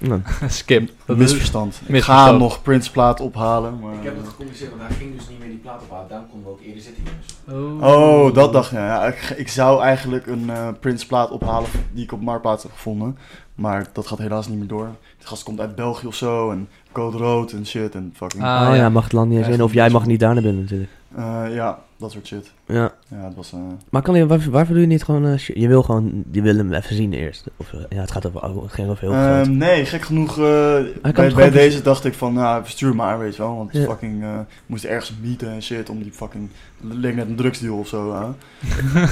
[SPEAKER 1] Nou,
[SPEAKER 3] Skip. Dat is
[SPEAKER 2] Misverstand. Ik ga
[SPEAKER 3] misverstand.
[SPEAKER 2] nog Prince plaat ophalen, maar...
[SPEAKER 4] gecompliceerd, want hij ging dus niet meer die plaat ophalen. Daarom konden we ook eerder zitten hier.
[SPEAKER 2] Oh, dat dacht ik. Ja, ik, ik zou eigenlijk een eh Prince plaat ophalen die ik op Marktplaats heb gevonden. Maar dat gaat helaas niet meer door. De gast komt uit België of zo en code rood en shit en fucking...
[SPEAKER 3] Ah,
[SPEAKER 1] oh ja.
[SPEAKER 3] ja.
[SPEAKER 1] mag het land niet eens
[SPEAKER 2] Echt.
[SPEAKER 1] in. Of jij mag niet daar naar binnen, natuurlijk.
[SPEAKER 2] Eh, ja, dat soort shit.
[SPEAKER 1] Ja.
[SPEAKER 2] Ja, dat was... eh,
[SPEAKER 1] Maar kan je, waarvoor, waarvoor doe je niet gewoon... eh, sh- je wil gewoon... Je wil hem even zien eerst. Of, eh, ja, het gaat over... oh, het ging over heel veel
[SPEAKER 2] Ehm, nee, gek genoeg. eh,
[SPEAKER 1] het
[SPEAKER 2] bij bij
[SPEAKER 1] gewoon
[SPEAKER 2] deze dacht ik van, nou, verstuur maar, weet je wel. Want
[SPEAKER 1] Ja.
[SPEAKER 2] fucking, eh, ik moest ergens meeten en shit om die fucking... Het leek net een drugsdeal of zo.
[SPEAKER 1] *laughs*
[SPEAKER 2] hè.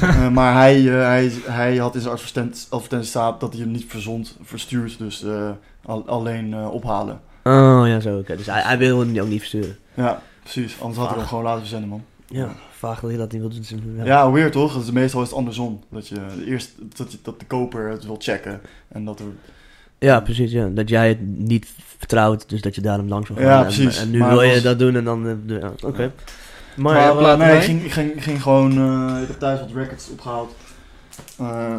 [SPEAKER 2] Eh, maar hij, eh, hij, hij had in zijn advertent- advertentie staat dat hij hem niet verzond, verstuurt. Dus eh, al- alleen eh, ophalen.
[SPEAKER 1] Oh, ja, zo. Oké. Dus hij, hij wil hem ook niet versturen.
[SPEAKER 2] Ja, precies. Anders had hij hem
[SPEAKER 1] Ah.
[SPEAKER 2] gewoon laten verzenden, man.
[SPEAKER 1] Ja, vaag dat hij dat niet wil doen.
[SPEAKER 2] Ja, weird toch? Dus meestal is het andersom. Dat je eerst dat, je, dat de koper het wil checken. En dat er
[SPEAKER 1] Ja, precies. Ja. Dat jij het niet vertrouwt, dus dat je daarom langs wil gaan.
[SPEAKER 2] Ja,
[SPEAKER 1] En-
[SPEAKER 2] precies.
[SPEAKER 1] En, nu
[SPEAKER 2] Maar
[SPEAKER 1] wil
[SPEAKER 2] het
[SPEAKER 1] je
[SPEAKER 2] was-
[SPEAKER 1] dat doen en dan... eh, doe- ja, Oké.
[SPEAKER 4] Ja.
[SPEAKER 1] Maar,
[SPEAKER 2] Maar,
[SPEAKER 3] ja,
[SPEAKER 2] eh,
[SPEAKER 3] plaat
[SPEAKER 2] nee,
[SPEAKER 3] mee.
[SPEAKER 2] ik ging, ik ging, ik ging gewoon... eh, ik heb thuis wat records opgehaald. eh,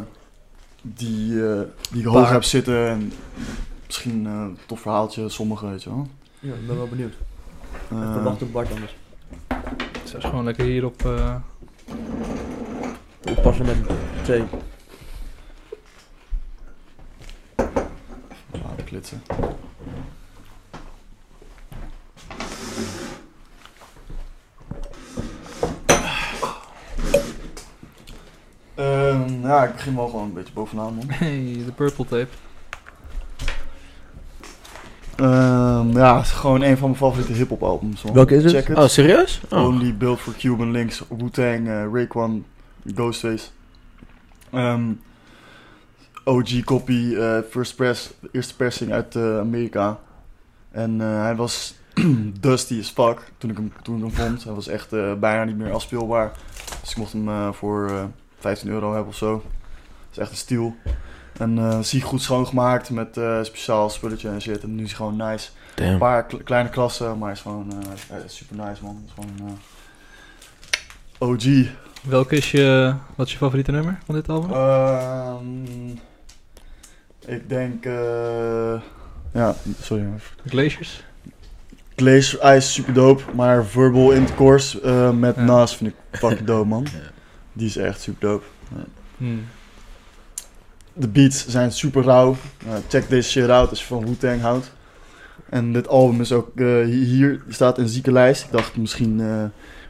[SPEAKER 2] die, eh, die ik hoog
[SPEAKER 1] Paar.
[SPEAKER 2] heb zitten. En misschien eh, een tof verhaaltje, sommige, weet je wel.
[SPEAKER 1] ja, ik ben wel benieuwd.
[SPEAKER 2] Eh,
[SPEAKER 1] Ik verwacht op Bart anders.
[SPEAKER 3] Het is gewoon lekker hier op... eh, *laughs*
[SPEAKER 1] Oppassen met twee.
[SPEAKER 2] Oh, laten klitsen. Ehm, ja, ik begin wel gewoon een beetje bovenaan, man.
[SPEAKER 3] hey, de purple tape.
[SPEAKER 2] Ehm, ja, het is gewoon een van mijn favoriete hip-hop albums. man.
[SPEAKER 1] Welke is het?
[SPEAKER 2] Check it.
[SPEAKER 4] Oh, serieus? Oh.
[SPEAKER 2] Only Built for Cuban Links, Wu-Tang, eh, Raekwon, Ghostface. Ehm, OG copy, eh, first press, de eerste persing uit eh, Amerika. En eh, hij was *clears throat* dusty as fuck toen ik hem, toen ik hem vond. Hij was echt eh, bijna niet meer afspeelbaar. Dus ik mocht hem eh, voor eh, 15 euro hebben of zo. Dat is echt een steal. En eh zie goed schoongemaakt met eh, speciaal spulletje en shit. En nu is hij gewoon nice. Een
[SPEAKER 4] Damn.
[SPEAKER 2] paar kle- kleine klassen, maar is gewoon eh, hij is super nice man. Is gewoon, eh, OG.
[SPEAKER 3] Welke is je... Wat is je favoriete nummer van dit
[SPEAKER 2] Oh.
[SPEAKER 3] album?
[SPEAKER 2] Ehm, ik denk. eh, ja, sorry. man.
[SPEAKER 3] Glaciers?
[SPEAKER 2] Glacier Ice is super dope, maar Verbal Intercourse eh, met
[SPEAKER 3] Ja.
[SPEAKER 2] Nas vind ik fucking dope man. Die is echt super dope.
[SPEAKER 3] Hmm.
[SPEAKER 2] De beats zijn super rauw. Eh, check this shit out als je van Wu-Tang houdt. En dit album is ook eh, hi- hier staat een zieke lijst. Ik dacht misschien eh,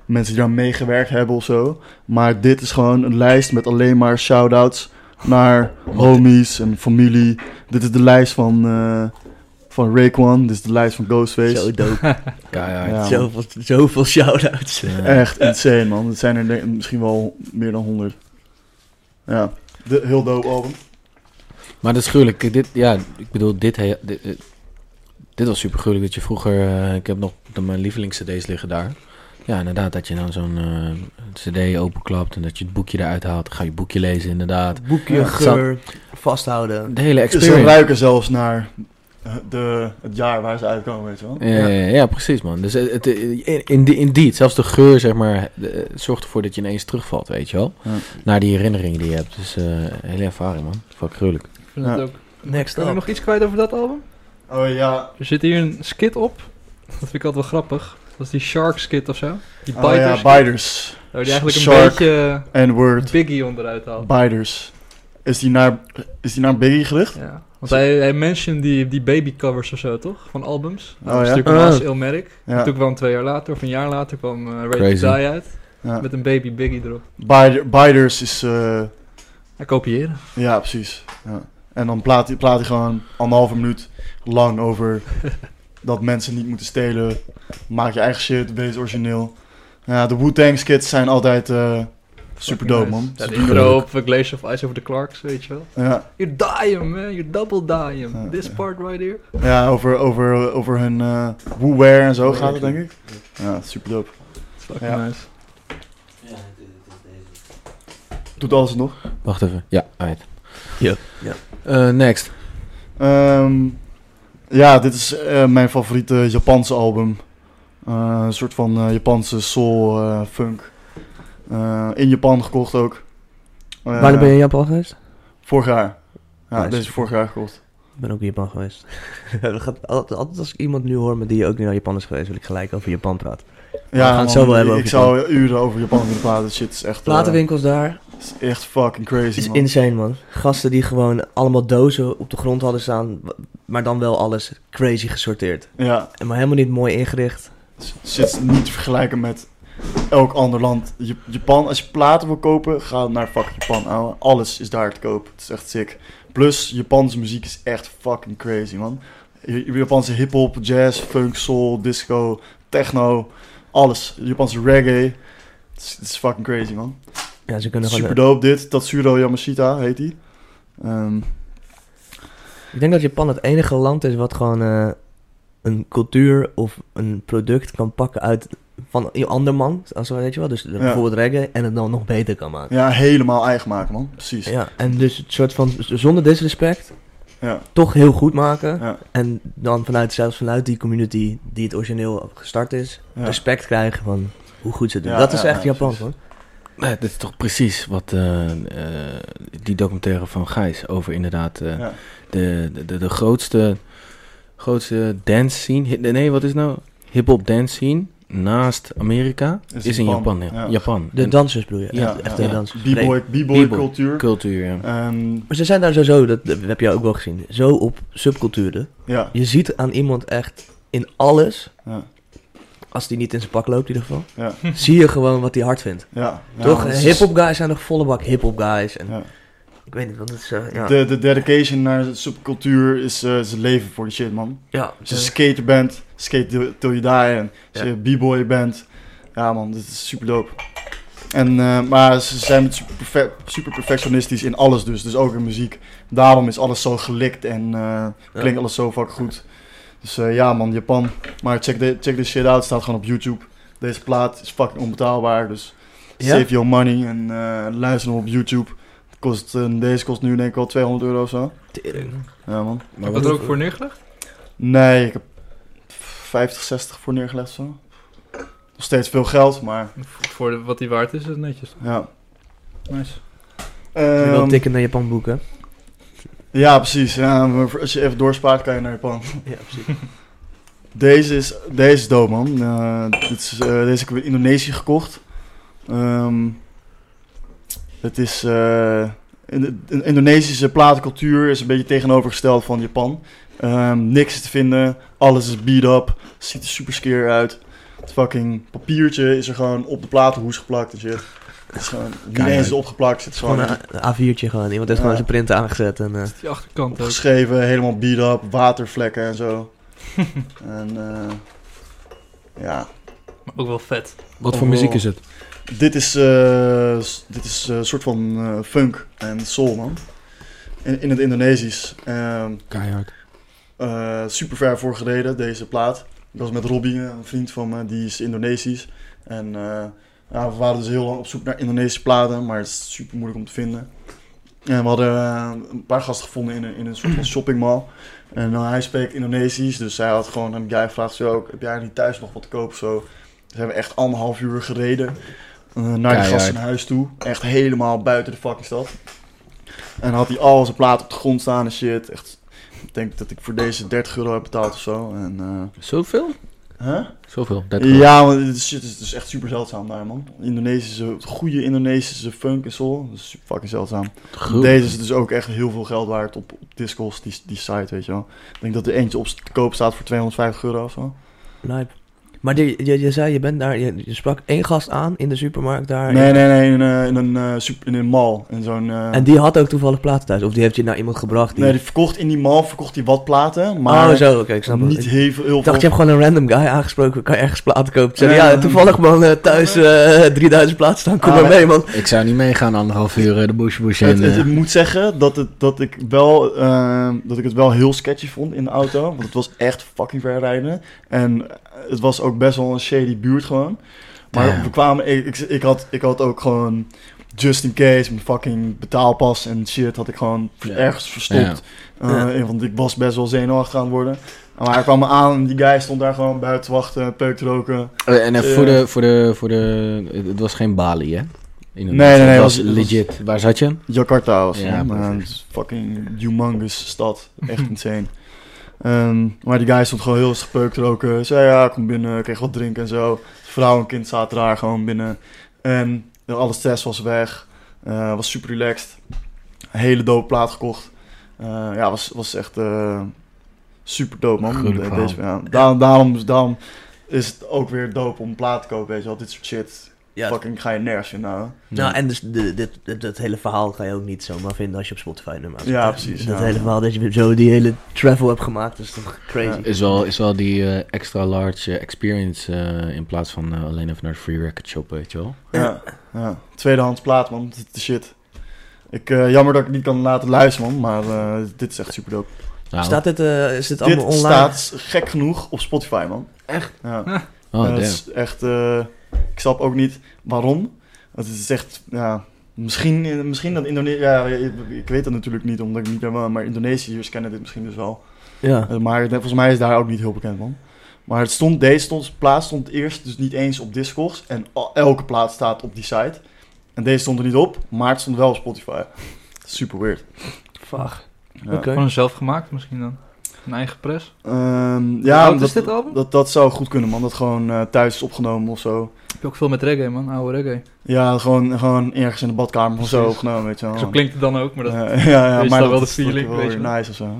[SPEAKER 2] mensen die daar meegewerkt hebben of zo. Maar dit is gewoon een lijst met alleen maar shout-outs naar homies en familie. Dit is de lijst van, eh van Raekwon. Dit is de lijst van Ghostface.
[SPEAKER 1] Zo dope.
[SPEAKER 4] Keihard.
[SPEAKER 2] Ja, man.
[SPEAKER 1] zoveel, zoveel shout-outs.
[SPEAKER 4] Ja.
[SPEAKER 2] Echt insane man. Het zijn er denk- misschien wel meer dan 100. Ja, de, heel dope album.
[SPEAKER 4] Maar dat is gruwelijk. Kijk, Dit, ja, ik bedoel, dit, he- dit, eh, dit was super gruwelijk dat je vroeger... eh, ik heb nog de, mijn lievelings-cd's liggen daar. Ja, inderdaad, dat je dan zo'n eh, cd openklapt en dat je het boekje eruit haalt. Dan ga je het boekje lezen, inderdaad.
[SPEAKER 1] Boekje,
[SPEAKER 2] Ja.
[SPEAKER 1] geur, vasthouden.
[SPEAKER 4] De hele
[SPEAKER 2] Ze
[SPEAKER 4] experience.
[SPEAKER 2] ruiken zelfs naar eh, de, het jaar waar ze uitkomen, weet je wel.
[SPEAKER 4] Ja, ja, ja, ja, precies man. Dus het, het, in, in die- indeed, zelfs de geur zeg maar, eh, zorgt ervoor dat je ineens terugvalt, weet je wel.
[SPEAKER 2] Ja.
[SPEAKER 4] Naar die herinneringen die je hebt. Dus eh hele ervaring man. Fuck gruwelijk.
[SPEAKER 3] Ik vind
[SPEAKER 2] Ja.
[SPEAKER 3] het ook...
[SPEAKER 1] Next
[SPEAKER 3] Kan ik
[SPEAKER 1] up.
[SPEAKER 3] nog iets kwijt over dat album?
[SPEAKER 2] Oh ja.
[SPEAKER 3] Er zit hier een skit op. Dat vind ik altijd wel grappig. Dat is die Shark skit of zo. Die
[SPEAKER 2] Oh
[SPEAKER 3] Biters.
[SPEAKER 2] ja, Biders.
[SPEAKER 3] Waar die eigenlijk een
[SPEAKER 2] Shark.
[SPEAKER 3] beetje
[SPEAKER 2] N-word.
[SPEAKER 3] Biggie onderuit haalt.
[SPEAKER 2] Biders. Is die naar, is die naar Biggie gericht?
[SPEAKER 3] Ja. Want hij, hij mentioned die, die babycovers of zo, toch? Van albums.
[SPEAKER 2] Oh,
[SPEAKER 3] Dat was
[SPEAKER 2] ja?
[SPEAKER 3] natuurlijk
[SPEAKER 1] Ah.
[SPEAKER 3] Nas, Ilmatic.
[SPEAKER 2] Ja.
[SPEAKER 3] En toen kwam twee jaar later, of een jaar later, kwam eh Ready
[SPEAKER 4] Crazy.
[SPEAKER 3] to Die uit.
[SPEAKER 2] Ja.
[SPEAKER 3] Met een baby Biggie erop.
[SPEAKER 2] Bider, Biders is... eh,
[SPEAKER 3] Hij kopiëren.
[SPEAKER 2] ja, precies. Ja. En dan plaat hij, plaat hij gewoon anderhalve minuut lang
[SPEAKER 3] *laughs*
[SPEAKER 2] over dat mensen niet moeten stelen. Maak je eigen shit, wees origineel. Ja, de Wu-Tang skits zijn altijd eh, super dope,
[SPEAKER 3] Fucking
[SPEAKER 2] man.
[SPEAKER 3] nice. Ja, de
[SPEAKER 4] Super
[SPEAKER 3] intro
[SPEAKER 4] leuk.
[SPEAKER 3] op eh, Glacier of Ice over the Clarks, weet je wel.
[SPEAKER 2] Ja.
[SPEAKER 3] You die him, man. You double die him.
[SPEAKER 2] Ja,
[SPEAKER 3] This
[SPEAKER 2] ja.
[SPEAKER 3] part right here.
[SPEAKER 2] Ja, over, over, over hun eh woeware en zo
[SPEAKER 1] Ja,
[SPEAKER 2] gaat het,
[SPEAKER 1] ja.
[SPEAKER 2] denk ik. Ja, super dope.
[SPEAKER 3] It's fucking
[SPEAKER 2] Ja.
[SPEAKER 3] nice.
[SPEAKER 2] Doet alles het nog.
[SPEAKER 4] Wacht even. Ja, uit. Eh,
[SPEAKER 1] Ja. Ja.
[SPEAKER 4] next.
[SPEAKER 2] Ehm, ja, dit is eh, mijn favoriete Japanse album. Eh, een soort van eh, Japanse soul eh, funk. Eh, in Japan gekocht ook. Eh,
[SPEAKER 1] Wanneer ben je in Japan geweest?
[SPEAKER 2] Vorig jaar. Ja,
[SPEAKER 1] Nice.
[SPEAKER 2] deze is vorig jaar gekocht.
[SPEAKER 1] Ik ben ook in Japan
[SPEAKER 2] *laughs*
[SPEAKER 1] geweest. Dat gaat altijd, altijd als ik iemand nu hoor met die ook naar Japan is geweest, wil ik gelijk over Japan praten. gaan
[SPEAKER 2] Ja,
[SPEAKER 1] het
[SPEAKER 2] man,
[SPEAKER 1] zo wel hebben
[SPEAKER 2] ik
[SPEAKER 1] over
[SPEAKER 2] zou uren over Japan kunnen praten. Shit is echt, eh,
[SPEAKER 1] Platenwinkels daar,
[SPEAKER 2] is echt fucking crazy,
[SPEAKER 1] is
[SPEAKER 2] man.
[SPEAKER 1] insane man. Gasten die gewoon allemaal dozen op de grond hadden staan, w- maar dan wel alles crazy gesorteerd.
[SPEAKER 2] Ja,
[SPEAKER 1] En Maar helemaal niet mooi ingericht.
[SPEAKER 2] Zit niet te vergelijken met elk ander land. Ja- Japan, als je platen wil kopen, ga naar fucking Japan, ouwe. Alles is daar te koop. Het is echt sick. Plus, Japanse muziek is echt fucking crazy, man. J- Japanse hip-hop, jazz, funk, soul, disco, techno. Alles. Japanse reggae. Het is, het is fucking crazy, man.
[SPEAKER 1] Ja, ze kunnen
[SPEAKER 2] Super
[SPEAKER 1] gewoon...
[SPEAKER 2] dope dit. Tatsuro Yamashita heet die. Ehm,
[SPEAKER 1] eh, Ik denk dat Japan het enige land is wat gewoon eh, een cultuur of een product kan pakken uit van een ander man, als weet je wel. Dus bijvoorbeeld reggae en het dan nog beter kan maken.
[SPEAKER 2] ja, helemaal eigen maken, man. Precies.
[SPEAKER 1] Ja, en dus het soort van, zonder disrespect,
[SPEAKER 2] Ja.
[SPEAKER 1] toch heel goed maken.
[SPEAKER 2] Ja.
[SPEAKER 1] En dan vanuit, zelfs vanuit die community die het origineel gestart is,
[SPEAKER 2] Ja.
[SPEAKER 1] respect krijgen van hoe goed ze het doen.
[SPEAKER 2] Ja,
[SPEAKER 1] dat is
[SPEAKER 2] ja,
[SPEAKER 1] echt
[SPEAKER 2] ja,
[SPEAKER 1] Japan
[SPEAKER 2] precies.
[SPEAKER 1] hoor.
[SPEAKER 4] Nee, dit is toch precies wat eh, eh, die documentaire van Gijs over inderdaad eh,
[SPEAKER 2] Ja.
[SPEAKER 4] de, de, de, de grootste, grootste dance scene. hi- Nee, wat is het nou? Hip-hop dance scene naast Amerika
[SPEAKER 2] Is
[SPEAKER 4] is, in Japan.
[SPEAKER 2] Japan,
[SPEAKER 4] ja.
[SPEAKER 2] ja.
[SPEAKER 4] Japan.
[SPEAKER 1] De
[SPEAKER 4] En
[SPEAKER 1] dansers bedoel je?
[SPEAKER 4] Ja,
[SPEAKER 1] echt echt
[SPEAKER 4] ja,
[SPEAKER 1] de
[SPEAKER 4] ja.
[SPEAKER 1] dansers.
[SPEAKER 2] B-boy,
[SPEAKER 4] B-boy.
[SPEAKER 2] b-boy cultuur.
[SPEAKER 4] cultuur, ja.
[SPEAKER 2] Ehm,
[SPEAKER 1] Maar ze zijn daar sowieso, dat heb je ook wel gezien, zo op subculturen.
[SPEAKER 2] ja,
[SPEAKER 1] Je ziet aan iemand echt in alles,
[SPEAKER 2] ja,
[SPEAKER 1] als die niet in zijn pak loopt in ieder geval,
[SPEAKER 2] ja,
[SPEAKER 1] *laughs* zie je gewoon wat hij hard vindt.
[SPEAKER 2] ja. ja, Dus
[SPEAKER 1] Toch? eh,
[SPEAKER 2] dat is-
[SPEAKER 1] Hip-hop guys zijn nog volle bak hip-hop guys. En
[SPEAKER 2] Ja.
[SPEAKER 1] Ik weet niet, want het is. eh, ja.
[SPEAKER 2] De, de dedication naar de subcultuur is eh, is het leven voor de shit, man.
[SPEAKER 1] ja,
[SPEAKER 2] Als je
[SPEAKER 1] eh,
[SPEAKER 2] skater bent, skate till- till you die. En als
[SPEAKER 1] Ja.
[SPEAKER 2] je b-boy bent, ja man, dit is super dope. En, eh, maar ze zijn super, perfe- super perfectionistisch in alles dus. Dus ook in muziek. Daarom is alles zo gelikt en eh, klinkt alles zo fucking goed. Dus eh, ja man, Japan. Maar check, de, check this shit out, staat gewoon op YouTube. Deze plaat is fucking onbetaalbaar, dus
[SPEAKER 1] Ja?
[SPEAKER 2] save your money en eh, luister hem op YouTube. Het Kost, eh, deze kost nu denk ik wel 200 euro of zo.
[SPEAKER 1] Tering.
[SPEAKER 2] Ja man.
[SPEAKER 4] Maar
[SPEAKER 3] Wat
[SPEAKER 4] wat,
[SPEAKER 3] ook voor neergelegd?
[SPEAKER 2] Nee, ik heb 50, 60 voor neergelegd zo. Nog steeds veel geld, maar
[SPEAKER 3] Voor de- wat die waard is, is het netjes.
[SPEAKER 2] ja.
[SPEAKER 3] Nice.
[SPEAKER 1] Je
[SPEAKER 2] Ehm,
[SPEAKER 1] wil tikken naar Japan boeken.
[SPEAKER 2] ja, precies. Ja, maar voor- als je even doorspaart, kan je naar Japan.
[SPEAKER 1] Ja, precies.
[SPEAKER 2] Deze is, deze is dope, man. Eh, dit is, eh, deze heb ik in Indonesië gekocht. Ehm, het is... eh, in de- de Indonesische platencultuur is een beetje tegenovergesteld van Japan. Ehm, niks is te vinden. Alles is beat up. Ziet er super skeer uit. Het fucking papiertje is er gewoon op de platenhoes geplakt en shit. Het is gewoon niet
[SPEAKER 4] Keihard.
[SPEAKER 2] eens opgeplakt. Het is
[SPEAKER 1] Gewoon
[SPEAKER 2] gewoon
[SPEAKER 1] een A- A4'tje gewoon. Iemand heeft
[SPEAKER 2] Ja.
[SPEAKER 1] gewoon zijn print aangezet. En, eh,
[SPEAKER 3] Die achterkant ook.
[SPEAKER 2] opgeschreven. Helemaal beat up. Watervlekken en zo. en eh, ja...
[SPEAKER 3] Maar ook wel vet.
[SPEAKER 4] wat voor muziek is het?
[SPEAKER 2] Dit is, eh, s- dit is eh, een soort van eh, funk en soul, man. In, in het Indonesisch. Ehm eh,
[SPEAKER 4] Keihard.
[SPEAKER 2] super ver voor gereden, deze plaat. Ik was met Robbie, eh, een vriend van me, die is Indonesisch. En eh, ja, we waren dus heel lang op zoek naar Indonesische platen, maar het is super moeilijk om te vinden. En we hadden eh, een paar gasten gevonden in een, in een soort van shoppingmall. En eh, hij spreekt Indonesisch, dus hij had gewoon aan die guy gevraagd, zo, heb jij niet thuis nog wat te kopen? Zo. Dus hebben we echt anderhalf uur gereden eh, naar die
[SPEAKER 4] Keihard.
[SPEAKER 2] gasten naar huis toe. Echt helemaal buiten de fucking stad. En had hij al zijn platen op de grond staan en shit. Echt, ik denk dat ik voor deze 30 euro heb betaald of zo. En, eh,
[SPEAKER 4] Zoveel?
[SPEAKER 2] hè?
[SPEAKER 4] Zoveel. Dat
[SPEAKER 2] Ja, want dit shit is dus echt super zeldzaam daar, man. Indonesische, goede Indonesische funk en soul. Dat is super fucking zeldzaam.
[SPEAKER 4] Goed.
[SPEAKER 2] Deze is dus ook echt heel veel geld waard op, op Discos, die, die site, weet je wel. Ik denk dat er eentje op te koop staat voor 250 euro of zo.
[SPEAKER 1] lijp. Maar die, je, je zei, je bent daar, je, je sprak één gast aan in de supermarkt daar.
[SPEAKER 2] Nee, nee, nee, in, eh, in een, eh, super, in een mall. In zo'n, eh,
[SPEAKER 1] En die had ook toevallig platen thuis. Of die heeft je naar iemand gebracht. Die...
[SPEAKER 2] Nee, die verkocht in die mall verkocht hij wat platen, maar
[SPEAKER 1] oh, zo, oké, ik snap het.
[SPEAKER 2] niet
[SPEAKER 1] Ik
[SPEAKER 2] heel veel. heel
[SPEAKER 1] dacht, je
[SPEAKER 2] veel-
[SPEAKER 1] hebt gewoon een random guy aangesproken. Kan je ergens platen kopen? Zeg,
[SPEAKER 2] Nee,
[SPEAKER 1] ja,
[SPEAKER 2] nee,
[SPEAKER 1] toevallig man, eh, thuis eh 3000 platen staan. Kom
[SPEAKER 2] Ah,
[SPEAKER 1] maar mee man.
[SPEAKER 4] Ik zou niet meegaan anderhalf uur eh, de bush bush in.
[SPEAKER 2] Het, het-
[SPEAKER 4] eh.
[SPEAKER 2] ik moet zeggen dat, het, dat, ik wel, ehm, dat ik het wel heel sketchy vond in de auto. Want het was echt fucking ver rijden. En het was ook best wel een shady buurt gewoon. Maar
[SPEAKER 4] Damn.
[SPEAKER 2] we kwamen, ik, ik, ik had, ik had ook gewoon just in case mijn fucking betaalpas en shit had ik gewoon ver-
[SPEAKER 4] Ja.
[SPEAKER 2] ergens verstopt. Eh,
[SPEAKER 1] Ja.
[SPEAKER 2] Want ik was best wel zenuwachtig aan het worden. Maar hij kwam me aan en die guy stond daar gewoon buiten te wachten, peuk te roken.
[SPEAKER 4] Eh, en eh,
[SPEAKER 2] eh,
[SPEAKER 4] voor, de, voor, de, voor de. Het het was geen Bali, hè? Inderdaad.
[SPEAKER 2] Nee, nee, nee,
[SPEAKER 4] Het was
[SPEAKER 2] het was-
[SPEAKER 4] legit. Waar zat je?
[SPEAKER 2] Jakarta was
[SPEAKER 4] Ja,
[SPEAKER 2] ja,
[SPEAKER 4] precies.
[SPEAKER 2] fucking humongous stad. Echt insane. Ehm, maar die guy stond gewoon heel gepeukt roken. Zei ja, kom binnen, kreeg wat drinken en zo. Vrouw en kind zaten daar gewoon binnen. En eh, alle stress was weg. Eh, was super relaxed. Een hele dope plaat gekocht. Eh, ja, was, was echt eh, super dope man.
[SPEAKER 4] Gruwelijk
[SPEAKER 2] De-
[SPEAKER 4] verhaal.
[SPEAKER 2] Deze, ja. daarom, daarom, daarom is het ook weer dope om plaat te kopen, weet je wel. Dit soort shit,
[SPEAKER 1] Ja,
[SPEAKER 2] fucking ga je nergens vinden. ouwe.
[SPEAKER 1] Nou, en dus de, dit, dit- dat hele verhaal ga je ook niet zomaar vinden als je op Spotify nummer
[SPEAKER 2] Ja,
[SPEAKER 1] zet.
[SPEAKER 2] precies,
[SPEAKER 1] Dat
[SPEAKER 2] ja.
[SPEAKER 1] hele verhaal dat je zo die hele travel hebt gemaakt, dat is toch crazy.
[SPEAKER 4] Is wel, is wel die eh, extra large eh, experience eh, in plaats van eh, alleen even naar de free record shop, weet je wel?
[SPEAKER 2] Ja, ja. tweedehands plaat, man. Dit is shit. Ik, eh, jammer dat ik niet kan laten luisteren, man. Maar eh, dit is echt super dope.
[SPEAKER 4] Nou,
[SPEAKER 1] Staat dit, eh, is dit
[SPEAKER 2] dit
[SPEAKER 1] allemaal online?
[SPEAKER 2] staat gek genoeg op Spotify, man. Echt? Ja.
[SPEAKER 4] oh,
[SPEAKER 2] Eh,
[SPEAKER 4] damn.
[SPEAKER 2] het is echt... eh, ik snap ook niet waarom. Want het is echt... Ja, Misschien, misschien dat Indonesië... Ja, ik, ik weet dat natuurlijk niet, omdat ik niet helemaal... Maar Indonesiërs kennen dit misschien dus wel.
[SPEAKER 1] Ja.
[SPEAKER 2] Eh, maar volgens mij is daar ook niet heel bekend van. Maar het stond, deze stond, plaats stond eerst dus niet eens op Discogs. En al- elke plaat staat op die site. En deze stond er niet op, maar het stond wel op Spotify. Super weird.
[SPEAKER 1] Fuck.
[SPEAKER 2] Ja.
[SPEAKER 1] Oké.
[SPEAKER 3] Gewoon zelf gemaakt misschien dan. Een eigen pres.
[SPEAKER 2] Ehm,
[SPEAKER 3] Hoe
[SPEAKER 2] ja,
[SPEAKER 3] oud is
[SPEAKER 2] dat,
[SPEAKER 3] dit album?
[SPEAKER 2] dat, dat zou goed kunnen, man. Dat gewoon eh, thuis is opgenomen of zo.
[SPEAKER 3] Heb je ook veel met reggae, man. Oude reggae.
[SPEAKER 2] Ja, gewoon, gewoon ergens in de badkamer of zo
[SPEAKER 3] Precies.
[SPEAKER 2] opgenomen, weet je wel.
[SPEAKER 3] Zo klinkt het dan ook, maar dat...
[SPEAKER 2] Ja, *laughs* ja, ja,
[SPEAKER 3] is
[SPEAKER 2] maar
[SPEAKER 3] dan wel
[SPEAKER 2] dat
[SPEAKER 3] de
[SPEAKER 2] is
[SPEAKER 3] feeling,
[SPEAKER 2] wel
[SPEAKER 3] weet
[SPEAKER 2] weer
[SPEAKER 3] je wel.
[SPEAKER 2] nice of zo.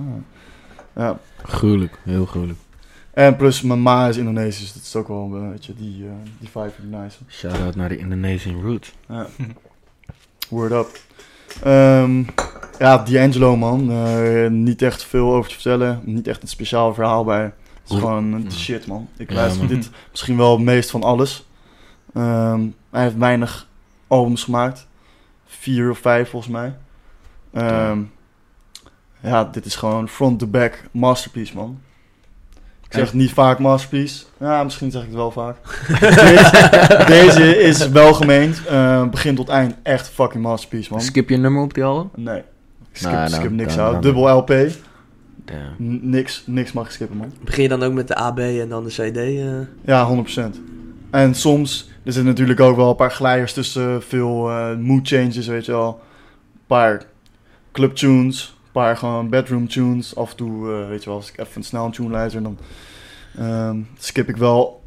[SPEAKER 2] Ja.
[SPEAKER 4] Gruwelijk, heel gruwelijk.
[SPEAKER 2] En plus, mijn ma is Indonesisch, dus dat is ook wel een beetje die, eh, die vibe die nice.
[SPEAKER 4] Shout-out naar de Indonesian Roots.
[SPEAKER 2] *laughs* Word up. Ehm, ja, D'Angelo, man. Eh, niet echt veel over te vertellen. Niet echt een speciaal verhaal bij. Het is
[SPEAKER 4] Hoe-
[SPEAKER 2] gewoon eh,
[SPEAKER 4] Mm.
[SPEAKER 2] de shit, man. Ik
[SPEAKER 4] Ja,
[SPEAKER 2] luister
[SPEAKER 4] man.
[SPEAKER 2] dit misschien wel het meest van alles. Ehm, hij heeft weinig albums gemaakt. Vier of vijf, volgens mij. Ehm, ja, dit is gewoon front to back masterpiece, man. Ik zeg
[SPEAKER 4] Echt?
[SPEAKER 2] niet vaak masterpiece. Ja, misschien zeg ik het wel vaak. deze, deze is welgemeend. Eh begin tot eind echt fucking masterpiece, man.
[SPEAKER 4] Skip je een nummer op die album?
[SPEAKER 2] Nee. Ik Skip,
[SPEAKER 4] Nou, nou,
[SPEAKER 2] skip niks
[SPEAKER 4] dan-
[SPEAKER 2] uit.
[SPEAKER 4] dan-
[SPEAKER 2] Dubbel LP. N-
[SPEAKER 4] Damn.
[SPEAKER 2] Niks, niks mag ik skippen, man.
[SPEAKER 1] Begin je dan ook met de AB en dan de CD? eh?
[SPEAKER 2] Ja, 100%. En soms, er zitten natuurlijk ook wel een paar glijers tussen. Veel eh, mood changes, weet je wel. Een paar club tunes. Een paar gewoon bedroom tunes. Af en toe, eh, weet je wel, als ik even snel een tune luister, dan ehm, skip ik wel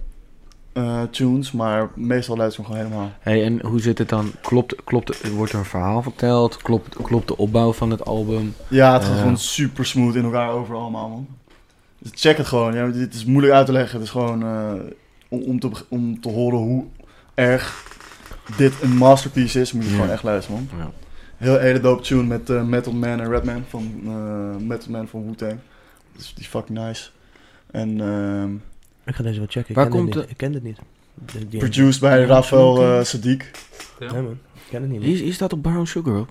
[SPEAKER 2] eh, tunes. Maar meestal luister ik hem gewoon helemaal.
[SPEAKER 4] Hey, en hoe zit het dan? Klopt, klopt, wordt er een verhaal verteld? Klopt, klopt de opbouw van het album?
[SPEAKER 2] Ja, het gaat
[SPEAKER 4] Ja.
[SPEAKER 2] gewoon super smooth in elkaar over allemaal, man. Dus check het gewoon. Ja, dit is moeilijk uit te leggen. Het is gewoon eh, om, om, te, beg- om te horen hoe erg dit een masterpiece is. Moet je
[SPEAKER 4] Ja.
[SPEAKER 2] gewoon echt luisteren, man.
[SPEAKER 4] Ja.
[SPEAKER 2] Heel hele dope tune met eh, Metal Man en Redman van eh, Metal Man van Wu-Tang. Dus die is fucking nice. En ehm,
[SPEAKER 1] Ik ga deze wel checken. Ik
[SPEAKER 4] Waar
[SPEAKER 1] ken dit
[SPEAKER 4] komt
[SPEAKER 1] niet.
[SPEAKER 4] de-
[SPEAKER 1] Ik ken dit niet. De- die-
[SPEAKER 2] produced bij
[SPEAKER 4] Ja,
[SPEAKER 2] Rafael
[SPEAKER 4] oké.
[SPEAKER 2] eh Sadiq.
[SPEAKER 1] Nee, man. Ik ken het niet. man.
[SPEAKER 4] Hier, hier staat op Brown Sugar op.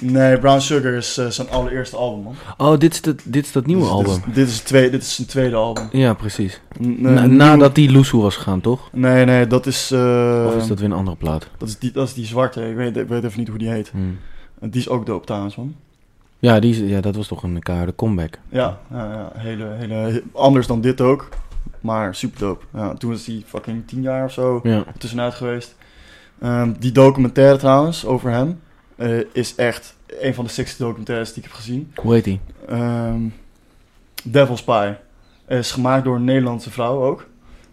[SPEAKER 2] Nee, Brown Sugar is eh, zijn allereerste album, man.
[SPEAKER 4] Oh, dit is, dat dit is dat nieuwe
[SPEAKER 2] Dus dit is-
[SPEAKER 4] album.
[SPEAKER 2] Dit is, het tweede, dit is zijn tweede album.
[SPEAKER 4] Ja, precies.
[SPEAKER 2] N-
[SPEAKER 4] Na-
[SPEAKER 2] eh,
[SPEAKER 4] nadat die Loesoe was gegaan, toch?
[SPEAKER 2] Nee, nee, dat is... eh,
[SPEAKER 4] Of is dat weer een andere plaat?
[SPEAKER 2] Dat is die, dat is die zwarte, ik weet, ik weet even niet hoe die heet.
[SPEAKER 4] Hmm.
[SPEAKER 2] En Die is ook dope trouwens, man.
[SPEAKER 4] Ja, die, is- ja, dat was toch een keiharde comeback.
[SPEAKER 2] Ja, ja, ja, hele, hele, he- anders dan dit ook. Maar super dope. Ja, toen is die fucking tien jaar of zo
[SPEAKER 4] Ja.
[SPEAKER 2] tussenuit geweest. Ehm, die documentaire trouwens over hem eh, is echt een van de sixty documentaires die ik heb gezien.
[SPEAKER 4] Hoe heet die?
[SPEAKER 2] Ehm, Devil's Pie. Is gemaakt door een Nederlandse vrouw ook.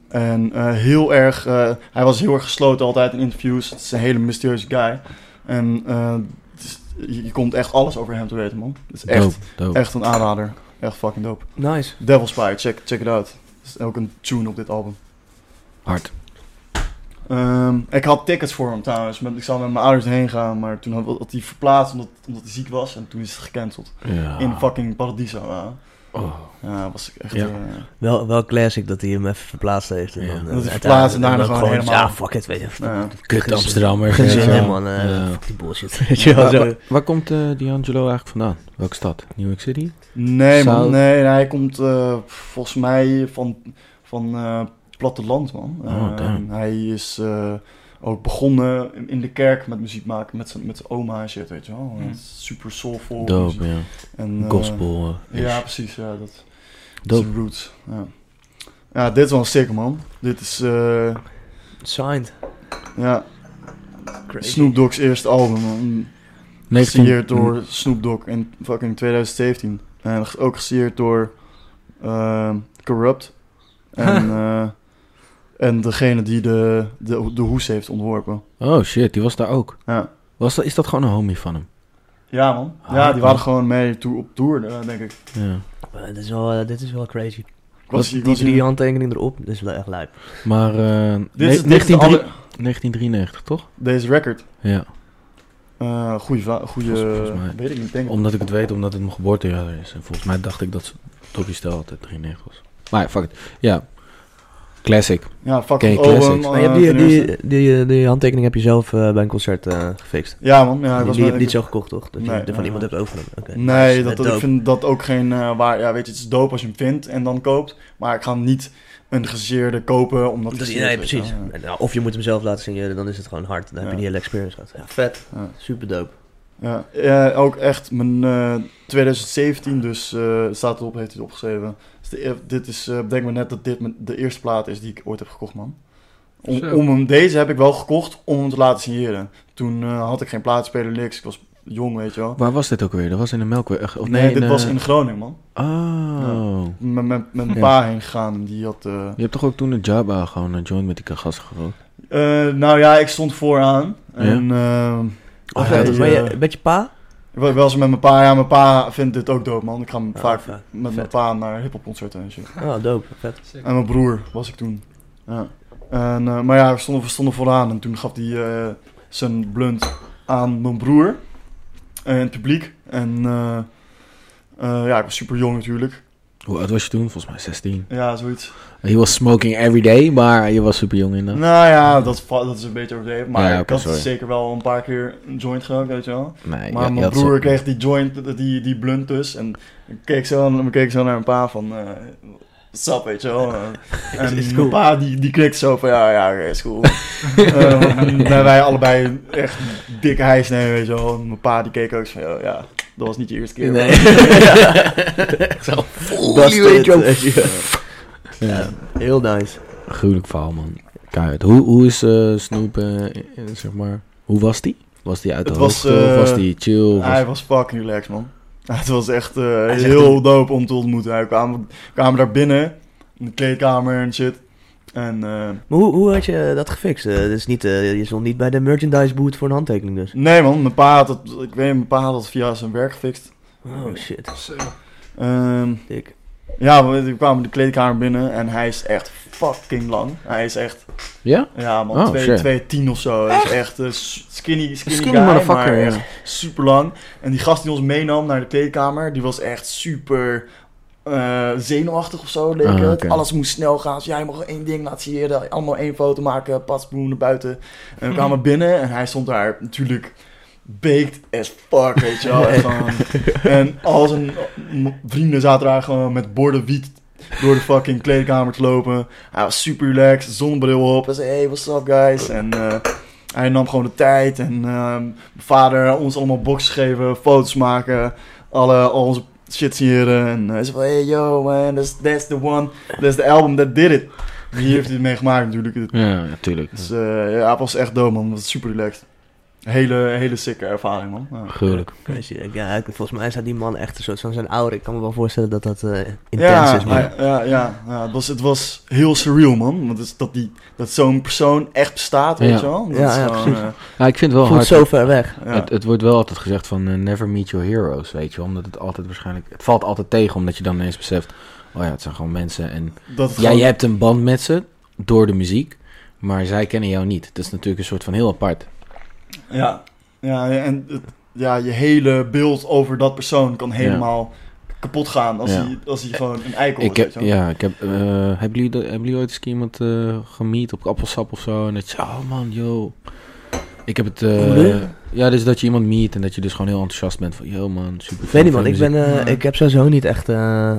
[SPEAKER 2] En eh, heel erg, eh, hij was heel erg gesloten altijd in interviews. Het is een hele mysterieuze guy. En eh, het is- je, je komt echt alles over hem te weten, man. Het is echt,
[SPEAKER 4] Dope, dope.
[SPEAKER 2] echt een aanrader. Echt fucking dope.
[SPEAKER 1] Nice.
[SPEAKER 2] Devil's Pie, check, check it out. Het is ook een tune op dit album.
[SPEAKER 4] Hard.
[SPEAKER 2] Ehm, ik had tickets voor hem trouwens. Met- Ik zou met mijn ouders heen gaan, maar toen had, had hij verplaatst omdat, omdat hij ziek was. En toen is het gecanceld.
[SPEAKER 4] Ja.
[SPEAKER 2] In fucking Paradiso. ja.
[SPEAKER 4] Oh.
[SPEAKER 2] Ja, was ik echt...
[SPEAKER 4] Ah. Ja.
[SPEAKER 2] eh,
[SPEAKER 1] Wel, wel classic dat hij hem even verplaatst heeft. En
[SPEAKER 4] Ja.
[SPEAKER 1] dan, eh,
[SPEAKER 2] Dat hij
[SPEAKER 1] uiteindelijk-
[SPEAKER 2] verplaatst en daarna
[SPEAKER 1] dan
[SPEAKER 2] gewoon helemaal-
[SPEAKER 1] Nou Ja, fuck it, weet je.
[SPEAKER 2] ja.
[SPEAKER 4] Kut Amsterdammer.
[SPEAKER 1] Geen zin
[SPEAKER 2] Ja.
[SPEAKER 1] in, man. eh,
[SPEAKER 4] Ja.
[SPEAKER 1] Fuck die
[SPEAKER 2] *laughs*
[SPEAKER 1] bullshit. Weet je wel,
[SPEAKER 4] Waar,
[SPEAKER 1] zo.
[SPEAKER 4] waar- waar komt eh D'Angelo eigenlijk vandaan? Welke stad? New York City?
[SPEAKER 2] Nee,
[SPEAKER 4] Zou-
[SPEAKER 2] man. Nee, nee, hij komt eh, volgens mij van, van eh platteland, man.
[SPEAKER 4] Oh,
[SPEAKER 2] Eh,
[SPEAKER 4] damn.
[SPEAKER 2] hij is eh, ook begonnen in- in de kerk met muziek maken met zijn, met zijn oma en shit, weet je wel.
[SPEAKER 3] Hmm.
[SPEAKER 2] Het is Super soulful. muziek.
[SPEAKER 4] Dope, ja.
[SPEAKER 2] En, eh,
[SPEAKER 4] Gospel. eh,
[SPEAKER 2] ja,
[SPEAKER 4] ish.
[SPEAKER 2] precies. Ja, dat dat is
[SPEAKER 4] Dope.
[SPEAKER 2] de roots. Ja. ja, dit is wel een sick, man. Dit is eh,
[SPEAKER 1] Signed.
[SPEAKER 2] ja,
[SPEAKER 1] Crazy.
[SPEAKER 2] Snoop Dogg's eerste album, man.
[SPEAKER 4] 19
[SPEAKER 2] Gesigneerd
[SPEAKER 1] Mm.
[SPEAKER 2] door Snoop Dogg in fucking 2017. En ge- ook gesigneerd door ehm,
[SPEAKER 1] *laughs*
[SPEAKER 2] Corrupt. En, eh, en degene die de, de, de hoes heeft ontworpen.
[SPEAKER 4] Oh shit, die was daar ook.
[SPEAKER 2] Ja,
[SPEAKER 4] Was dat, is dat gewoon een homie van hem?
[SPEAKER 2] ja man. Ja,
[SPEAKER 4] Ah,
[SPEAKER 2] die
[SPEAKER 4] man.
[SPEAKER 2] waren gewoon mee toe, op tour, eh, denk ik.
[SPEAKER 4] Ja.
[SPEAKER 1] Eh, dit, is wel, eh, dit is wel crazy.
[SPEAKER 2] Ik
[SPEAKER 4] Wat
[SPEAKER 2] was,
[SPEAKER 1] Die
[SPEAKER 2] ik was Oh, hier-
[SPEAKER 1] drie handtekeningen erop, dat is wel echt lijp.
[SPEAKER 4] Maar eh, ne-
[SPEAKER 2] dit is, dit is de
[SPEAKER 4] 19
[SPEAKER 2] andere-
[SPEAKER 4] 1993, toch?
[SPEAKER 2] deze record.
[SPEAKER 4] Ja.
[SPEAKER 2] Eh goeie, va- goeie
[SPEAKER 4] Volgens- volgens mij.
[SPEAKER 2] weet ik niet, denk ik.
[SPEAKER 4] Omdat ik het weet, omdat het mijn geboortejaar is. En volgens mij dacht ik dat Dobby Stel altijd 93 was. Maar ja, fuck it. Ja. Classic.
[SPEAKER 2] Ja,
[SPEAKER 4] Oké,
[SPEAKER 2] fucking
[SPEAKER 4] classics.
[SPEAKER 2] album.
[SPEAKER 1] Maar je
[SPEAKER 2] eh,
[SPEAKER 1] hebt die,
[SPEAKER 2] ten
[SPEAKER 1] die,
[SPEAKER 2] eerste.
[SPEAKER 1] die, die, handtekening heb je zelf eh, bij een concert eh, gefixt.
[SPEAKER 2] Ja man, ja, ik
[SPEAKER 1] die
[SPEAKER 2] was
[SPEAKER 1] die
[SPEAKER 2] wel-
[SPEAKER 1] heb je niet zo gekocht, toch? Dat je
[SPEAKER 2] Nee,
[SPEAKER 1] er van
[SPEAKER 2] nee,
[SPEAKER 1] iemand
[SPEAKER 2] nee.
[SPEAKER 1] hebt overgenomen. Oké. Dus
[SPEAKER 2] Nee,
[SPEAKER 1] is
[SPEAKER 2] dat,
[SPEAKER 1] net
[SPEAKER 2] dat- ik
[SPEAKER 1] dope.
[SPEAKER 2] vind dat ook geen eh, waar. Ja, weet je, het is dope als je hem vindt en dan koopt. Maar ik ga hem niet een gezeerde kopen. Omdat
[SPEAKER 1] Dat is,
[SPEAKER 2] hij
[SPEAKER 1] nee,
[SPEAKER 2] gezeerd is,
[SPEAKER 1] precies.
[SPEAKER 2] ja.
[SPEAKER 1] En, nou, Of je moet hem zelf laten signeren, dan is het gewoon hard. Dan heb je
[SPEAKER 2] Ja.
[SPEAKER 1] die hele experience gehad. Ja, vet.
[SPEAKER 2] Ja.
[SPEAKER 1] Super dope.
[SPEAKER 2] Ja, ja, ook echt. Mijn eh, 2017, dus eh, staat erop, heeft hij het opgeschreven. Dus de, dit is, eh denk maar net dat dit mijn- de eerste plaat is die ik ooit heb gekocht, man. Om,
[SPEAKER 3] Zo.
[SPEAKER 2] om hem, deze heb ik wel gekocht om hem te laten signeren. Toen eh, had ik geen plaatspeler, niks. Ik was jong, weet je wel.
[SPEAKER 4] Waar was dit ook weer? Dat was in de Melkweg. Of nee,
[SPEAKER 2] nee, dit
[SPEAKER 4] eh,
[SPEAKER 2] was in Groningen, man.
[SPEAKER 4] Oh.
[SPEAKER 2] Met met- met
[SPEAKER 4] Ja.
[SPEAKER 2] mijn pa heen gegaan. Die had, eh,
[SPEAKER 4] Je hebt toch ook toen de Jabba gewoon een joint met die gasten gerookt?
[SPEAKER 2] eh, nou ja, ik stond vooraan. En, eh,
[SPEAKER 1] Oh,
[SPEAKER 2] hij,
[SPEAKER 1] vet. Maar
[SPEAKER 2] eh,
[SPEAKER 1] je, met je pa?
[SPEAKER 2] Ik was wel eens met mijn pa. Ja, mijn pa vindt dit ook dood, man. Ik ga hem
[SPEAKER 1] Ja,
[SPEAKER 2] vaak
[SPEAKER 1] vet.
[SPEAKER 2] met mijn
[SPEAKER 1] Vet.
[SPEAKER 2] pa naar hiphopconcerten en shit.
[SPEAKER 1] Oh, dope. Vet.
[SPEAKER 2] En mijn broer was ik toen. Ja. En, eh, maar ja, we stonden, we stonden vooraan. En toen gaf hij eh, zijn blunt aan mijn broer. En het publiek. En eh, eh, ja, ik was super jong natuurlijk.
[SPEAKER 4] Hoe oud was je toen? Volgens mij 16.
[SPEAKER 2] Ja, zoiets.
[SPEAKER 4] Je was smoking every day, maar je was super jong in dat.
[SPEAKER 2] Nou ja, dat, va- dat is een beetje overdreven. Maar
[SPEAKER 4] Ja,
[SPEAKER 2] ik
[SPEAKER 4] oké,
[SPEAKER 2] had
[SPEAKER 4] sorry.
[SPEAKER 2] zeker wel een paar keer een joint gerookt, weet je wel.
[SPEAKER 4] Nee,
[SPEAKER 2] Maar
[SPEAKER 4] ja, je
[SPEAKER 2] mijn
[SPEAKER 4] had
[SPEAKER 2] broer
[SPEAKER 4] zo-
[SPEAKER 2] kreeg die joint, die, die blunt dus. En ik keek zo, aan- ik keek zo naar mijn pa van... eh Sap, weet je wel. Eh, En
[SPEAKER 1] Is- is
[SPEAKER 2] mijn
[SPEAKER 1] cool.
[SPEAKER 2] pa die, die knikt zo van... Ja, ja, oké, is
[SPEAKER 1] *laughs*
[SPEAKER 2] cool. Eh, want wij allebei echt dikke hijs nemen, weet je wel. En Mijn pa die keek ook zo van... Ja, ja, dat was niet je eerste keer.
[SPEAKER 1] *laughs* Nee. Zo,
[SPEAKER 4] Dat
[SPEAKER 1] die
[SPEAKER 4] is
[SPEAKER 1] weet
[SPEAKER 4] het.
[SPEAKER 1] je *laughs* ook.
[SPEAKER 4] Ja.
[SPEAKER 1] Heel nice.
[SPEAKER 4] Gruwelijk verhaal, man. Keihard. Hoe, hoe is eh, Snoop, eh, eh, zeg maar... Hoe was die? Was die uit de
[SPEAKER 2] Het was,
[SPEAKER 4] hoogte? of
[SPEAKER 2] eh,
[SPEAKER 4] was die chill? Of was-
[SPEAKER 2] *laughs* Hij was fucking relaxed, man. Het was echt eh,
[SPEAKER 1] zegt
[SPEAKER 2] heel
[SPEAKER 1] een-
[SPEAKER 2] dope om te ontmoeten. Hij kwam, kwamen daar binnen, in de kleedkamer en shit. En eh,
[SPEAKER 1] Maar hoe, hoe had je dat gefixt? Eh, dus niet, eh, je stond niet bij de merchandise boot voor een handtekening dus.
[SPEAKER 2] nee man, mijn pa had dat, ik weet mijn pa had dat via zijn werk gefixt.
[SPEAKER 1] Oh shit,
[SPEAKER 3] Zo.
[SPEAKER 2] Ehm,
[SPEAKER 1] dik.
[SPEAKER 2] ja, we, we kwamen de kleedkamer binnen en hij is echt fucking lang. Hij is echt,
[SPEAKER 4] Ja?
[SPEAKER 2] ja man,
[SPEAKER 4] Oh,
[SPEAKER 2] 2
[SPEAKER 4] shit.
[SPEAKER 2] 210 of zo. Hij is echt eh, s- skinny, skinny,
[SPEAKER 4] Skinny
[SPEAKER 2] guy,
[SPEAKER 4] motherfucker,
[SPEAKER 2] maar
[SPEAKER 4] ja.
[SPEAKER 2] echt super lang. En die gast die ons meenam naar de kleedkamer, die was echt super eh, zenuwachtig of zo, leek
[SPEAKER 4] Ah,
[SPEAKER 2] het.
[SPEAKER 4] oké.
[SPEAKER 2] Alles moest snel gaan. Dus jij mag één ding laten signeren, allemaal één foto maken, paspoen naar buiten. En we
[SPEAKER 4] *laughs*
[SPEAKER 2] kwamen binnen en hij stond daar natuurlijk baked as fuck, weet je wel. Echt gewoon- en al zijn eh, m- vrienden zaten daar gewoon met borden wiet door de fucking kleedkamer te lopen. Hij was super relaxed, zonnebril op. Hij zei, hey, what's up guys? En... eh, hij nam gewoon de tijd en ehm, mijn vader ons allemaal boxen geven, foto's maken, alle, al onze shit signeren. En eh, hij zei van, hey yo man, that's, that's the one, that's the album that did it. Hier heeft hij het mee gemaakt natuurlijk.
[SPEAKER 4] Ja, natuurlijk.
[SPEAKER 2] Dus eh, ja, het was echt dope man, het was super relaxed. Hele, hele sicke ervaring man. Ja.
[SPEAKER 4] Gruwelijk.
[SPEAKER 1] Crazy, dik. Ja, ik- volgens mij staat die man echt een soort van zijn ouder. Ik kan me wel voorstellen dat dat eh intens
[SPEAKER 2] Ja,
[SPEAKER 1] is. Maar...
[SPEAKER 2] hij- ja, ja, ja, het was, het was heel surreal man, want het is dat, die- dat zo'n persoon echt bestaat, weet
[SPEAKER 4] Ja.
[SPEAKER 2] je wel. Dat
[SPEAKER 1] Ja,
[SPEAKER 2] is
[SPEAKER 1] ja,
[SPEAKER 2] gewoon,
[SPEAKER 1] precies.
[SPEAKER 2] eh,
[SPEAKER 4] Ja, ik vind het wel hard.
[SPEAKER 1] Voelt zo ver weg.
[SPEAKER 2] ja.
[SPEAKER 4] Het, het wordt wel altijd gezegd van eh, never meet your heroes, weet je. Omdat het altijd waarschijnlijk... Het valt altijd tegen, omdat je dan ineens beseft... Oh ja, het zijn gewoon mensen en...
[SPEAKER 2] dat het
[SPEAKER 4] Ja,
[SPEAKER 2] gewoon-
[SPEAKER 4] je hebt een band met ze door de muziek, maar zij kennen jou niet. Dat is natuurlijk een soort van heel apart.
[SPEAKER 2] Ja, ja en het- ja, je hele beeld over dat persoon kan helemaal kapot gaan als,
[SPEAKER 4] Ja.
[SPEAKER 2] hij, als hij gewoon een eikel
[SPEAKER 4] Ik
[SPEAKER 2] wordt.
[SPEAKER 4] heb,
[SPEAKER 2] weet je wel.
[SPEAKER 4] ja, ik heb, eh, hebben, jullie, dat- hebben jullie ooit eens iemand eh gemiet op appelsap of zo? En dat je, oh man, yo. Ik heb het, eh,
[SPEAKER 1] Hoe bedoel je?
[SPEAKER 4] ja, dus dat je iemand meet en dat je dus gewoon heel enthousiast bent van, yo man, super.
[SPEAKER 1] Ik weet niet man, ik, ben, eh,
[SPEAKER 2] Ja.
[SPEAKER 1] ik heb sowieso niet echt... eh,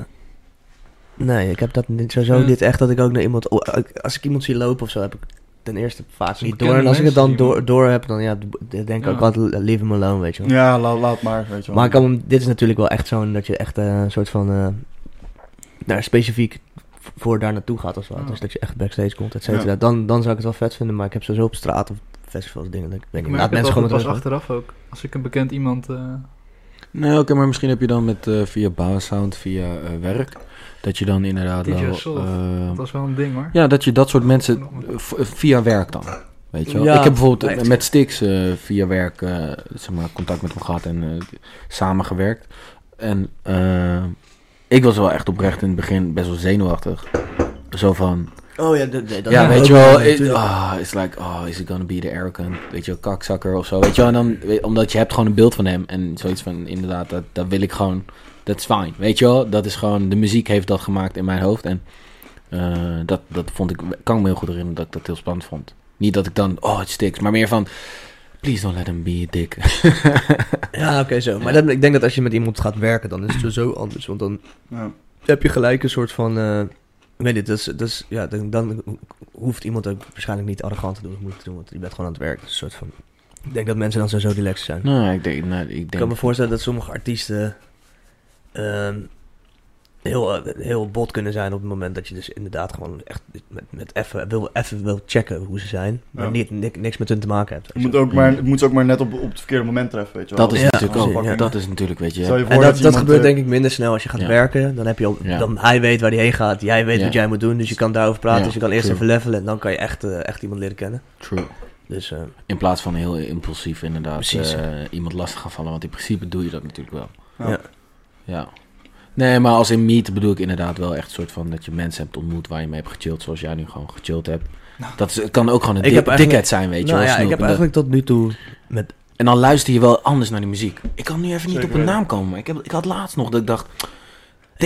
[SPEAKER 1] Nee, ik heb dat niet, sowieso
[SPEAKER 3] Ja.
[SPEAKER 1] niet echt dat ik ook naar iemand... oh, ik- Als ik iemand zie lopen of zo, heb ik ten eerste vaak niet door.
[SPEAKER 3] bekende
[SPEAKER 1] En als ik het
[SPEAKER 3] mensen die
[SPEAKER 1] dan door,
[SPEAKER 3] man-
[SPEAKER 1] door heb, dan ja, d- denk ik ook
[SPEAKER 3] Ja.
[SPEAKER 1] altijd leave him alone, weet je wel.
[SPEAKER 2] Ja, laat, laat maar, weet je wel.
[SPEAKER 1] Maar ik kan, hem- dit is natuurlijk wel echt zo'n dat je echt eh, een soort van eh, daar specifiek v- voor daar naartoe gaat als wat.
[SPEAKER 3] Ja.
[SPEAKER 1] Dus dat je echt backstage komt, et cetera. Dan, dan zou ik het wel vet vinden, maar ik heb sowieso op straat of festivals dingen. dat Ik weet
[SPEAKER 3] Ik
[SPEAKER 1] niet,
[SPEAKER 3] merk
[SPEAKER 1] laat
[SPEAKER 3] het
[SPEAKER 1] mensen
[SPEAKER 3] altijd
[SPEAKER 1] gewoon met
[SPEAKER 3] pas
[SPEAKER 1] rust.
[SPEAKER 3] achteraf ook. Als ik een bekend iemand... eh,
[SPEAKER 4] Nee, oké, maar misschien heb je dan met, eh, via Bouwsound, via eh, werk, dat je dan inderdaad
[SPEAKER 3] DJ
[SPEAKER 4] wel...
[SPEAKER 3] Soul.
[SPEAKER 4] eh,
[SPEAKER 3] dat was wel een ding hoor.
[SPEAKER 4] Ja, dat je dat soort mensen eh,
[SPEAKER 3] Genomen.
[SPEAKER 4] v- via werk dan. Weet je wel?
[SPEAKER 1] Ja,
[SPEAKER 4] ik heb bijvoorbeeld
[SPEAKER 1] echt.
[SPEAKER 4] met Stix eh, via werk eh, zeg maar, contact met hem gehad en eh, samengewerkt. En eh, ik was wel echt oprecht in het begin best wel zenuwachtig. Zo van,
[SPEAKER 1] Oh ja, d- d- dat
[SPEAKER 4] ja,
[SPEAKER 1] is
[SPEAKER 4] weet
[SPEAKER 1] ook
[SPEAKER 4] je wel,
[SPEAKER 1] natuurlijk.
[SPEAKER 4] it- ah, it's like, oh, is he gonna be the arrogant, weet je wel, kakzakker of zo, weet je wel, en dan, weet- omdat je hebt gewoon een beeld van hem en zoiets van, inderdaad, dat, dat wil ik gewoon, dat is fijn, weet je wel, dat is gewoon, de muziek heeft dat gemaakt in mijn hoofd en eh, dat, dat vond ik, kan ik me heel goed herinneren dat ik dat heel spannend vond. Niet dat ik dan, oh, het stiks, maar meer van, please don't let him be a
[SPEAKER 1] *laughs*
[SPEAKER 4] dick.
[SPEAKER 1] Ja, oké, zo. Maar dat, ik denk dat als je met iemand gaat werken, dan is het sowieso anders. Want dan
[SPEAKER 2] Ja.
[SPEAKER 1] heb je gelijk een soort van eh, Nee, dit is, dus, ja, dan, dan hoeft iemand ook waarschijnlijk niet arrogant te doen of moeilijk te doen, want je bent gewoon aan het werk. Dus een soort van, ik denk dat mensen dan sowieso relaxed zijn.
[SPEAKER 4] Nou, ik denk... Nou, ik
[SPEAKER 1] ik
[SPEAKER 4] denk
[SPEAKER 1] kan me voorstellen dat sommige artiesten ehm, heel, eh, heel bot kunnen zijn op het moment dat je dus inderdaad gewoon echt met, met even, wil, even wil checken hoe ze zijn, maar
[SPEAKER 2] Ja.
[SPEAKER 1] niet, ni- niks met hun te maken hebt.
[SPEAKER 2] Je moet, ook maar, het moet ze ook maar net op, op het verkeerde moment treffen, weet je wel.
[SPEAKER 4] dat is
[SPEAKER 1] Ja,
[SPEAKER 4] natuurlijk
[SPEAKER 1] precies,
[SPEAKER 4] ook...
[SPEAKER 1] ja.
[SPEAKER 4] Dat is natuurlijk, weet je...
[SPEAKER 2] Stel je voor
[SPEAKER 1] En dat, dat
[SPEAKER 2] iemand,
[SPEAKER 1] gebeurt
[SPEAKER 2] eh,
[SPEAKER 1] denk ik minder snel als je gaat
[SPEAKER 4] Ja.
[SPEAKER 1] werken. Dan heb je al,
[SPEAKER 4] Ja.
[SPEAKER 1] dan, hij weet waar hij heen gaat, jij weet
[SPEAKER 4] Ja.
[SPEAKER 1] wat jij moet doen, dus je kan daarover praten.
[SPEAKER 4] Ja,
[SPEAKER 1] dus je kan eerst
[SPEAKER 4] true.
[SPEAKER 1] even levelen en dan kan je echt, eh, echt iemand leren kennen.
[SPEAKER 4] True.
[SPEAKER 1] Dus eh,
[SPEAKER 4] In plaats van heel impulsief inderdaad
[SPEAKER 1] Precies.
[SPEAKER 4] eh, iemand lastig gaan vallen. Want in principe doe je dat natuurlijk wel.
[SPEAKER 2] Ja.
[SPEAKER 1] Ja.
[SPEAKER 4] Ja. Nee, maar als in meet bedoel ik inderdaad wel echt een soort van dat je mensen hebt ontmoet waar je mee hebt gechilled. Zoals jij nu gewoon gechilled hebt. Dat is, het kan ook gewoon een
[SPEAKER 1] Ik
[SPEAKER 4] dik,
[SPEAKER 1] heb eigenlijk-
[SPEAKER 4] dikheid zijn, weet je
[SPEAKER 1] nou
[SPEAKER 4] wel.
[SPEAKER 1] ja,
[SPEAKER 4] Snoep.
[SPEAKER 1] ik heb
[SPEAKER 4] En dat-
[SPEAKER 1] eigenlijk tot nu toe met...
[SPEAKER 4] En dan luister je wel anders naar die muziek. Ik kan nu even niet
[SPEAKER 2] Zeker
[SPEAKER 4] op een
[SPEAKER 2] weten.
[SPEAKER 4] naam komen. Ik, heb, ik had laatst nog dat ik dacht...
[SPEAKER 1] weet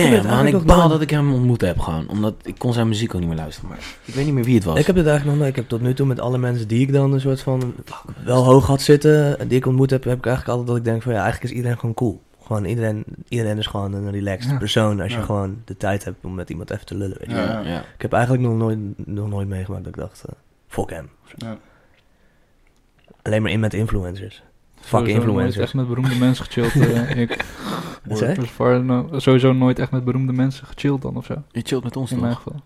[SPEAKER 4] Damn, man,
[SPEAKER 1] eigenlijk
[SPEAKER 4] ik
[SPEAKER 1] nog
[SPEAKER 4] baal
[SPEAKER 1] nooit-
[SPEAKER 4] dat ik hem ontmoet heb gewoon. Omdat ik kon zijn muziek ook niet meer luisteren. Maar ik weet niet meer wie het was.
[SPEAKER 1] Ik heb dit eigenlijk nog nooit. Ik heb tot nu toe met alle mensen die ik dan een soort van wel hoog had zitten, en die ik ontmoet heb, heb ik eigenlijk altijd dat ik denk van ja, eigenlijk is iedereen gewoon cool. Gewoon iedereen, iedereen is gewoon een relaxed
[SPEAKER 3] Ja.
[SPEAKER 1] persoon als je
[SPEAKER 2] Ja.
[SPEAKER 1] gewoon de tijd hebt om met iemand even te lullen. Weet je.
[SPEAKER 2] Ja.
[SPEAKER 1] wel. Ik heb eigenlijk nog nooit, nog nooit meegemaakt dat ik dacht, eh, fuck hem.
[SPEAKER 2] Ja.
[SPEAKER 1] Alleen maar in met influencers. Fuck
[SPEAKER 3] Sowieso nooit
[SPEAKER 1] influencers.
[SPEAKER 3] echt met beroemde mensen gechilled.
[SPEAKER 4] *laughs*
[SPEAKER 3] eh, ik.
[SPEAKER 1] Wat zei je?
[SPEAKER 3] Dus voor- nou, sowieso nooit echt met beroemde mensen gechilled dan of zo.
[SPEAKER 4] Je chillt met ons
[SPEAKER 3] In mijn
[SPEAKER 4] nog.
[SPEAKER 3] geval.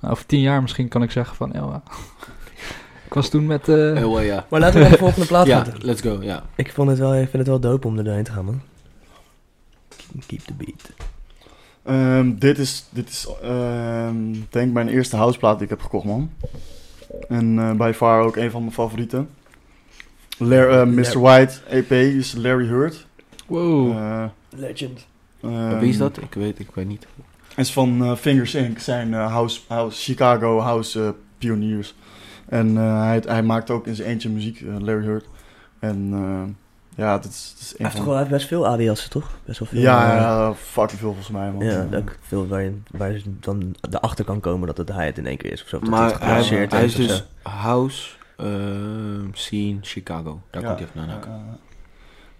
[SPEAKER 3] Nou, over tien jaar misschien kan ik zeggen van, ja, *laughs* ik was toen met... eh,
[SPEAKER 4] Eh, wel, ja.
[SPEAKER 1] Maar laten we naar de volgende plaat
[SPEAKER 4] Ja,
[SPEAKER 1] gaan.
[SPEAKER 4] let's go, ja.
[SPEAKER 1] Ik, vond het wel, ik vind het wel dope om er doorheen te gaan, man. Keep the beat.
[SPEAKER 2] Ehm, dit is, dit is ehm, denk ik mijn eerste houseplaat die ik heb gekocht, man. En eh by far ook een van mijn favorieten. Lar- eh, Mr.
[SPEAKER 1] Lar-
[SPEAKER 2] White EP is Larry Hurt.
[SPEAKER 3] wow.
[SPEAKER 2] Eh,
[SPEAKER 1] Legend.
[SPEAKER 2] ehm,
[SPEAKER 4] Wie is dat? Ik weet, ik weet niet.
[SPEAKER 2] is van eh, Fingers Inc. zijn eh, house, house, Chicago house eh, pioniers. En eh, hij, hij maakt ook in zijn eentje muziek, eh, Larry Hurt. En eh, ja, dat is, dat is
[SPEAKER 1] Hij
[SPEAKER 2] een
[SPEAKER 1] heeft
[SPEAKER 2] van...
[SPEAKER 1] toch wel hij heeft best veel ADS'en, toch? Best wel veel.
[SPEAKER 2] Ja,
[SPEAKER 1] eh,
[SPEAKER 2] ja, fucking veel volgens mij, man.
[SPEAKER 1] Ja, ook veel waar je, waar je dan erachter kan komen dat het hij het in één keer is. Of zo, of dat hij
[SPEAKER 4] Maar
[SPEAKER 1] het
[SPEAKER 4] hij,
[SPEAKER 1] geproduceerd
[SPEAKER 4] hij is
[SPEAKER 1] heeft of
[SPEAKER 4] dus
[SPEAKER 1] zo.
[SPEAKER 4] house ehm, scene Chicago. Daar komt hij even naar.
[SPEAKER 2] Ja,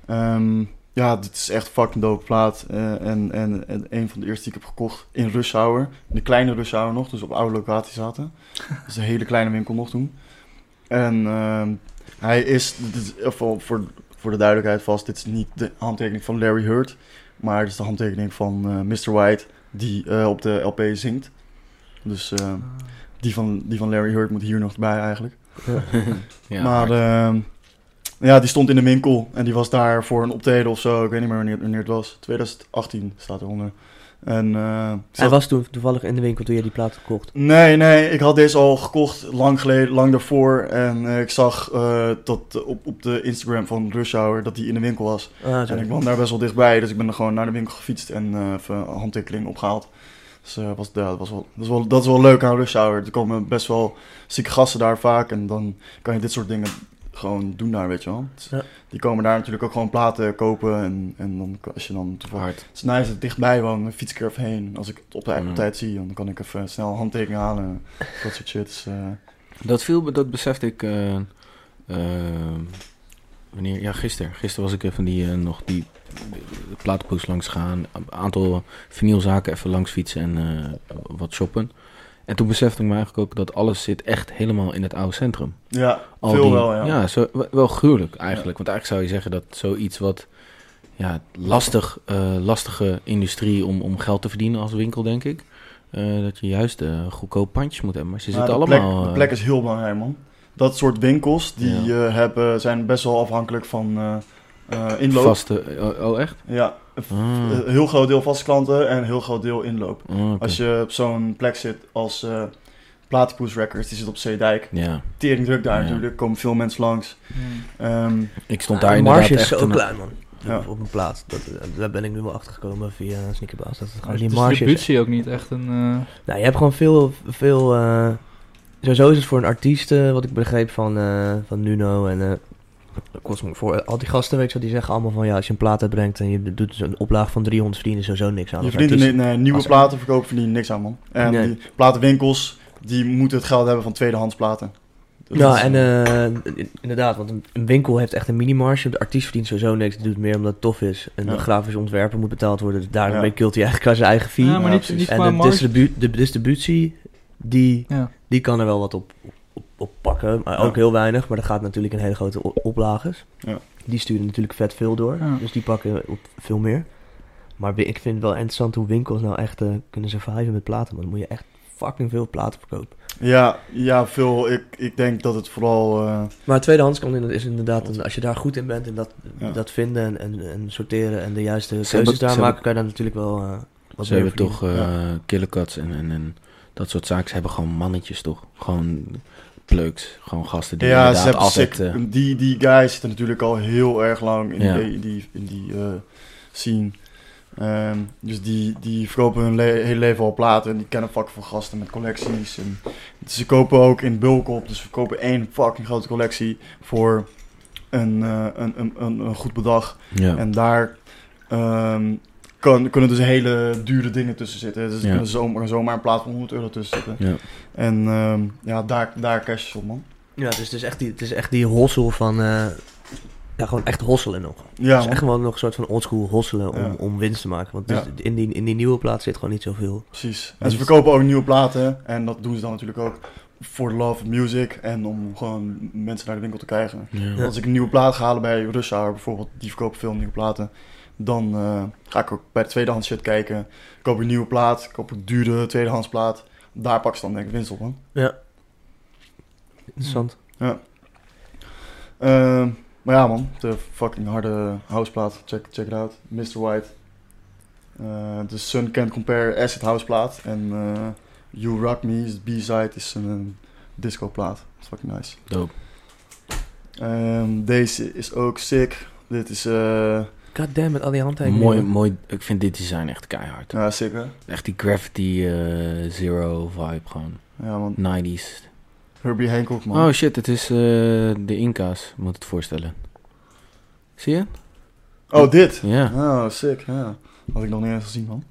[SPEAKER 2] ja. Ehm, ja, dit is echt fucking dope plaat. Eh, en, en, en een van de eerste die ik heb gekocht in rush hour. De kleine rush hour nog, dus op oude locatie zaten. Dat is een hele kleine winkel nog toen. En ehm, hij is, dit is- eh, voor, voor, voor de duidelijkheid vast, dit is niet de handtekening van Larry Hurt. Maar het is de handtekening van eh, Mr. White, die eh, op de LP zingt. Dus eh, die, van, die van Larry Hurt moet hier nog bij eigenlijk
[SPEAKER 4] ja,
[SPEAKER 2] maar
[SPEAKER 4] hard.
[SPEAKER 2] ehm, ja, die stond in de winkel en die was daar voor een optreden of zo. Ik weet niet meer wanneer, wanneer het was. 2018 staat eronder. En, eh, ik
[SPEAKER 1] Hij
[SPEAKER 2] zat-
[SPEAKER 1] was toen toevallig in de winkel toen jij die plaat kocht.
[SPEAKER 2] Nee, nee, ik had deze al gekocht lang geleden, lang daarvoor. En eh, ik zag eh, dat eh, op, op de Instagram van Rush Hour dat die in de winkel was.
[SPEAKER 1] Ah, zo.
[SPEAKER 2] En ik woon daar best wel dichtbij, dus ik ben er gewoon naar de winkel gefietst en eh, even een handtekening opgehaald. Dus eh, was, ja, dat, was wel, dat, is wel, dat is wel leuk aan Rush Hour. Er komen best wel zieke gasten daar vaak en dan kan je dit soort dingen gewoon doen daar, weet je wel. Dus
[SPEAKER 1] Ja.
[SPEAKER 2] Die komen daar natuurlijk ook gewoon platen kopen en, en dan, kan- als je dan toevallig...
[SPEAKER 4] Hard.
[SPEAKER 2] Het is nice dat ik dichtbij woon, dan fiets ik er even heen. Als ik het op, de-
[SPEAKER 4] Mm.
[SPEAKER 2] op tijd zie, dan kan ik even snel een handtekening halen. Dat soort shit. Dus, eh,
[SPEAKER 4] Dat viel, me- dat besefte ik. eh, ehm, wanneer? Ja, gisteren. Gisteren was ik even die eh, nog die platenpoes langs gaan. Een aantal vinylzaken even langs fietsen en eh, wat shoppen. En toen besefte ik me eigenlijk ook dat alles zit echt helemaal in het oude centrum.
[SPEAKER 2] ja,
[SPEAKER 4] Al
[SPEAKER 2] veel
[SPEAKER 4] die-
[SPEAKER 2] wel, ja.
[SPEAKER 4] zo, wel- wel gruwelijk eigenlijk. Want eigenlijk zou je zeggen dat zoiets wat... Ja, lastig, eh, lastige industrie om, om geld te verdienen als winkel, denk ik. eh, dat je juist eh goedkoop pandjes moet hebben. Maar ze
[SPEAKER 2] Ja,
[SPEAKER 4] zitten
[SPEAKER 2] de
[SPEAKER 4] allemaal...
[SPEAKER 2] Plek,
[SPEAKER 4] eh,
[SPEAKER 2] de plek is heel belangrijk, man. Dat soort winkels die eh, hebben, zijn best wel afhankelijk van eh eh, inloop.
[SPEAKER 4] Vaste... Oh, oh, echt?
[SPEAKER 2] Ja, v-
[SPEAKER 4] Ah.
[SPEAKER 2] eh, heel groot deel vaste klanten en een heel groot deel inloop.
[SPEAKER 4] Oh, oké.
[SPEAKER 2] Als je op zo'n plek zit als eh Platypus Records, die zit op Zeedijk.
[SPEAKER 4] Ja,
[SPEAKER 2] Tering druk daar
[SPEAKER 4] Ja.
[SPEAKER 2] natuurlijk, komen veel mensen langs.
[SPEAKER 3] Hmm.
[SPEAKER 2] Ehm,
[SPEAKER 4] ik stond
[SPEAKER 1] Ah,
[SPEAKER 4] daar
[SPEAKER 1] de
[SPEAKER 4] inderdaad
[SPEAKER 1] marge is
[SPEAKER 4] echt
[SPEAKER 1] zo
[SPEAKER 4] een-
[SPEAKER 1] klein, man.
[SPEAKER 2] Ja.
[SPEAKER 1] Op, op een plaat. Dat, eh, daar ben ik nu wel achter gekomen via Sneakerbaas. Dat het gewoon
[SPEAKER 3] Maar
[SPEAKER 1] die
[SPEAKER 3] is
[SPEAKER 1] marge is.
[SPEAKER 3] Dus distributie ook niet echt een... eh,
[SPEAKER 1] Nou, je hebt gewoon veel... veel eh, sowieso is het voor een artiest, eh, wat ik begreep van, eh, van Nuno en... eh, Cosmo, voor al die gasten, weet je wel, die zeggen allemaal van ja, als je een plaat uitbrengt en je doet een oplaag van 300 verdienen, sowieso niks aan.
[SPEAKER 2] je
[SPEAKER 1] als
[SPEAKER 2] verdient er
[SPEAKER 1] artiest.
[SPEAKER 2] niet, nee, nieuwe
[SPEAKER 1] Als-
[SPEAKER 2] platen verkopen verdien je niks aan, man. En
[SPEAKER 1] Nee.
[SPEAKER 2] die platenwinkels, die moeten het geld hebben van tweedehands platen. Dat
[SPEAKER 1] Ja,
[SPEAKER 2] is-
[SPEAKER 1] en eh, in- inderdaad, want een- een winkel heeft echt een minimarge. De artiest verdient sowieso niks, die doet het meer omdat het tof is. En
[SPEAKER 2] Ja.
[SPEAKER 1] de grafisch ontwerper moet betaald worden, dus daarmee
[SPEAKER 2] Ja.
[SPEAKER 1] kilt hij eigenlijk qua zijn eigen fee.
[SPEAKER 3] Ja, maar niet,
[SPEAKER 2] precies.
[SPEAKER 3] niet
[SPEAKER 1] en
[SPEAKER 3] qua
[SPEAKER 1] de,
[SPEAKER 3] markt.
[SPEAKER 1] distribu- de distributie, die,
[SPEAKER 3] Ja.
[SPEAKER 1] die kan er wel wat op, op, op pakken. Maar ook
[SPEAKER 2] Ja.
[SPEAKER 1] heel weinig, maar dat gaat natuurlijk in hele grote o- oplages.
[SPEAKER 2] Ja.
[SPEAKER 1] Die sturen natuurlijk vet veel door,
[SPEAKER 3] Ja.
[SPEAKER 1] dus die pakken op veel meer. Maar wi- ik vind het wel interessant hoe winkels nou echt eh, kunnen surviven met platen. Want dan moet je echt fucking veel platen verkopen.
[SPEAKER 2] Ja, ja, veel. Ik, ik denk dat het vooral... eh,
[SPEAKER 1] Maar tweedehands kan in- is inderdaad, een- als je daar goed in bent en dat,
[SPEAKER 2] Ja.
[SPEAKER 1] dat vinden en, en, en sorteren en de juiste
[SPEAKER 4] hebben-
[SPEAKER 1] keuzes daar
[SPEAKER 4] ze
[SPEAKER 1] maken, kan je daar natuurlijk wel eh, wat
[SPEAKER 4] Ze
[SPEAKER 1] meer
[SPEAKER 4] hebben
[SPEAKER 1] verdienen.
[SPEAKER 4] toch eh Killer Cats en, en, en dat soort zaken. Ze hebben gewoon mannetjes, toch? Gewoon pleuks. Gewoon gasten die
[SPEAKER 2] ja, ze
[SPEAKER 4] inderdaad
[SPEAKER 2] hebben
[SPEAKER 4] altijd...
[SPEAKER 2] sick-
[SPEAKER 4] eh,
[SPEAKER 2] die, die guys zitten natuurlijk al heel erg lang in
[SPEAKER 4] Ja.
[SPEAKER 2] die, in die, in die eh, scene. Ehm, dus die, die verkopen hun le- hele leven al platen. En die kennen vakken van gasten met collecties. En ze kopen ook in bulk op. Dus we kopen één fucking grote collectie voor een, eh, een, een, een, een goed bedrag.
[SPEAKER 4] eh, ja.
[SPEAKER 2] En daar ehm, kan, kunnen dus hele dure dingen tussen zitten. Dus er
[SPEAKER 4] Ja.
[SPEAKER 2] kunnen zomaar, zomaar een plaat van 100 euro tussen zitten.
[SPEAKER 4] Ja.
[SPEAKER 2] En ehm, ja, daar, daar cash je op, man.
[SPEAKER 1] Ja, dus het is echt die, het is echt die hossel van, eh, ja, gewoon echt hosselen nog.
[SPEAKER 2] Ja,
[SPEAKER 1] het is
[SPEAKER 2] man.
[SPEAKER 1] echt gewoon nog een soort van oldschool hosselen om,
[SPEAKER 2] Ja.
[SPEAKER 1] om winst te maken. Want dus
[SPEAKER 2] Ja.
[SPEAKER 1] in, die, in die nieuwe plaats zit gewoon niet zoveel.
[SPEAKER 2] Precies. En
[SPEAKER 1] Dus-
[SPEAKER 2] ze verkopen ook nieuwe platen. En dat doen ze dan natuurlijk ook voor love of music. En om gewoon mensen naar de winkel te krijgen.
[SPEAKER 4] Ja.
[SPEAKER 2] Want Als ik een nieuwe plaat ga halen bij Rush Hour bijvoorbeeld. Die verkopen veel nieuwe platen. Dan eh, ga ik ook bij de tweedehands shit kijken. Koop ik een nieuwe plaat. Koop ik dure tweedehands plaat. Daar pak ze dan denk ik winst op man.
[SPEAKER 1] Interessant.
[SPEAKER 2] Ehm, maar ja man. De fucking harde houseplaat. Check, check it out. Mr. White. Eh, de Sun Can't Compare Acid House plaat. En eh, You Rock Me is de B-side. Is een, een disco plaat. Fucking nice.
[SPEAKER 4] Dope.
[SPEAKER 2] Ehm, deze is ook sick. Dit is eh
[SPEAKER 1] God damn met al die handtekeningen.
[SPEAKER 4] Mooi, mooi. Ik vind dit design echt keihard.
[SPEAKER 2] ja, sick hè?
[SPEAKER 4] Echt die Gravity eh, Zero vibe gewoon.
[SPEAKER 2] Ja man,
[SPEAKER 4] 90s.
[SPEAKER 2] Herbie Hancock man.
[SPEAKER 4] Oh shit, het is eh, de Inca's, moet het voorstellen. Zie je?
[SPEAKER 2] Oh, dit?
[SPEAKER 4] Ja,
[SPEAKER 2] Oh, sick. Ja. Had ik nog niet eens gezien man.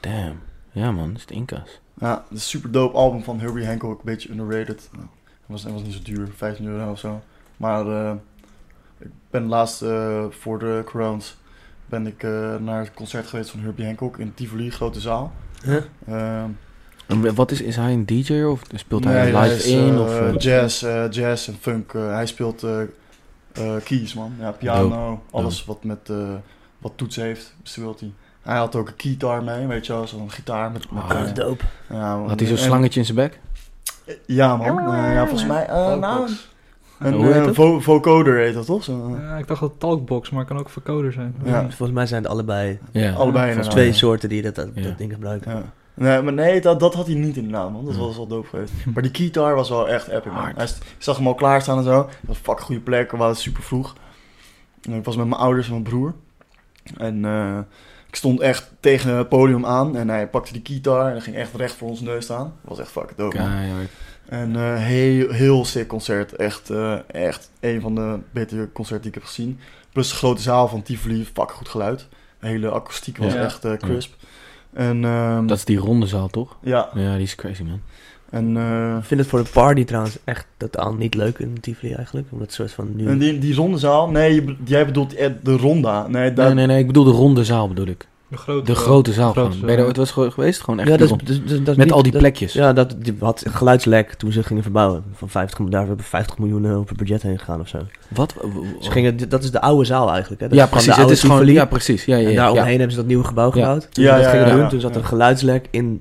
[SPEAKER 4] damn. Ja man, het is de Inca's.
[SPEAKER 2] Ja, een super dope album van Herbie Hancock. Een beetje underrated. Nou, het was, het was niet zo duur, 15 euro of zo. Maar eh, ik ben laatst eh, voor de Crowns ben ik eh, naar het concert geweest van Herbie Hancock in Tivoli, grote zaal.
[SPEAKER 1] Huh?
[SPEAKER 2] Ehm,
[SPEAKER 4] En wat is, is hij een DJ of speelt hij
[SPEAKER 2] nee,
[SPEAKER 4] live
[SPEAKER 2] is,
[SPEAKER 4] in?
[SPEAKER 2] eh,
[SPEAKER 4] of, eh,
[SPEAKER 2] jazz, eh, jazz en funk. eh, hij speelt eh, eh, keys, man. Ja, piano, alles wat met eh, wat toets heeft, speelt hij. Hij had ook een keytar mee, weet je wel, zo'n gitaar met... met
[SPEAKER 4] Ah,
[SPEAKER 1] Ah,
[SPEAKER 2] eh,
[SPEAKER 1] dope.
[SPEAKER 2] ja, man.
[SPEAKER 4] had hij zo'n
[SPEAKER 2] En-
[SPEAKER 4] slangetje in zijn bek?
[SPEAKER 2] Ja, man. Eh, ja, volgens mij... eh, nou,
[SPEAKER 1] Talkbox.
[SPEAKER 2] een
[SPEAKER 4] Hoe heet
[SPEAKER 2] eh,
[SPEAKER 4] dat?
[SPEAKER 2] vo- vocoder heet dat, toch? Zo, eh,
[SPEAKER 3] Ja, ik dacht dat het talkbox, maar het kan ook vercoder zijn.
[SPEAKER 2] Ja.
[SPEAKER 1] Volgens mij zijn het allebei dus
[SPEAKER 4] Ja.
[SPEAKER 2] Allebei
[SPEAKER 4] Volgens
[SPEAKER 2] inderdaad.
[SPEAKER 1] twee
[SPEAKER 2] ja.
[SPEAKER 1] soorten die dat, dat,
[SPEAKER 4] Ja.
[SPEAKER 1] dat ding gebruiken.
[SPEAKER 2] ja. Nee, maar nee, dat, dat had hij niet in de naam, man. Dat
[SPEAKER 4] Hm.
[SPEAKER 2] was wel dope geweest. Maar die keytar was wel echt epic, man.
[SPEAKER 4] Hard.
[SPEAKER 2] Hij, st- ik zag hem al klaarstaan en zo. Dat was een fucking goede plek. We waren super vroeg. En Ik was met mijn ouders en mijn broer. En eh, ik stond echt tegen het podium aan. En hij pakte die keytar en ging echt recht voor ons neus staan. Dat was echt fucking dope, man.
[SPEAKER 4] Keihard.
[SPEAKER 2] En eh, heel, heel sick concert. Echt, eh, echt een van de betere concerten die ik heb gezien. Plus de grote zaal van Tivoli, fucking goed geluid. De hele akoestiek was
[SPEAKER 3] Ja.
[SPEAKER 2] echt eh, crisp. En, ehm,
[SPEAKER 4] Dat is die ronde zaal toch?
[SPEAKER 2] ja,
[SPEAKER 4] Ja, die is crazy man.
[SPEAKER 2] en, eh,
[SPEAKER 1] Ik vind het voor een party trouwens echt totaal niet leuk in Tivoli eigenlijk. Omdat het soort van nu...
[SPEAKER 2] en die, die rondezaal, nee, je be- jij bedoelt eh, de ronda. Nee, dat,
[SPEAKER 4] Nee, nee, nee, ik bedoel de ronde zaal bedoel ik.
[SPEAKER 3] De grote.
[SPEAKER 4] De grote zaal
[SPEAKER 3] grote eh,
[SPEAKER 4] gewoon.
[SPEAKER 3] zaal,
[SPEAKER 4] Ben je er
[SPEAKER 3] ja.
[SPEAKER 4] ooit wel eens ge- geweest? Gewoon echt
[SPEAKER 1] ja,
[SPEAKER 4] die
[SPEAKER 1] dat, is-
[SPEAKER 4] ronde-
[SPEAKER 1] dus- dus- dat is
[SPEAKER 4] Met
[SPEAKER 1] niet-
[SPEAKER 4] al die
[SPEAKER 1] dat-
[SPEAKER 4] plekjes.
[SPEAKER 1] Ja, dat die had geluidslek toen ze gingen verbouwen. Van 50, miljoen- daar hebben 50 miljoen eh, op het budget heen gegaan of zo.
[SPEAKER 4] Wat? w- w-
[SPEAKER 1] Ze gingen, dat is de oude zaal eigenlijk. Hè? Dat
[SPEAKER 4] ja,
[SPEAKER 1] is van de
[SPEAKER 4] precies. Het
[SPEAKER 1] oude
[SPEAKER 4] is gewoon,
[SPEAKER 1] Tivoli.
[SPEAKER 4] ja, precies. Ja, ja,
[SPEAKER 1] En
[SPEAKER 4] ja,
[SPEAKER 1] daar
[SPEAKER 4] ja.
[SPEAKER 1] omheen hebben ze dat nieuwe gebouw
[SPEAKER 4] Ja.
[SPEAKER 1] gebouwd. Toen
[SPEAKER 2] Ja,
[SPEAKER 1] ze dat
[SPEAKER 2] ja,
[SPEAKER 1] gingen
[SPEAKER 2] ja,
[SPEAKER 1] doen,
[SPEAKER 2] ja.
[SPEAKER 1] toen zat er een
[SPEAKER 2] Ja.
[SPEAKER 1] geluidslek in,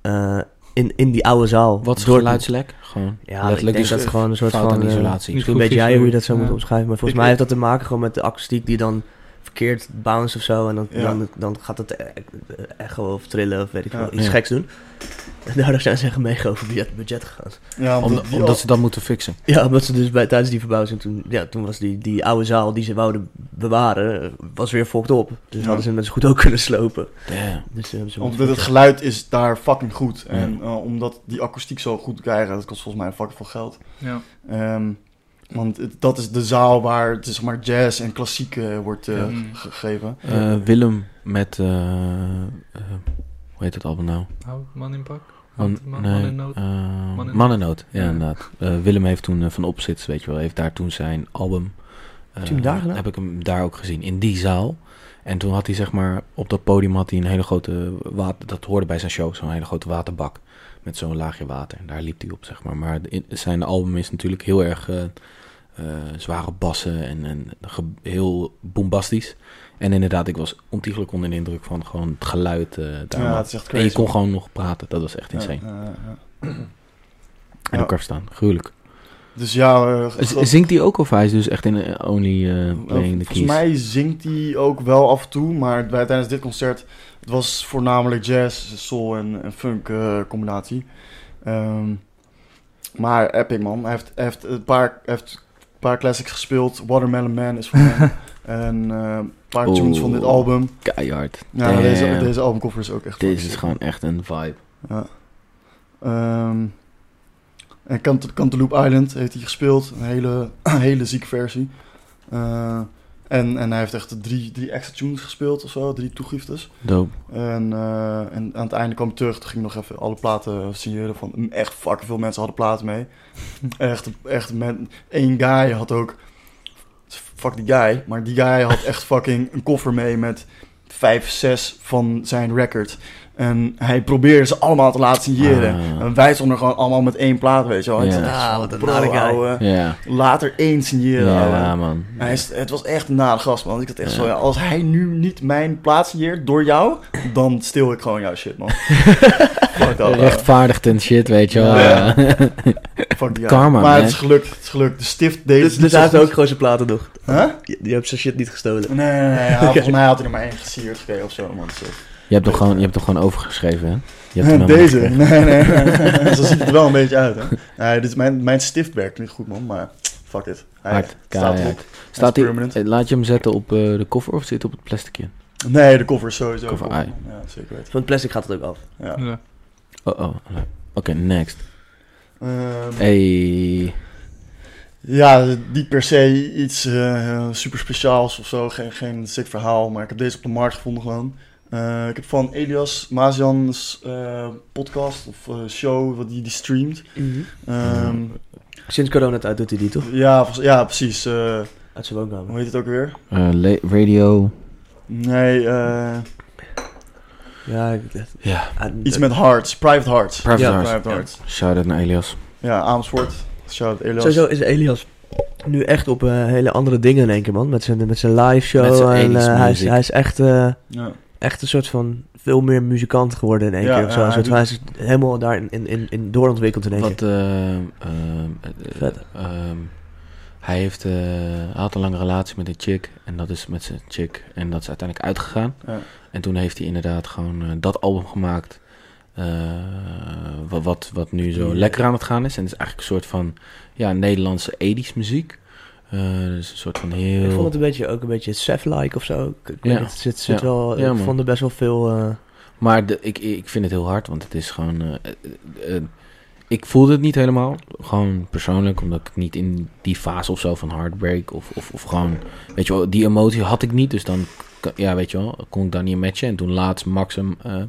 [SPEAKER 1] eh, in, in die oude zaal.
[SPEAKER 4] Wat is
[SPEAKER 1] Door-
[SPEAKER 4] geluidslek? Gewoon
[SPEAKER 1] Ja,
[SPEAKER 4] letterlijk
[SPEAKER 1] ik denk
[SPEAKER 4] dus
[SPEAKER 1] dat het gewoon een soort
[SPEAKER 4] fout
[SPEAKER 1] van...
[SPEAKER 4] aan
[SPEAKER 1] eh,
[SPEAKER 4] isolatie.
[SPEAKER 3] niet
[SPEAKER 1] Misschien
[SPEAKER 3] goed
[SPEAKER 1] weet jij hoe je
[SPEAKER 3] visueel.
[SPEAKER 1] dat zou moeten
[SPEAKER 3] Ja.
[SPEAKER 1] omschrijven. Maar volgens
[SPEAKER 2] Ik-
[SPEAKER 1] mij heeft dat te maken gewoon met de akoestiek die dan verkeerd bounce of zo. En dan,
[SPEAKER 2] Ja.
[SPEAKER 1] dan, dan gaat het e- echo of trillen of weet ik
[SPEAKER 2] Ja.
[SPEAKER 1] wel. Iets
[SPEAKER 4] Ja.
[SPEAKER 1] geks doen. En daardoor zijn ze echt mega over budget, budget gegaan.
[SPEAKER 2] ja,
[SPEAKER 4] Om-
[SPEAKER 2] omdat, die-
[SPEAKER 4] omdat ze dat moeten fixen.
[SPEAKER 1] Ja, omdat ze dus bij, tijdens die verbouwing toen... Ja, toen was die, die oude zaal die ze wouden bewaren, eh, was weer fokt op. Dus
[SPEAKER 2] Ja.
[SPEAKER 1] hadden ze hem net zo goed ook kunnen slopen.
[SPEAKER 4] Damn.
[SPEAKER 1] Dus, eh, ze
[SPEAKER 2] omdat het geluid is daar fucking goed. En
[SPEAKER 4] Ja.
[SPEAKER 2] eh, omdat die akoestiek zo goed krijgen, dat kost volgens mij fucking veel geld.
[SPEAKER 3] Ja.
[SPEAKER 2] Ehm, want het- dat is de zaal waar het is, zeg maar jazz en klassiek eh, wordt eh,
[SPEAKER 3] Ja. Mm.
[SPEAKER 2] gegeven.
[SPEAKER 4] Eh, Willem met... eh, eh, hoe heet dat album nou?
[SPEAKER 3] Hou man in pak.
[SPEAKER 4] Man,
[SPEAKER 3] Man-
[SPEAKER 4] nee,
[SPEAKER 3] Man in Nood?
[SPEAKER 4] eh,
[SPEAKER 3] Man in
[SPEAKER 4] Man in Nood, ja,
[SPEAKER 3] Ja.
[SPEAKER 4] inderdaad. Eh, Willem heeft toen eh, van Opzits, weet je wel, heeft daar toen zijn album... eh,
[SPEAKER 1] Heb je hem daar gedaan?
[SPEAKER 4] Heb ik hem daar ook gezien, in die zaal. En toen had hij zeg maar, op dat podium had hij een hele grote water... Dat hoorde bij zijn show, zo'n hele grote waterbak. Met zo'n laagje water. En daar liep hij op, zeg maar. Maar in- zijn album is natuurlijk heel erg eh, eh, zware bassen en, en ge- heel bombastisch. En inderdaad, ik was ontiegelijk onder de indruk van gewoon het geluid eh daar.
[SPEAKER 2] Ja,
[SPEAKER 4] man.
[SPEAKER 2] het is echt
[SPEAKER 4] en
[SPEAKER 2] crazy.
[SPEAKER 4] je kon gewoon nog praten, dat was echt
[SPEAKER 2] Ja,
[SPEAKER 4] insane.
[SPEAKER 2] ja, ja.
[SPEAKER 4] En
[SPEAKER 2] Ja.
[SPEAKER 4] elkaar staan, gruwelijk.
[SPEAKER 2] Dus ja, eh,
[SPEAKER 4] Z-
[SPEAKER 2] dat- Nou,
[SPEAKER 4] Zingt hij ook of hij is dus echt in eh, Only eh Playing the
[SPEAKER 2] volgens
[SPEAKER 4] Keys?
[SPEAKER 2] mij zingt hij ook wel af en toe, maar bij, tijdens dit concert het was voornamelijk jazz, soul en, en funk eh, combinatie. Ehm, maar epic man, hij heeft, hij heeft een paar, hij heeft een paar classics gespeeld. Watermelon Man is van
[SPEAKER 4] *laughs*
[SPEAKER 2] hem en eh, een paar
[SPEAKER 4] Oeh.
[SPEAKER 2] tunes van dit album.
[SPEAKER 4] Keihard.
[SPEAKER 2] Ja,
[SPEAKER 4] Damn.
[SPEAKER 2] deze, deze albumcover is ook echt.
[SPEAKER 4] Dit is gewoon echt een vibe.
[SPEAKER 2] Ja. Ehm, en Cant- Cantaloupe Island heeft hij gespeeld. Een hele, *clears throat* hele zieke versie. Eh, en, en hij heeft echt drie, drie extra tunes gespeeld of zo. Drie toegiftes.
[SPEAKER 4] Dope.
[SPEAKER 2] En, eh, en aan het einde kwam hij terug. Toen ging hij nog even alle platen signeren. Van, mm, echt fucking veel mensen hadden platen
[SPEAKER 4] *laughs*
[SPEAKER 2] mee. echt, echt men, één guy had ook... Fuck die guy. Maar die guy had echt fucking een koffer mee met vijf, zes van zijn record. En hij probeerde ze allemaal te laten signeren.
[SPEAKER 4] Ah.
[SPEAKER 2] En wij stonden gewoon allemaal met één plaat, weet je wel. En
[SPEAKER 4] Ja.
[SPEAKER 2] ik dacht echt
[SPEAKER 1] Ah,
[SPEAKER 2] van,
[SPEAKER 1] wat een
[SPEAKER 2] bro,
[SPEAKER 1] nare guy.
[SPEAKER 4] Ja,
[SPEAKER 2] ouwe, Later één
[SPEAKER 4] ja,
[SPEAKER 2] signeren, ouwe.
[SPEAKER 4] man.
[SPEAKER 2] Hij is, het was echt een nare gast, man. Ik had echt
[SPEAKER 4] Ja.
[SPEAKER 2] zo, ja, als hij nu niet mijn plaats hier door jou, dan steel ik gewoon jouw shit,
[SPEAKER 4] *laughs*
[SPEAKER 2] man. fuck dat, ouwe.
[SPEAKER 4] Rechtvaardigd en shit, weet je wel.
[SPEAKER 2] Ja.
[SPEAKER 4] Ja.
[SPEAKER 2] fuck die
[SPEAKER 4] Karma,
[SPEAKER 2] Maar
[SPEAKER 4] man.
[SPEAKER 2] het is gelukt, het is gelukt. De stift deed
[SPEAKER 1] Dus,
[SPEAKER 2] het niet
[SPEAKER 1] dus
[SPEAKER 2] zo
[SPEAKER 1] hij heeft
[SPEAKER 2] goed.
[SPEAKER 1] ook gewoon zijn platen nog.
[SPEAKER 2] Huh?
[SPEAKER 1] Je, je hebt zijn shit niet gestolen.
[SPEAKER 2] Nee, nee, nee.
[SPEAKER 4] *laughs*
[SPEAKER 2] ja, volgens mij had hij er maar één gesierd gekregen of zo, man. Zo.
[SPEAKER 4] *laughs* Je hebt toch gewoon, je hebt toch gewoon overgeschreven, hè? Je
[SPEAKER 2] *laughs*
[SPEAKER 4] hebt hem helemaal
[SPEAKER 2] Deze?
[SPEAKER 4] gekregen.
[SPEAKER 2] Nee, nee,
[SPEAKER 4] *laughs*
[SPEAKER 2] nee. Zo ziet het er wel een beetje uit, hè. Nee, dit is mijn, mijn stift werkt niet goed, man, maar fuck it. Hij
[SPEAKER 4] Hard,
[SPEAKER 2] staat erop.
[SPEAKER 4] keihard. Staat
[SPEAKER 2] Hij
[SPEAKER 4] hij,
[SPEAKER 2] is permanent.
[SPEAKER 4] eh, laat je hem zetten op eh, de koffer of zit hij op het plasticje?
[SPEAKER 2] Nee, de cover is sowieso.
[SPEAKER 4] Cover,
[SPEAKER 2] cool,
[SPEAKER 4] ai.
[SPEAKER 2] man. Ja, zeker weten.
[SPEAKER 1] Van het plastic gaat het ook af.
[SPEAKER 2] Ja.
[SPEAKER 3] Ja.
[SPEAKER 4] Oh, oh. Oké, next.
[SPEAKER 2] Ehm,
[SPEAKER 4] Hey.
[SPEAKER 2] Ja, niet per se iets eh, super speciaals of zo. Geen, geen sick verhaal, maar ik heb deze op de markt gevonden gewoon. Eh, ik heb van Elias Mazian's eh, podcast of eh, show, wat die, die streamt. Ehm,
[SPEAKER 1] Sinds corona het uit doet hij die toch?
[SPEAKER 2] ja, volgens- ja, precies. eh,
[SPEAKER 1] Uit zijn woonkamer.
[SPEAKER 2] hoe heet het ook weer?
[SPEAKER 4] eh, la- radio.
[SPEAKER 2] Nee, eh,
[SPEAKER 1] Ja, ik- dat-
[SPEAKER 4] Ja.
[SPEAKER 1] ah,
[SPEAKER 2] iets
[SPEAKER 1] dat-
[SPEAKER 2] met Hearts. Private Hearts.
[SPEAKER 4] Private
[SPEAKER 1] Ja,
[SPEAKER 4] Hearts.
[SPEAKER 2] Private Hearts.
[SPEAKER 4] Shout out naar Elias.
[SPEAKER 2] Ja, Amersfoort. Shout out Elias.
[SPEAKER 1] Sowieso is Elias nu echt op eh, hele andere dingen in één keer, man. Met zijn, met zijn live show.
[SPEAKER 4] Met zijn
[SPEAKER 1] en,
[SPEAKER 4] 80s
[SPEAKER 1] eh, hij, is,
[SPEAKER 4] music.
[SPEAKER 1] hij is echt, eh,
[SPEAKER 2] Ja.
[SPEAKER 1] echt een soort van veel meer muzikant geworden in één
[SPEAKER 2] Ja,
[SPEAKER 1] keer. Of zo.
[SPEAKER 2] ja,
[SPEAKER 1] Een
[SPEAKER 2] hij
[SPEAKER 1] soort van- hij is helemaal daarin in, in, in doorontwikkeld in één keer.
[SPEAKER 4] Wat, eh, ehm, eh,
[SPEAKER 1] Vet.
[SPEAKER 4] ehm, hij heeft, eh, hij had een lange relatie met een chick. En dat is met zijn chick. En dat is uiteindelijk uitgegaan.
[SPEAKER 2] Ja.
[SPEAKER 4] En toen heeft hij inderdaad gewoon eh, dat album gemaakt. eh, wa- wat, wat nu zo
[SPEAKER 1] Ja.
[SPEAKER 4] lekker aan het gaan is. En het is eigenlijk een soort van ja, Nederlandse 80s muziek. Eh, dus een soort van heel...
[SPEAKER 1] Ik vond het een beetje, ook een beetje Seth-like of zo. Ik, ik
[SPEAKER 4] Ja.
[SPEAKER 1] weet niet, het zit, zit
[SPEAKER 4] Ja.
[SPEAKER 1] wel,
[SPEAKER 4] Ja,
[SPEAKER 1] ik
[SPEAKER 4] man.
[SPEAKER 1] vond er best wel veel... eh,
[SPEAKER 4] Maar de, ik, ik vind het heel hard, want het is gewoon. eh, eh, eh, ik voelde het niet helemaal. Gewoon persoonlijk, omdat ik niet in die fase of zo van heartbreak. Of, of, of gewoon. Weet je wel, die emotie had ik niet. Dus dan. k- Ja, weet je wel, kon ik daar niet in matchen. En toen laatst Max hem. eh,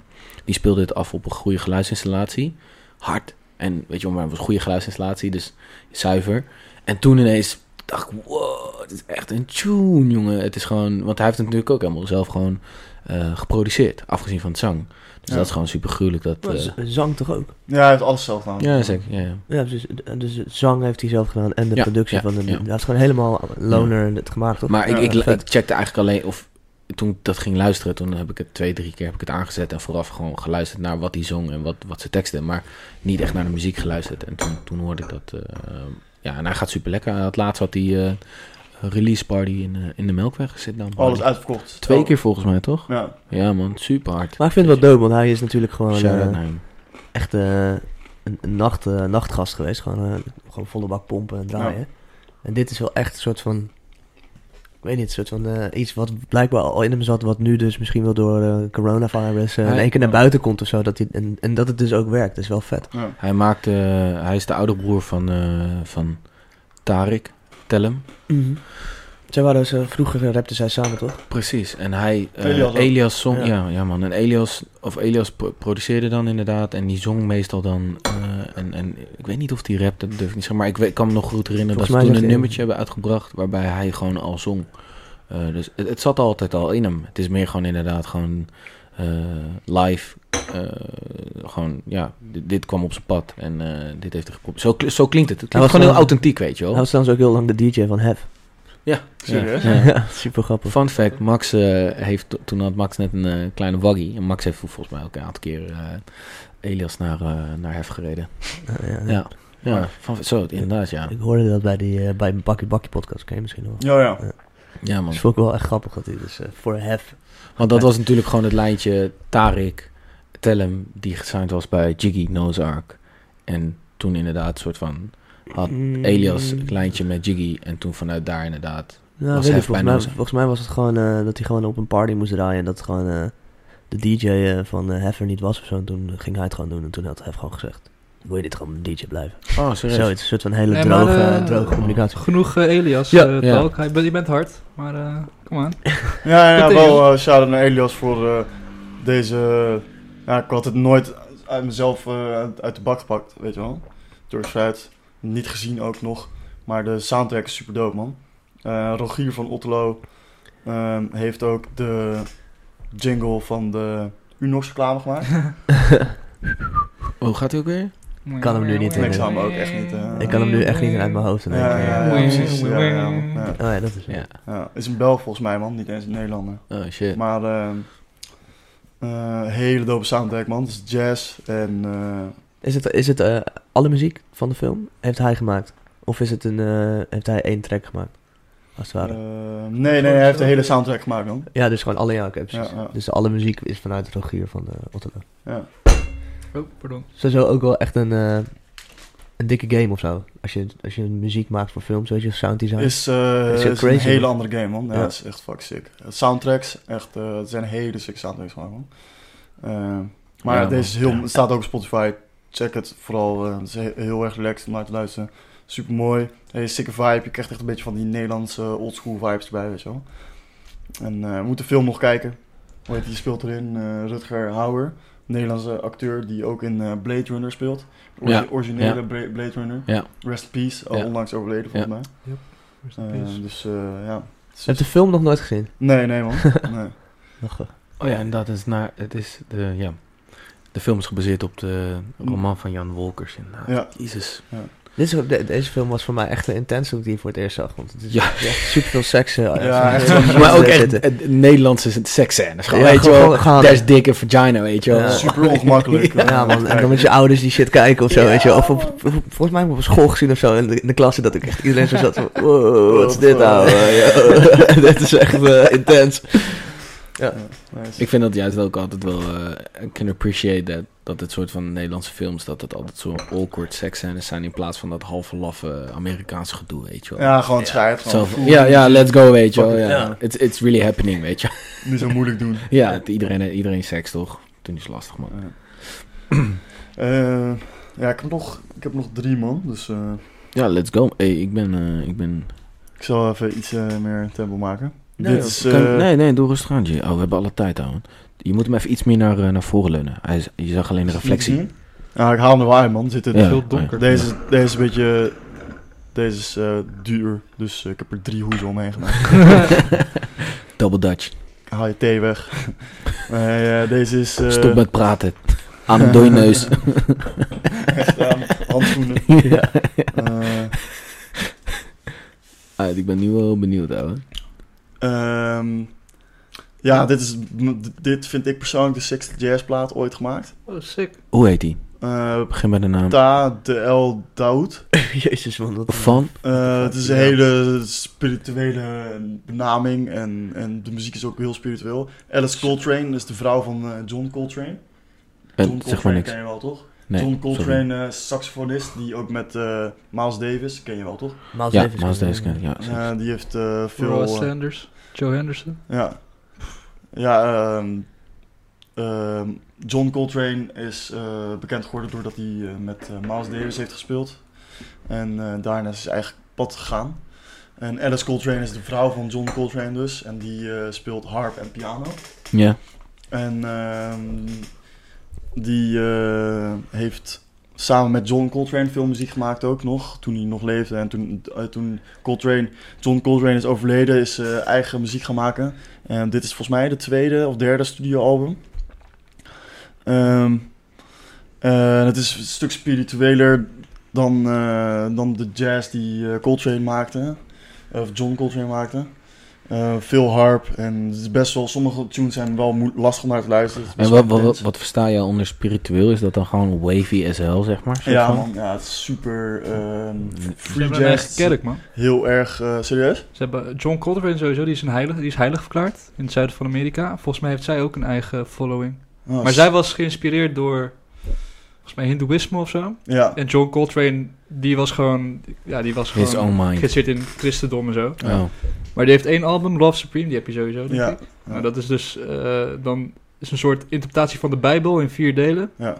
[SPEAKER 4] die speelde het af op een goede geluidsinstallatie. Hard. En weet je wel, maar het was een goede geluidsinstallatie, dus zuiver. En toen ineens dacht ik, wow, het is echt een tune, jongen. Het is gewoon, want hij heeft het natuurlijk ook helemaal zelf gewoon eh, geproduceerd, afgezien van het zang. Dus
[SPEAKER 2] Ja.
[SPEAKER 4] dat is gewoon super gruwelijk. Dat, eh,
[SPEAKER 1] z- zang toch ook?
[SPEAKER 2] ja, hij heeft alles zelf gedaan.
[SPEAKER 4] ja, zeker. Ja, ja.
[SPEAKER 1] Ja, dus, dus het zang heeft hij zelf gedaan en de
[SPEAKER 4] Ja,
[SPEAKER 1] productie
[SPEAKER 4] ja,
[SPEAKER 1] van de...
[SPEAKER 4] ja.
[SPEAKER 1] Dat is gewoon helemaal loner en het gemaakt, toch?
[SPEAKER 4] Maar ik,
[SPEAKER 2] Ja,
[SPEAKER 4] ik, ik
[SPEAKER 1] vet.
[SPEAKER 4] checkte eigenlijk alleen of toen ik dat ging luisteren, toen heb ik het twee, drie keer heb ik het aangezet en vooraf gewoon geluisterd naar wat hij zong en wat, wat zijn teksten, maar niet echt naar de muziek geluisterd. En toen, toen hoorde ik dat. eh, ja, en hij gaat super lekker. Het laatst had hij eh, een release party in, eh, in de Melkweg zit dan.
[SPEAKER 2] Alles uitverkocht.
[SPEAKER 4] Twee keer volgens mij, toch?
[SPEAKER 2] Ja.
[SPEAKER 4] Ja, man, super hard.
[SPEAKER 1] Maar ik vind het wel dope, want hij is natuurlijk gewoon
[SPEAKER 4] Shout out
[SPEAKER 1] eh,
[SPEAKER 4] naar hem.
[SPEAKER 1] echt eh, een, een nacht, eh, nachtgast geweest. Gewoon, eh, gewoon volle bak pompen en draaien. En dit is wel echt een soort van... Ik weet niet, een soort van eh, iets wat blijkbaar al in hem zat... wat nu dus misschien wel door eh, coronavirus eh, in
[SPEAKER 4] Hij-
[SPEAKER 1] één keer naar buiten komt of zo. Dat hij, en, en dat het dus ook werkt, dat is wel vet.
[SPEAKER 4] Hij maakte, eh, hij is de ouderbroer van, eh, van Tarik Tellem.
[SPEAKER 1] Zij waren Mhm. ze, vroeger rapten zij samen, toch?
[SPEAKER 4] Precies. En hij, eh,
[SPEAKER 2] Elias
[SPEAKER 4] Elias,
[SPEAKER 2] ook.
[SPEAKER 4] zong,
[SPEAKER 1] Ja.
[SPEAKER 4] ja. Ja, man. En Elias, of Elias pro- produceerde dan inderdaad en die zong meestal dan. eh, en, en ik weet niet of die rapte, dat durf ik niet te zeggen, maar ik, weet, ik kan me nog goed herinneren
[SPEAKER 1] Volgens mij
[SPEAKER 4] dat ze toen
[SPEAKER 1] zegt
[SPEAKER 4] een
[SPEAKER 1] hij-
[SPEAKER 4] nummertje hebben uitgebracht waarbij hij gewoon al zong. Eh, dus het, het zat altijd al in hem. Het is meer gewoon inderdaad gewoon eh, live. eh, gewoon, ja, dit, dit kwam op zijn pad en eh, dit heeft hij geprobeerd. Zo, kl- zo klinkt het. Het
[SPEAKER 1] Hij
[SPEAKER 4] klinkt gewoon heel
[SPEAKER 1] was gewoon-
[SPEAKER 4] authentiek, weet je wel.
[SPEAKER 1] Hij was trouwens ook heel lang de DJ van Hef.
[SPEAKER 2] Serieus?
[SPEAKER 4] Ja. Ja.
[SPEAKER 1] *laughs* Ja, super grappig.
[SPEAKER 4] Fun fact, Max eh, heeft, to- toen had Max net een eh, kleine waggie. En Max heeft volgens mij ook een aantal keer eh, Elias naar, eh, naar Hef gereden.
[SPEAKER 1] Ja, ja.
[SPEAKER 4] Ja, ja fun- zo, inderdaad, ja.
[SPEAKER 1] Ik hoorde dat bij, die, eh, bij een Bakkie Bakkie podcast, ken je misschien wel.
[SPEAKER 2] Ja, ja.
[SPEAKER 4] Ja, man.
[SPEAKER 1] Dus vond ik wel echt grappig dat hij dus eh, voor Hef...
[SPEAKER 4] Want dat was natuurlijk gewoon het lijntje Tarik, Tellem, die gesigned was bij Jiggy Nozark. En toen inderdaad een soort van Had
[SPEAKER 1] Mm,
[SPEAKER 4] Elias een lijntje met Jiggy. En toen vanuit daar inderdaad...
[SPEAKER 1] Nou,
[SPEAKER 4] Was
[SPEAKER 1] weet ik,
[SPEAKER 4] Hef
[SPEAKER 1] volgens,
[SPEAKER 4] bijna
[SPEAKER 1] mij,
[SPEAKER 4] zo.
[SPEAKER 1] volgens mij was het gewoon eh, dat hij gewoon op een party moest draaien. En dat gewoon eh, de DJ eh, van eh, Hef er niet was of zo. En toen ging hij het gewoon doen. En toen had Hef gewoon gezegd, wil je dit gewoon DJ blijven?
[SPEAKER 4] Oh,
[SPEAKER 1] Zo,
[SPEAKER 4] serieus?
[SPEAKER 1] het is een soort van hele
[SPEAKER 3] Nee, maar,
[SPEAKER 1] droge,
[SPEAKER 3] eh,
[SPEAKER 1] droge communicatie. Oh
[SPEAKER 3] Genoeg eh, Elias
[SPEAKER 1] Ja.
[SPEAKER 3] eh,
[SPEAKER 4] Ja.
[SPEAKER 3] talk. Hij- je bent hard, maar eh kom aan.
[SPEAKER 2] Ja, ja,
[SPEAKER 3] Goed,
[SPEAKER 2] wel eh shout-out naar Elias voor eh, deze... ja, ik had het nooit uit mezelf eh, uit- uit de bak gepakt, weet je wel. Door Zuid. Niet gezien ook nog. Maar de soundtrack is super dope, man. Eh, Rogier van Otterlo ehm, heeft ook de jingle van de Unox reclame gemaakt.
[SPEAKER 4] Hoe gaat hij ook weer?
[SPEAKER 1] kan hem nu niet
[SPEAKER 2] Ik zou hem ook echt niet... eh,
[SPEAKER 1] Ik kan hem nu echt niet uit mijn hoofd. in
[SPEAKER 2] Ja,
[SPEAKER 1] één
[SPEAKER 2] ja, ja,
[SPEAKER 1] keer.
[SPEAKER 2] ja, precies. Ja, ja, ja.
[SPEAKER 1] Oh ja, dat is
[SPEAKER 4] Ja.
[SPEAKER 2] Ja, is een Belg volgens mij, man. Niet eens een Nederlander.
[SPEAKER 4] Oh, shit.
[SPEAKER 2] Maar ehm, eh, hele dope soundtrack, man. Het is jazz en... eh,
[SPEAKER 1] Is het, is het eh, alle muziek van de film heeft hij gemaakt? Of is het een, eh, heeft hij één track gemaakt? Als het ware.
[SPEAKER 2] Eh, nee, nee, hij heeft de hele soundtrack gemaakt, man.
[SPEAKER 1] ja, dus gewoon alle, ja, oké, precies.
[SPEAKER 2] Ja, ja.
[SPEAKER 1] Dus alle muziek is vanuit Rogier van eh Otterlo.
[SPEAKER 2] Ja.
[SPEAKER 3] Oh, pardon.
[SPEAKER 1] Sowieso ook wel echt een, eh, een dikke game of zo. Als je, als je muziek maakt voor films, weet je, sound design.
[SPEAKER 2] Is, eh,
[SPEAKER 1] Is
[SPEAKER 2] is,
[SPEAKER 1] heel
[SPEAKER 2] een
[SPEAKER 1] crazy,
[SPEAKER 2] hele
[SPEAKER 1] man.
[SPEAKER 2] andere game, man. Ja,
[SPEAKER 1] Ja.
[SPEAKER 2] het is echt fuck sick. Soundtracks, echt, eh, het zijn hele sick soundtracks gemaakt, man. Eh, maar
[SPEAKER 4] Ja,
[SPEAKER 2] deze is heel,
[SPEAKER 4] man. Ja.
[SPEAKER 2] staat ook op Spotify. Check het vooral. eh, het is he- heel erg relaxed om naar te luisteren. Super mooi. Hele sicke vibe. Je krijgt echt een beetje van die Nederlandse oldschool vibes erbij, weet je wel. En eh, we moeten de film nog kijken. Hoe heet die speelt erin? Eh, Rutger Hauer. Nederlandse acteur die ook in eh, Blade Runner speelt. De orgi-
[SPEAKER 4] Ja,
[SPEAKER 2] originele Bra- Blade Runner.
[SPEAKER 4] Ja.
[SPEAKER 2] Rest in peace. Al
[SPEAKER 4] Ja.
[SPEAKER 2] onlangs overleden, volgens mij. Eh, dus eh, ja.
[SPEAKER 1] Je hebt de film nog nooit gezien.
[SPEAKER 2] Nee, nee
[SPEAKER 4] *laughs*
[SPEAKER 2] man. Nee.
[SPEAKER 1] Nog, eh,
[SPEAKER 4] Oh ja, inderdaad. Het is, naar, het is de, ja. de film is gebaseerd op de roman van Jan Wolkers. Inderdaad.
[SPEAKER 2] Ja.
[SPEAKER 4] Jezus.
[SPEAKER 1] dit is, ook- de- deze film was voor mij echt een intens toen ik die voor het eerst zag. Want het is
[SPEAKER 4] Ja.
[SPEAKER 1] echt super veel seks. eh,
[SPEAKER 2] Ja, echt.
[SPEAKER 4] *laughs*
[SPEAKER 1] zitten.
[SPEAKER 4] Maar ook echt het- het Nederlandse seksscènes.
[SPEAKER 1] Ja,
[SPEAKER 4] Gewoon, weet je
[SPEAKER 1] gewoon-
[SPEAKER 4] wel.
[SPEAKER 1] gewoon-
[SPEAKER 4] Daar is dikke vagina, weet je wel.
[SPEAKER 1] Ja.
[SPEAKER 2] *laughs* Super ongemakkelijk. eh,
[SPEAKER 1] Ja, man. En dan
[SPEAKER 2] kijken.
[SPEAKER 1] met je ouders die shit kijken of zo,
[SPEAKER 4] Ja.
[SPEAKER 1] weet je wel. Of op, volgens mij heb ik op school gezien of zo, in de, in de klasse, dat ik echt iedereen zo zat van...
[SPEAKER 4] *laughs*
[SPEAKER 1] Wow, wat is dit nou? eh,
[SPEAKER 4] Oh,
[SPEAKER 1] joh?" *laughs* dit is echt eh, intens.
[SPEAKER 2] Nice.
[SPEAKER 4] *laughs* Ik vind dat juist ook altijd wel... eh I can appreciate that. Dat het soort van Nederlandse films... dat het altijd zo'n awkward seksscènes zijn... in plaats van dat halve laffe Amerikaanse gedoe, weet je wel.
[SPEAKER 2] Ja, gewoon het schijt.
[SPEAKER 4] Zo
[SPEAKER 2] Gewoon.
[SPEAKER 4] van, ja, ja, let's go, weet je wel.
[SPEAKER 2] Fuck
[SPEAKER 4] Ja.
[SPEAKER 2] it. Ja.
[SPEAKER 4] It's, it's really happening, weet je.
[SPEAKER 2] Niet zo moeilijk
[SPEAKER 4] *clears throat*
[SPEAKER 2] doen.
[SPEAKER 4] *laughs* Ja, het- iedereen, iedereen seks, toch? Toen is lastig, man.
[SPEAKER 2] Eh, ja, ik heb, nog, ik heb nog drie man. Dus eh,
[SPEAKER 4] Ja, let's go. Hey, ik ben... eh, ik ben...
[SPEAKER 2] ik zal even iets eh, meer tempo maken.
[SPEAKER 1] Nee,
[SPEAKER 2] Dit
[SPEAKER 1] joh.
[SPEAKER 2] is,
[SPEAKER 4] Kan-
[SPEAKER 2] eh,
[SPEAKER 4] nee, nee, doe rustig aan, G. Oh, we hebben alle tijd, ouwe. Je moet hem even iets meer naar, eh, naar voren leunen. Hij, is- je zag
[SPEAKER 2] Mhm.
[SPEAKER 4] alleen de reflectie.
[SPEAKER 2] niet te zien. Ja, ik haal hem er wel uit man. Zit er,
[SPEAKER 4] Ja,
[SPEAKER 3] veel donker.
[SPEAKER 2] deze, is- deze is een beetje... Deze is eh, duur. Dus eh, ik heb er drie hoezen omheen gemaakt.
[SPEAKER 4] Double Dutch.
[SPEAKER 2] Ik haal je thee weg. *laughs* Nee, eh, deze is... eh,
[SPEAKER 4] Stop met
[SPEAKER 2] *laughs*
[SPEAKER 4] praten. Aan hem door je neus.
[SPEAKER 2] Echt aan *laughs* handschoenen.
[SPEAKER 4] ja.
[SPEAKER 2] Eh,
[SPEAKER 4] Uit, ik ben nu wel heel benieuwd, ouwe.
[SPEAKER 2] Ehm, ja, dit, is, m- d- dit vind ik persoonlijk de sixth jazzplaat ooit gemaakt.
[SPEAKER 3] Oh, sick.
[SPEAKER 4] Hoe heet die?
[SPEAKER 2] Eh
[SPEAKER 4] Begin met de naam.
[SPEAKER 2] Ta de El Daoud.
[SPEAKER 1] *laughs* Jezus, man. Wat
[SPEAKER 4] Van?
[SPEAKER 2] Eh, het is een hele spirituele benaming en, en de muziek is ook heel spiritueel. Alice Coltrane is de vrouw van eh, John Coltrane.
[SPEAKER 4] Eh,
[SPEAKER 2] John
[SPEAKER 4] zeg maar
[SPEAKER 2] Coltrane
[SPEAKER 4] niks.
[SPEAKER 2] ken je wel, toch?
[SPEAKER 4] Nee,
[SPEAKER 2] John
[SPEAKER 4] sorry.
[SPEAKER 2] Coltrane, eh, saxofonist, die ook met eh, Miles Davis, ken je wel, toch?
[SPEAKER 1] Miles
[SPEAKER 4] Ja,
[SPEAKER 1] Davis.
[SPEAKER 4] Miles Davis ken ik, Ja, zeker.
[SPEAKER 2] Eh, die heeft eh, veel...
[SPEAKER 3] Ross
[SPEAKER 2] eh,
[SPEAKER 3] Sanders. Joe Henderson.
[SPEAKER 2] Ja. Ja, ehm, ehm, John Coltrane is eh, bekend geworden doordat hij eh, met eh, Miles Davis heeft gespeeld. En eh, daarna is hij zijn eigen pad gegaan. Eh, En Alice Coltrane is de vrouw van John Coltrane dus. En die eh, speelt harp en piano.
[SPEAKER 4] Ja.
[SPEAKER 2] En ehm, die eh, heeft samen met John Coltrane veel muziek gemaakt ook nog, toen hij nog leefde. En toen, eh, toen Coltrane, John Coltrane is overleden, is eh, eigen muziek gaan maken. En dit is volgens mij de tweede of derde studioalbum. Ehm, eh, het is een stuk spiritueler dan, eh, dan de jazz die eh, Coltrane maakte, of John Coltrane maakte. Eh, veel harp en het is best wel, sommige tunes zijn wel moe- lastig om naar te luisteren. Het is
[SPEAKER 4] En
[SPEAKER 2] best
[SPEAKER 4] wat,
[SPEAKER 2] wel
[SPEAKER 4] wat, wat,
[SPEAKER 2] intens.
[SPEAKER 4] wat versta je onder spiritueel? Is dat dan gewoon wavy as hell, zeg maar? soort
[SPEAKER 2] Ja,
[SPEAKER 4] van?
[SPEAKER 2] man, ja, het is super ehm,
[SPEAKER 3] Ze
[SPEAKER 2] free
[SPEAKER 3] hebben een eigen
[SPEAKER 2] jazz.
[SPEAKER 3] kerk, man.
[SPEAKER 2] Heel erg eh, serieus.
[SPEAKER 3] Ze hebben John Coltrane sowieso, die is, een heilig, die is heilig verklaard in het zuiden van Amerika. Volgens mij heeft zij ook een eigen following.
[SPEAKER 2] Oh,
[SPEAKER 3] Maar
[SPEAKER 2] s-
[SPEAKER 3] zij was geïnspireerd door, volgens mij, hindoeïsme of zo.
[SPEAKER 2] Ja,
[SPEAKER 3] En John Coltrane, die was gewoon, ja, die was
[SPEAKER 4] His
[SPEAKER 3] gewoon
[SPEAKER 4] own mind.
[SPEAKER 3] geïnteresseerd in christendom en zo.
[SPEAKER 4] Oh.
[SPEAKER 3] Maar die heeft één album, Love Supreme, die heb je sowieso, denk
[SPEAKER 2] Ja,
[SPEAKER 3] ik.
[SPEAKER 2] ja.
[SPEAKER 3] Nou, dat is dus, eh, dan is een soort interpretatie van de Bijbel in vier delen.
[SPEAKER 2] ja,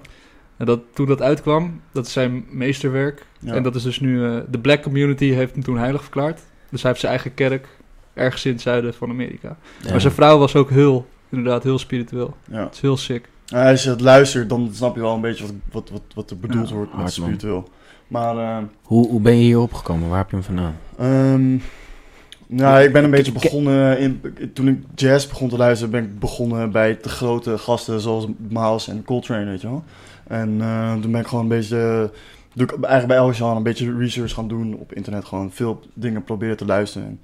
[SPEAKER 3] En dat, toen dat uitkwam, dat is zijn meesterwerk.
[SPEAKER 2] ja.
[SPEAKER 3] En dat is dus nu, eh, de black community heeft hem toen heilig verklaard. Dus hij heeft zijn eigen kerk, ergens in het zuiden van Amerika.
[SPEAKER 4] Ja.
[SPEAKER 3] Maar zijn vrouw was ook heel, inderdaad, heel spiritueel.
[SPEAKER 2] ja.
[SPEAKER 3] Het is heel sick.
[SPEAKER 2] Nou, als je het luistert, dan snap je wel een beetje wat, wat, wat, wat er bedoeld
[SPEAKER 3] Ja,
[SPEAKER 2] wordt met
[SPEAKER 4] hard, man.
[SPEAKER 2] spiritueel. Maar, ehm,
[SPEAKER 4] Hoe, hoe ben je hierop gekomen? Waar heb je hem vandaan?
[SPEAKER 2] ehm, nou, ik ben een beetje
[SPEAKER 4] Ik- ik-
[SPEAKER 2] begonnen, in, toen ik jazz begon te luisteren, ben ik begonnen bij de grote gasten zoals Miles en Coltrane, weet je wel. En eh, toen ben ik gewoon een beetje, eh, doe ik eigenlijk bij elk genre een beetje research gaan doen op internet. Gewoon veel dingen proberen te luisteren. En,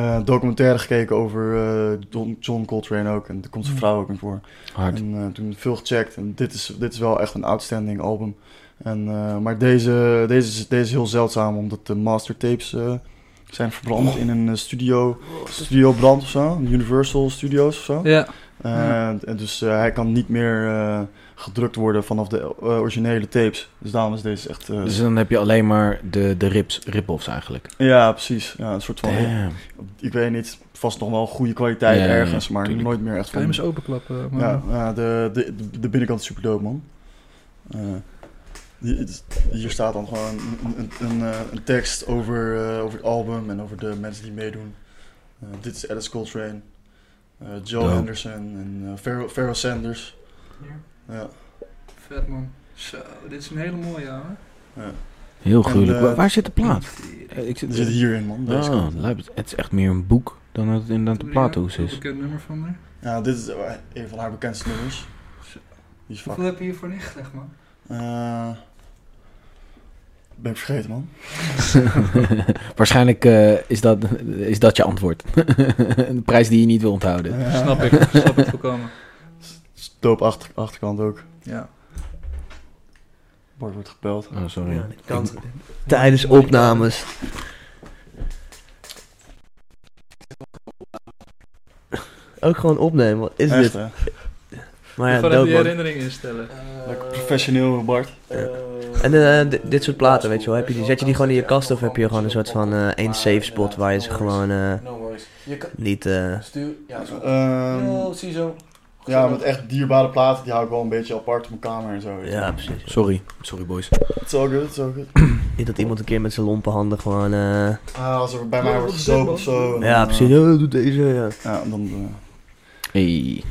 [SPEAKER 2] eh, documentaire gekeken over eh, John, John Coltrane ook. En daar komt zijn
[SPEAKER 3] Mm.
[SPEAKER 2] vrouw ook in voor.
[SPEAKER 4] Hard.
[SPEAKER 2] En eh, toen veel gecheckt. En dit is, dit is wel echt een outstanding album. En, eh, maar deze, deze, is, deze is heel zeldzaam, omdat de mastertapes eh, zijn verbrand
[SPEAKER 4] Oh.
[SPEAKER 2] in een eh, studio, studiobrand of zo. Universal Studios of zo.
[SPEAKER 3] Ja,
[SPEAKER 2] Eh, en dus eh, hij kan niet meer eh, gedrukt worden vanaf de eh, originele tapes. Dus daarom is deze echt... eh,
[SPEAKER 4] Dus dan heb je alleen maar de, de rips, rip-offs eigenlijk.
[SPEAKER 2] ja, precies. Ja, een soort van...
[SPEAKER 4] Damn.
[SPEAKER 2] Ik weet niet, vast nog wel goede kwaliteit
[SPEAKER 4] Ja, ja, ja,
[SPEAKER 2] ergens, maar
[SPEAKER 4] tuurlijk.
[SPEAKER 2] nooit meer echt
[SPEAKER 3] kan
[SPEAKER 2] van...
[SPEAKER 3] je hem eens openklappen? man?
[SPEAKER 2] Ja, ja, de, de, de- de binnenkant is super dope, man. Eh, die- het- hier staat dan gewoon een, een, een, eh, een tekst over, eh, over het album en over de mensen die meedoen. Eh, dit is Alice Coltrane, eh, Joe
[SPEAKER 4] Dope.
[SPEAKER 2] Henderson en eh, Pharoah Pharoah Sanders. Ja.
[SPEAKER 3] Vet man. Zo, dit is een hele mooie ouwe.
[SPEAKER 4] Heel
[SPEAKER 2] En,
[SPEAKER 4] gruwelijk.
[SPEAKER 2] eh,
[SPEAKER 4] Waar, waar zit de plaat? Eh, Ik
[SPEAKER 2] Die zit hierin, man. Deze
[SPEAKER 4] Oh,
[SPEAKER 2] kant.
[SPEAKER 4] lijp- het is echt meer een boek dan dat het inderdaad een plaathoes is.
[SPEAKER 3] bekend nummer van haar.
[SPEAKER 2] Ja, dit is eh, een van haar bekendste nummers. Die is fuck.
[SPEAKER 3] Hoeveel heb je hiervoor neergelegd man?
[SPEAKER 2] Eh, ben ik vergeten, man.
[SPEAKER 4] Waarschijnlijk eh, is, dat, is dat je antwoord. *laughs* een prijs die je niet wil onthouden.
[SPEAKER 2] *laughs*
[SPEAKER 3] Snap ik, snap ik voorkomen.
[SPEAKER 2] Doop achter, achterkant ook.
[SPEAKER 3] Ja.
[SPEAKER 2] Bart wordt gebeld.
[SPEAKER 4] Oh, sorry.
[SPEAKER 1] Ja, dat kan. Tijdens opnames. Ook gewoon opnemen, wat is
[SPEAKER 2] Echt,
[SPEAKER 1] dit?
[SPEAKER 2] hè?
[SPEAKER 1] Maar ja,
[SPEAKER 3] Gewoon even
[SPEAKER 1] dope,
[SPEAKER 3] die
[SPEAKER 1] man.
[SPEAKER 3] herinnering instellen.
[SPEAKER 2] Lekker professioneel, Bart.
[SPEAKER 1] En eh, di- dit soort platen, weet je wel, heb je die, zet je die gewoon in je kast of heb je gewoon een soort van eh, één safe spot waar je ze gewoon eh,
[SPEAKER 5] No worries. Je kan
[SPEAKER 1] niet... eh,
[SPEAKER 5] stuur. Ja, zo.
[SPEAKER 2] Ehm
[SPEAKER 5] Oh, zie zo.
[SPEAKER 2] ja, met echt dierbare platen, die hou ik wel een beetje apart op mijn kamer en zo.
[SPEAKER 1] ja, precies.
[SPEAKER 4] Sorry. Sorry, boys.
[SPEAKER 2] It's all good, it's all good.
[SPEAKER 1] Niet dat iemand een keer met zijn lompe handen gewoon... eh,
[SPEAKER 2] Ah, als er bij
[SPEAKER 3] Ja,
[SPEAKER 2] mij
[SPEAKER 3] wat
[SPEAKER 2] wordt
[SPEAKER 3] is
[SPEAKER 2] gezopen
[SPEAKER 3] dit,
[SPEAKER 2] of zo. dan,
[SPEAKER 1] ja,
[SPEAKER 2] eh,
[SPEAKER 1] precies. Ja, doe deze, ja.
[SPEAKER 2] Ja, dan... eh,
[SPEAKER 4] Hey.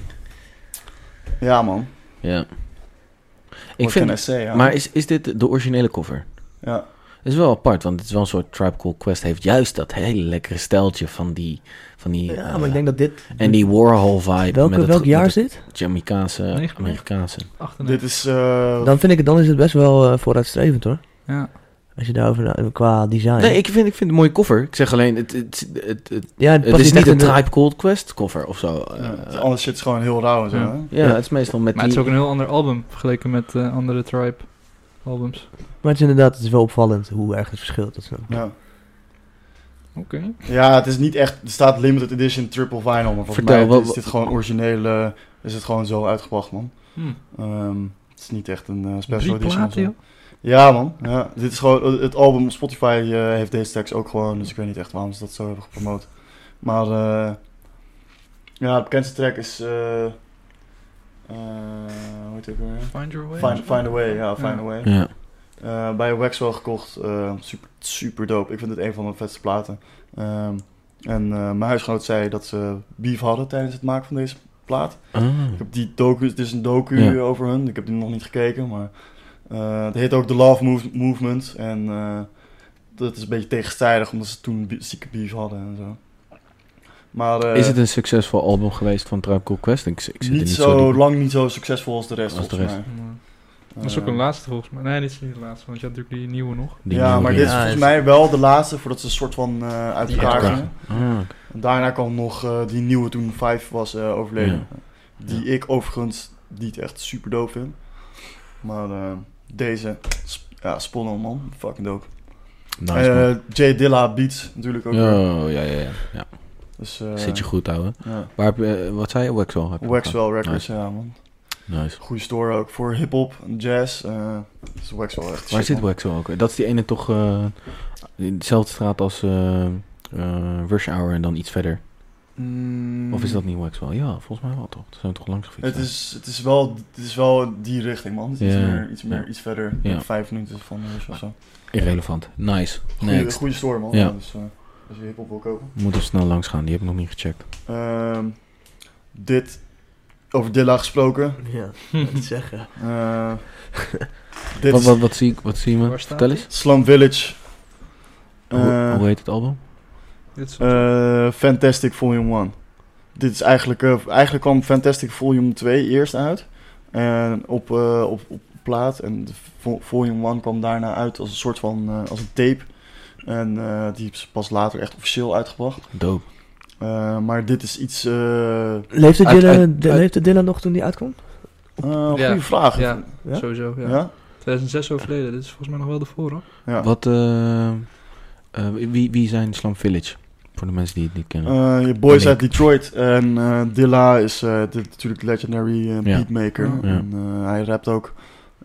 [SPEAKER 2] ja, man.
[SPEAKER 4] Ja. Ik
[SPEAKER 2] Wordt een
[SPEAKER 4] vind...
[SPEAKER 2] essay, ja.
[SPEAKER 4] Maar is, is dit de originele cover?
[SPEAKER 2] Ja,
[SPEAKER 4] Het is wel apart, want het is wel een soort Tribe Called Quest. Heeft juist dat hele lekkere steltje van die... Van die
[SPEAKER 1] Ja,
[SPEAKER 4] eh,
[SPEAKER 1] maar ik denk dat dit...
[SPEAKER 4] En die Warhol-vibe.
[SPEAKER 1] Welke,
[SPEAKER 4] met het-
[SPEAKER 1] welk jaar is
[SPEAKER 4] met
[SPEAKER 1] dit?
[SPEAKER 4] het Jamaicaanse,
[SPEAKER 3] 99?
[SPEAKER 4] Amerikaanse.
[SPEAKER 3] 98.
[SPEAKER 2] dit is... eh,
[SPEAKER 1] Dan vind ik het, dan is het best wel eh, vooruitstrevend hoor.
[SPEAKER 3] Ja.
[SPEAKER 1] Als je daarover na- qua design.
[SPEAKER 4] Nee, ik vind, ik vind het een mooie cover. Ik zeg alleen, het, het, het, het,
[SPEAKER 1] ja,
[SPEAKER 4] het
[SPEAKER 1] past
[SPEAKER 4] is niet
[SPEAKER 1] in
[SPEAKER 4] een
[SPEAKER 1] de-
[SPEAKER 4] Tribe Called Quest cover of zo. Eh,
[SPEAKER 2] ja, het- alles shit is gewoon heel rauw en zo,
[SPEAKER 3] Ja.
[SPEAKER 2] hè?
[SPEAKER 4] ja, het is meestal met
[SPEAKER 3] Maar het
[SPEAKER 4] die...
[SPEAKER 3] is ook een heel ander album vergeleken met eh, andere Tribe albums.
[SPEAKER 1] Maar het is inderdaad, het is wel opvallend hoe erg het verschilt. Dat is wel-
[SPEAKER 2] Ja.
[SPEAKER 3] Oké.
[SPEAKER 2] ja, het is niet echt... Er staat limited edition triple vinyl, maar volgens
[SPEAKER 4] Vertel,
[SPEAKER 2] mij
[SPEAKER 4] wat-
[SPEAKER 2] is dit gewoon originele... Is het gewoon zo uitgebracht, man.
[SPEAKER 3] Hm.
[SPEAKER 2] Ehm, het is niet echt een eh, special
[SPEAKER 3] Drie
[SPEAKER 2] edition of zo.
[SPEAKER 3] platen, joh.
[SPEAKER 2] Ja, man. Ja. Dit is gewoon, het album op Spotify eh, heeft deze tekst ook gewoon, dus ik weet niet echt waarom ze dat zo hebben gepromoot. Maar eh, ja, de bekendste track is. eh eh, hoe heet het ook weer?
[SPEAKER 3] Find Your Way.
[SPEAKER 2] Find, find a Way, ja, Find
[SPEAKER 3] Ja.
[SPEAKER 2] a Way.
[SPEAKER 4] Ja.
[SPEAKER 2] Eh, bij Waxwell gekocht. eh, super, super dope. Ik vind het een van mijn vetste platen. Ehm, en eh, mijn huisgenoot zei dat ze beef hadden tijdens het maken van deze plaat.
[SPEAKER 4] Ah.
[SPEAKER 2] Ik heb die docu, het is een docu
[SPEAKER 4] Ja.
[SPEAKER 2] over hun. Ik heb die nog niet gekeken, maar eh, het heet ook The Love Move- Movement. En eh, dat is een beetje tegenstrijdig, omdat ze toen bie- zieke beef hadden en zo. Maar eh,
[SPEAKER 4] Is het een succesvol album geweest van Tribe Called Quest? Ik, ik zit er
[SPEAKER 2] niet, zo,
[SPEAKER 4] diep in.
[SPEAKER 2] lang niet zo succesvol als de rest,
[SPEAKER 4] Als de
[SPEAKER 2] volgens
[SPEAKER 4] rest.
[SPEAKER 2] mij.
[SPEAKER 3] Dat is ook
[SPEAKER 2] Eh,
[SPEAKER 3] een laatste volgens mij. Nee, dit is niet de laatste, want je had natuurlijk die nieuwe nog.
[SPEAKER 4] Die Ah,
[SPEAKER 2] ja,
[SPEAKER 4] nieuwe
[SPEAKER 2] maar dit
[SPEAKER 4] dingen.
[SPEAKER 2] is
[SPEAKER 1] Ja,
[SPEAKER 2] volgens
[SPEAKER 1] is-
[SPEAKER 2] mij wel de laatste voordat ze een soort van eh, uit
[SPEAKER 3] Die
[SPEAKER 2] elkaar
[SPEAKER 3] uit elkaar
[SPEAKER 2] gingen.
[SPEAKER 4] Ah, oké.
[SPEAKER 2] En daarna kwam nog eh, die nieuwe toen Five was eh, overleden. Die
[SPEAKER 4] Ja.
[SPEAKER 2] ik overigens niet echt super dope vind. Maar eh, deze, sp- ja, spannend man. Fucking dope.
[SPEAKER 4] Nice, man.
[SPEAKER 2] Eh, Jay Dilla Beats natuurlijk ook. weer.
[SPEAKER 4] Ja, ja, ja, ja, ja.
[SPEAKER 2] Dus, eh,
[SPEAKER 4] Zit je goed, ouwe.
[SPEAKER 2] ja.
[SPEAKER 4] Waar heb je, eh, wat zei je? Waxwell? heb je
[SPEAKER 2] Waxwell Records, ja man.
[SPEAKER 4] gehad. Nice.
[SPEAKER 2] Goede store ook voor hip-hop en jazz. eh dus Waxwell echt
[SPEAKER 4] Waar
[SPEAKER 2] shit,
[SPEAKER 4] zit
[SPEAKER 2] man.
[SPEAKER 4] Waxwell ook? weer? Dat is die ene toch eh, in dezelfde straat als eh, eh, Rush Hour en dan iets verder.
[SPEAKER 2] Mm,
[SPEAKER 4] Of is dat niet Waxwell? Ja, volgens mij wel toch. Ze zijn toch langs gefietst.
[SPEAKER 2] Het is, het, is wel, het is wel die richting man. Het is
[SPEAKER 4] Ja.
[SPEAKER 2] iets meer, iets, meer,
[SPEAKER 4] Ja.
[SPEAKER 2] iets verder.
[SPEAKER 4] Ja.
[SPEAKER 2] Vijf minuten van de rust of zo.
[SPEAKER 4] Irrelevant. Nice.
[SPEAKER 2] Goede,
[SPEAKER 4] Next.
[SPEAKER 2] goede store man.
[SPEAKER 4] Ja.
[SPEAKER 2] Ja, Dus eh, als je hip-hop wil kopen.
[SPEAKER 4] Moet er snel langs gaan. Die heb ik nog niet gecheckt.
[SPEAKER 2] Ehm, dit, over Dilla gesproken.
[SPEAKER 1] *laughs* Ja, wat te zeggen.
[SPEAKER 2] Eh,
[SPEAKER 4] *laughs*
[SPEAKER 2] dit
[SPEAKER 4] Wat,
[SPEAKER 2] is
[SPEAKER 4] wat, wat, zie ik, wat zien we?
[SPEAKER 3] Waar staat
[SPEAKER 4] Vertel
[SPEAKER 3] die?
[SPEAKER 4] eens.
[SPEAKER 2] Slum Village.
[SPEAKER 4] hoe,
[SPEAKER 2] Eh,
[SPEAKER 4] hoe heet het album?
[SPEAKER 3] Dit is
[SPEAKER 2] Eh, Fantastic Volume 1. Dit is eigenlijk, eh, eigenlijk kwam Fantastic Volume 2 eerst uit. En op, eh, op, op plaat. En de vo- Volume 1 kwam daarna uit als een soort van eh, als een tape. En eh, die is pas later echt officieel uitgebracht.
[SPEAKER 4] Dope.
[SPEAKER 2] Eh, maar dit is iets. eh eh,
[SPEAKER 1] Leefde
[SPEAKER 4] Uit-
[SPEAKER 1] Dylan,
[SPEAKER 4] uit-
[SPEAKER 1] de-
[SPEAKER 4] uit-
[SPEAKER 1] leefde Dylan nog toen die uitkwam?
[SPEAKER 2] goede
[SPEAKER 3] Ja.
[SPEAKER 2] vraag.
[SPEAKER 3] Ja.
[SPEAKER 1] ja?
[SPEAKER 3] sowieso, ja.
[SPEAKER 2] Ja?
[SPEAKER 3] 2006 overleden, dit is volgens mij nog wel de voor,
[SPEAKER 2] Ja.
[SPEAKER 4] Wat, eh, eh, wie, wie zijn Slum Village? Voor de mensen die het niet kennen.
[SPEAKER 2] Eh, je boys
[SPEAKER 4] Ben ik.
[SPEAKER 2] uit Detroit. En eh Dilla is eh, de, natuurlijk legendary eh,
[SPEAKER 4] Ja.
[SPEAKER 2] beatmaker.
[SPEAKER 3] Ja.
[SPEAKER 2] En, eh, hij rapt ook.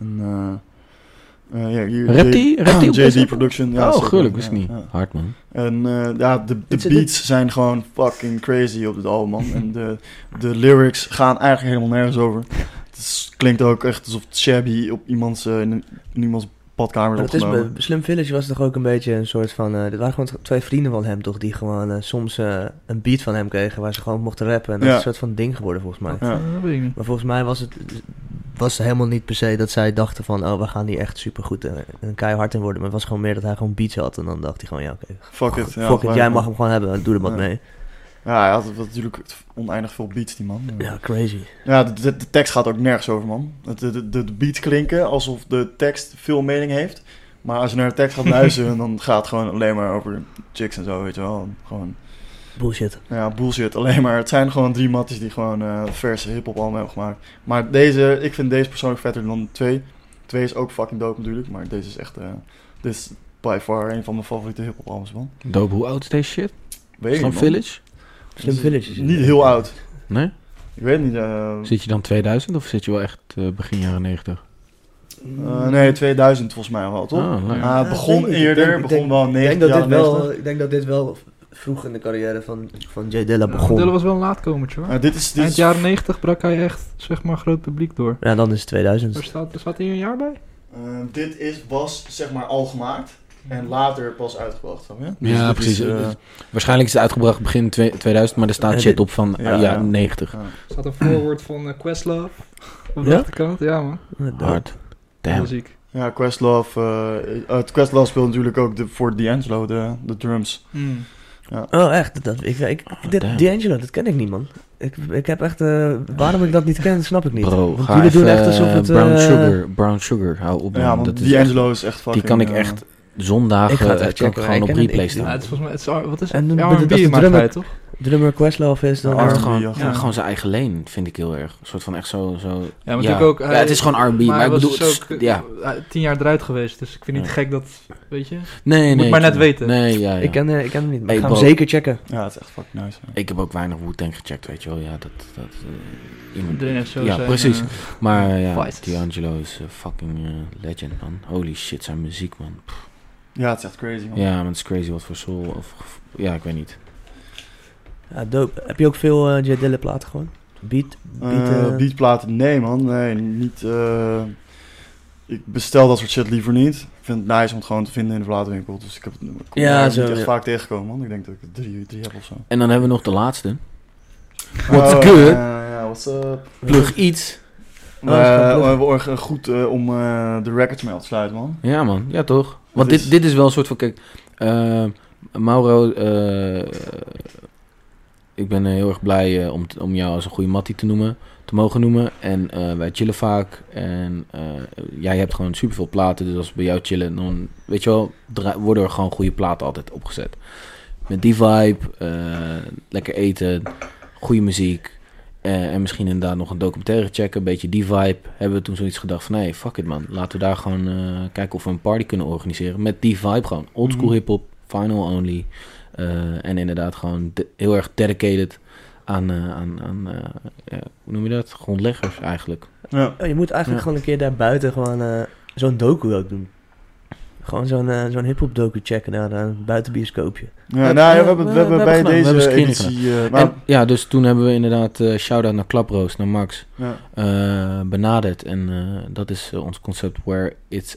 [SPEAKER 2] En, eh, eh, ja, hier-
[SPEAKER 4] Rapt
[SPEAKER 2] J-
[SPEAKER 4] die? Rapt die op deze?
[SPEAKER 2] JD Production. Ja,
[SPEAKER 4] oh,
[SPEAKER 2] zeker.
[SPEAKER 4] gelukkig, wist ik
[SPEAKER 2] Ja,
[SPEAKER 4] niet.
[SPEAKER 2] ja.
[SPEAKER 4] Hard, man.
[SPEAKER 2] En eh, ja, de, de
[SPEAKER 1] Dit is-
[SPEAKER 2] beats zijn gewoon fucking crazy op dit album, man. en de, de lyrics gaan eigenlijk helemaal nergens over. *laughs* Het is- klinkt ook echt alsof het Shabby op iemands, eh, in, in iemands badkamer is
[SPEAKER 1] Maar dat is,
[SPEAKER 2] opgenomen.
[SPEAKER 1] bij Slim Village was toch ook een beetje een soort van... eh dit waren gewoon t- twee vrienden van hem toch, die gewoon eh, soms eh, een beat van hem kregen waar ze gewoon mochten rappen. En dat
[SPEAKER 2] Ja.
[SPEAKER 1] is een soort van ding geworden volgens mij.
[SPEAKER 3] hoor.
[SPEAKER 2] Ja.
[SPEAKER 3] Eh, dat weet ik niet.
[SPEAKER 1] Maar volgens mij was het was helemaal niet per se dat zij dachten van... oh, we gaan hier echt supergoed en, en keihard in worden. Maar het was gewoon meer dat hij gewoon beats had. En dan dacht hij gewoon, ja, oké,
[SPEAKER 2] Fuck it. Ja,
[SPEAKER 1] fuck it,
[SPEAKER 2] maar-
[SPEAKER 1] jij mag hem gewoon hebben. Doe er wat
[SPEAKER 2] Ja.
[SPEAKER 1] mee.
[SPEAKER 2] Ja, hij had natuurlijk oneindig veel beats, die man.
[SPEAKER 1] Ja, crazy.
[SPEAKER 2] Ja, de, de, de tekst gaat ook nergens over, man. Het- De, de, de beats klinken alsof de tekst veel mening heeft. Maar als je naar de tekst gaat luisteren, dan gaat het gewoon alleen maar over chicks en zo, weet je wel. Gewoon,
[SPEAKER 1] Bullshit.
[SPEAKER 2] nou ja, bullshit alleen maar. Het zijn gewoon drie matties die gewoon eh, verse hip-hop allemaal hebben gemaakt. Maar deze, ik vind deze persoonlijk vetter dan twee. Twee is ook fucking dope natuurlijk, maar deze is echt, eh, dit is by far een van mijn favoriete hip-hop albums, man.
[SPEAKER 4] Dope, hoe oud is deze shit?
[SPEAKER 2] Weet ik
[SPEAKER 4] Slum
[SPEAKER 2] niet, man.
[SPEAKER 4] Village?
[SPEAKER 1] Slim Village is het.
[SPEAKER 2] Niet heel oud.
[SPEAKER 4] Nee?
[SPEAKER 2] Ik weet niet, eh,
[SPEAKER 4] Zit je dan 2000 of zit je wel echt eh, begin jaren 90?
[SPEAKER 2] eh, nee, 2000 volgens mij wel, toch?
[SPEAKER 4] Ah, leuk.
[SPEAKER 2] Ah, het
[SPEAKER 1] Ja,
[SPEAKER 2] begon
[SPEAKER 1] dat weet ik.
[SPEAKER 2] eerder,
[SPEAKER 1] Ik denk- ik
[SPEAKER 2] begon
[SPEAKER 1] denk-
[SPEAKER 2] wel in
[SPEAKER 1] Ik
[SPEAKER 2] 90
[SPEAKER 1] denk, dat dit
[SPEAKER 2] jaren
[SPEAKER 1] wel,
[SPEAKER 2] 90.
[SPEAKER 1] ik denk dat dit wel vroeg in de carrière van, van Jay Dilla
[SPEAKER 3] Ja,
[SPEAKER 1] begon.
[SPEAKER 3] Dylan was wel een laatkomertje, hoor.
[SPEAKER 2] Eh, dit is, dit
[SPEAKER 3] Eind
[SPEAKER 2] is
[SPEAKER 3] jaren 90 brak hij echt, zeg maar, groot publiek door.
[SPEAKER 1] Ja, dan is het 2000.
[SPEAKER 3] Er staat, er staat hier een jaar bij?
[SPEAKER 2] eh, dit is, was zeg maar al gemaakt en later pas uitgebracht. Snap je?
[SPEAKER 4] Ja,
[SPEAKER 2] dit
[SPEAKER 4] precies.
[SPEAKER 2] Is, eh,
[SPEAKER 4] Dus- Waarschijnlijk is het uitgebracht begin twe- 2000, maar er
[SPEAKER 1] Ja,
[SPEAKER 4] staat
[SPEAKER 1] dit-
[SPEAKER 4] shit op van
[SPEAKER 2] Ja,
[SPEAKER 4] ja,
[SPEAKER 2] ja.
[SPEAKER 4] 90.
[SPEAKER 2] ja.
[SPEAKER 3] Er staat een voorwoord van eh, Questlove. Op de
[SPEAKER 1] Ja?
[SPEAKER 3] achterkant, ja man.
[SPEAKER 1] Oh,
[SPEAKER 4] Hard.
[SPEAKER 3] Heel
[SPEAKER 4] Damn.
[SPEAKER 3] ziek.
[SPEAKER 2] Ja, Questlove. eh, eh, Questlove speelt natuurlijk ook de, voor D'Angelo de, de drums.
[SPEAKER 3] Mm.
[SPEAKER 1] Oh, echt? Dat- Dat, ik, ik, dit,
[SPEAKER 4] damn.
[SPEAKER 1] D'Angelo, dat ken ik niet, man. Ik, ik heb echt... eh, waarom ik dat niet ken, snap ik niet.
[SPEAKER 4] Bro,
[SPEAKER 1] Want
[SPEAKER 4] ga
[SPEAKER 1] jullie doen
[SPEAKER 4] even,
[SPEAKER 1] echt alsof het...
[SPEAKER 4] Brown
[SPEAKER 1] eh,
[SPEAKER 4] Sugar, Brown Sugar, hou op man.
[SPEAKER 2] ja, want
[SPEAKER 4] dat is echt-
[SPEAKER 2] D'Angelo is echt fucking...
[SPEAKER 4] die kan ik
[SPEAKER 2] eh,
[SPEAKER 4] echt
[SPEAKER 1] Ik ga
[SPEAKER 4] zondagen
[SPEAKER 1] het
[SPEAKER 4] eh,
[SPEAKER 1] echt
[SPEAKER 4] kan ik
[SPEAKER 1] checken,
[SPEAKER 4] gewoon
[SPEAKER 1] ik
[SPEAKER 4] op
[SPEAKER 1] ken het
[SPEAKER 4] replay
[SPEAKER 1] niet.
[SPEAKER 3] Ja,
[SPEAKER 4] staan.
[SPEAKER 1] Ja,
[SPEAKER 3] het is volgens mij, het is, wat is
[SPEAKER 1] En
[SPEAKER 3] het?
[SPEAKER 1] dan-
[SPEAKER 3] Ja,
[SPEAKER 1] dat- dat is de
[SPEAKER 3] R&B maakt
[SPEAKER 1] drummer.
[SPEAKER 3] hij, toch?
[SPEAKER 1] Drummer Questlove is dan...
[SPEAKER 4] Hij heeft
[SPEAKER 2] R&B,
[SPEAKER 4] gewoon,
[SPEAKER 2] ja.
[SPEAKER 4] ja, gewoon zijn eigen leen, vind ik heel erg. Een soort van echt zo... zo
[SPEAKER 3] Ja, maar natuurlijk ook...
[SPEAKER 4] Ja,
[SPEAKER 3] hij-
[SPEAKER 4] het is gewoon R&B, maar,
[SPEAKER 3] hij
[SPEAKER 4] ik
[SPEAKER 3] was
[SPEAKER 4] bedoel...
[SPEAKER 3] dus
[SPEAKER 4] het is-
[SPEAKER 3] ook, eh,
[SPEAKER 4] ja.
[SPEAKER 3] hij- tien jaar eruit geweest, dus ik vind het
[SPEAKER 4] Ja.
[SPEAKER 3] niet gek dat, weet je...
[SPEAKER 4] Nee, nee.
[SPEAKER 3] maar
[SPEAKER 4] ik-
[SPEAKER 3] net weten.
[SPEAKER 4] Nee, ja, ja.
[SPEAKER 1] Ik, ken, eh, ik ken hem niet, maar
[SPEAKER 4] Hey,
[SPEAKER 1] ik ga hem
[SPEAKER 4] Bo.
[SPEAKER 1] zeker checken.
[SPEAKER 2] Ja, het is echt fucking nice. ja.
[SPEAKER 4] Ik heb ook weinig Wu-Tang gecheckt, weet je wel. Ja, dat... dat eh, iemand-
[SPEAKER 3] Iedereen heeft zo
[SPEAKER 4] Ja,
[SPEAKER 3] zijn,
[SPEAKER 4] precies.
[SPEAKER 3] eh,
[SPEAKER 4] Maar eh, ja,
[SPEAKER 3] Vices.
[SPEAKER 4] D'Angelo is een fucking eh, legend, man. Holy shit, zijn muziek, man.
[SPEAKER 2] Ja, het is echt crazy, man.
[SPEAKER 4] Ja, maar het is crazy wat voor soul of... of- Ja, ik weet niet.
[SPEAKER 1] Ja, dope. Heb je ook veel eh, Jay Dilla platen gewoon? Beat?
[SPEAKER 2] Eh,
[SPEAKER 1] beat eh,
[SPEAKER 2] Beatplaten, nee man, nee, niet... eh, ik bestel dat soort shit liever niet. Ik vind het nice om het gewoon te vinden in de platenwinkel. Dus ik heb het ik kom
[SPEAKER 4] Ja,
[SPEAKER 2] daar
[SPEAKER 4] zo,
[SPEAKER 2] niet echt
[SPEAKER 4] ja.
[SPEAKER 2] vaak tegengekomen, man. Ik denk dat ik er drie, drie heb of zo.
[SPEAKER 4] En dan hebben we nog de laatste.
[SPEAKER 2] What's
[SPEAKER 4] good?
[SPEAKER 2] eh,
[SPEAKER 4] Oh,
[SPEAKER 2] ja, what's up?
[SPEAKER 4] Plug iets.
[SPEAKER 1] dat is gewoon
[SPEAKER 2] Eh,
[SPEAKER 1] plug.
[SPEAKER 2] we hebben org- goed eh, om eh, de records mee af te sluiten, man.
[SPEAKER 4] Ja, man. Ja, toch? Want
[SPEAKER 2] Het
[SPEAKER 4] dit,
[SPEAKER 2] is-
[SPEAKER 4] dit is wel een soort van... Kijk, eh, Mauro, eh, ik ben eh, heel erg blij eh, om, t- om jou als een goede mattie te noemen. Te mogen noemen. En eh, wij chillen vaak. En eh, jij hebt gewoon superveel platen. Dus als we bij jou chillen, dan weet je wel, dra- worden er gewoon goede platen altijd opgezet. Met die vibe, eh, lekker eten, goede muziek. eh, en misschien inderdaad nog een documentaire checken, een beetje die vibe. Hebben we toen zoiets gedacht van, hey, fuck it man. Laten we daar gewoon eh, kijken of we een party kunnen organiseren. Met die vibe gewoon. Old school
[SPEAKER 2] Mhm.
[SPEAKER 4] hip-hop, final only. eh, en inderdaad gewoon de- heel erg dedicated aan, eh, aan, aan eh, ja, hoe noem je dat? Grondleggers eigenlijk.
[SPEAKER 2] Ja.
[SPEAKER 1] Oh, je moet eigenlijk
[SPEAKER 4] Ja.
[SPEAKER 1] gewoon een keer daarbuiten gewoon eh, zo'n docu ook doen. Gewoon zo'n eh, zo'n hip-hop docu checken naar een buitenbioscoopje.
[SPEAKER 2] Ja,
[SPEAKER 4] Ja,
[SPEAKER 2] nou, ja,
[SPEAKER 4] ja,
[SPEAKER 2] we hebben, we
[SPEAKER 4] we-
[SPEAKER 2] hebben
[SPEAKER 4] we
[SPEAKER 2] bij
[SPEAKER 4] hebben gedaan, we hebben
[SPEAKER 2] deze
[SPEAKER 4] screening
[SPEAKER 2] editie... eh, nou,
[SPEAKER 4] en, ja, dus toen hebben we inderdaad eh shout-out naar Klaproos, naar Max,
[SPEAKER 2] ja.
[SPEAKER 4] eh, benaderd. En eh, dat is eh, ons concept where it's...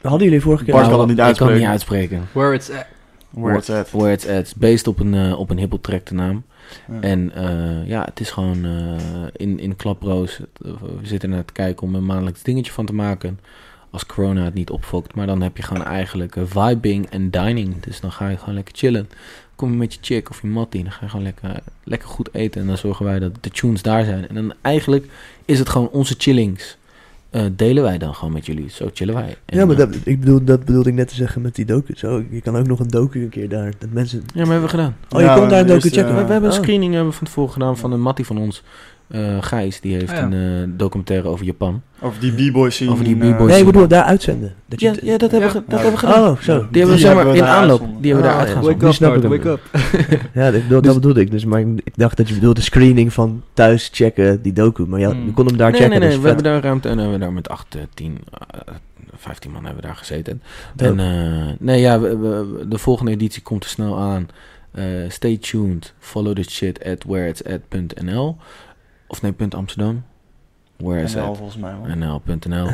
[SPEAKER 1] Hadden jullie vorige keer...
[SPEAKER 2] Bart
[SPEAKER 1] nou,
[SPEAKER 2] kan het niet
[SPEAKER 4] ik kan het
[SPEAKER 2] uitspreken.
[SPEAKER 4] niet uitspreken.
[SPEAKER 3] Where it's at.
[SPEAKER 2] Where it's at.
[SPEAKER 4] Where it's at. It's based op een, eh, op een hip-hop track de naam.
[SPEAKER 2] Ja.
[SPEAKER 4] En eh, ja, het is gewoon eh, in, in klaproos. eh, We zitten naar te kijken om een maandelijks dingetje van te maken. Als corona het niet opfokt. Maar dan heb je gewoon eigenlijk eh, vibing en dining. Dus dan ga je gewoon lekker chillen. Kom je met je chick of je mattie. Dan ga je gewoon lekker, lekker goed eten. En dan zorgen wij dat de tunes daar zijn. En dan eigenlijk is het gewoon onze chillings. eh, delen wij dan gewoon met jullie. Zo chillen wij. En,
[SPEAKER 1] Ja, maar
[SPEAKER 4] eh,
[SPEAKER 1] dat, ik bedoel, dat bedoelde ik net te zeggen met die docu. Zo, je kan ook nog een docu een keer daar. Dat mensen...
[SPEAKER 4] Ja, maar hebben we gedaan.
[SPEAKER 1] Oh, je
[SPEAKER 2] Ja,
[SPEAKER 1] komt daar een
[SPEAKER 2] de
[SPEAKER 1] docu
[SPEAKER 2] eerste,
[SPEAKER 1] checken.
[SPEAKER 2] eh,
[SPEAKER 4] We, we hebben een
[SPEAKER 1] Oh.
[SPEAKER 4] screening hebben we van tevoren gedaan van een mattie van ons. eh Gijs, die heeft
[SPEAKER 3] Ah, ja.
[SPEAKER 4] een eh, documentaire over Japan.
[SPEAKER 2] Over die b-boy scene.
[SPEAKER 4] Over die
[SPEAKER 2] in, eh,
[SPEAKER 4] b-boy
[SPEAKER 1] Nee,
[SPEAKER 4] scene.
[SPEAKER 1] ik bedoel, daar uitzenden. Dat je
[SPEAKER 4] Ja,
[SPEAKER 1] het-
[SPEAKER 4] ja dat, hebben we,
[SPEAKER 3] Ja.
[SPEAKER 4] ge- dat hebben we gedaan.
[SPEAKER 1] Oh, zo.
[SPEAKER 4] Die hebben we zeg maar in
[SPEAKER 2] daar
[SPEAKER 4] aanloop.
[SPEAKER 2] uitgezonden.
[SPEAKER 4] Die hebben we daar
[SPEAKER 1] Ah, ja.
[SPEAKER 4] uitgezonden.
[SPEAKER 3] Wake up,
[SPEAKER 1] Die snap ik
[SPEAKER 3] Bart,
[SPEAKER 1] hem.
[SPEAKER 3] wake up.
[SPEAKER 1] Ja, dat, dat,
[SPEAKER 4] Dus-
[SPEAKER 1] bedoelde ik. Dus, maar ik, ik dacht dat je bedoelde screening van thuis checken, die docu. Maar ja,
[SPEAKER 3] Hmm.
[SPEAKER 1] je kon hem daar
[SPEAKER 4] nee,
[SPEAKER 1] checken.
[SPEAKER 4] nee, nee,
[SPEAKER 1] dus
[SPEAKER 4] we
[SPEAKER 1] vet.
[SPEAKER 4] hebben daar ruimte en hebben we daar met eh, 8, 10, 15 man hebben we daar gezeten.
[SPEAKER 1] Dope.
[SPEAKER 4] En eh, nee, ja, we- we- de volgende editie komt er snel aan. Eh, stay tuned. Follow the shit at where it's at.nl. Of nee, punt Amsterdam. Where is
[SPEAKER 2] NL,
[SPEAKER 4] it?
[SPEAKER 2] volgens mij, man.
[SPEAKER 4] nl.nl.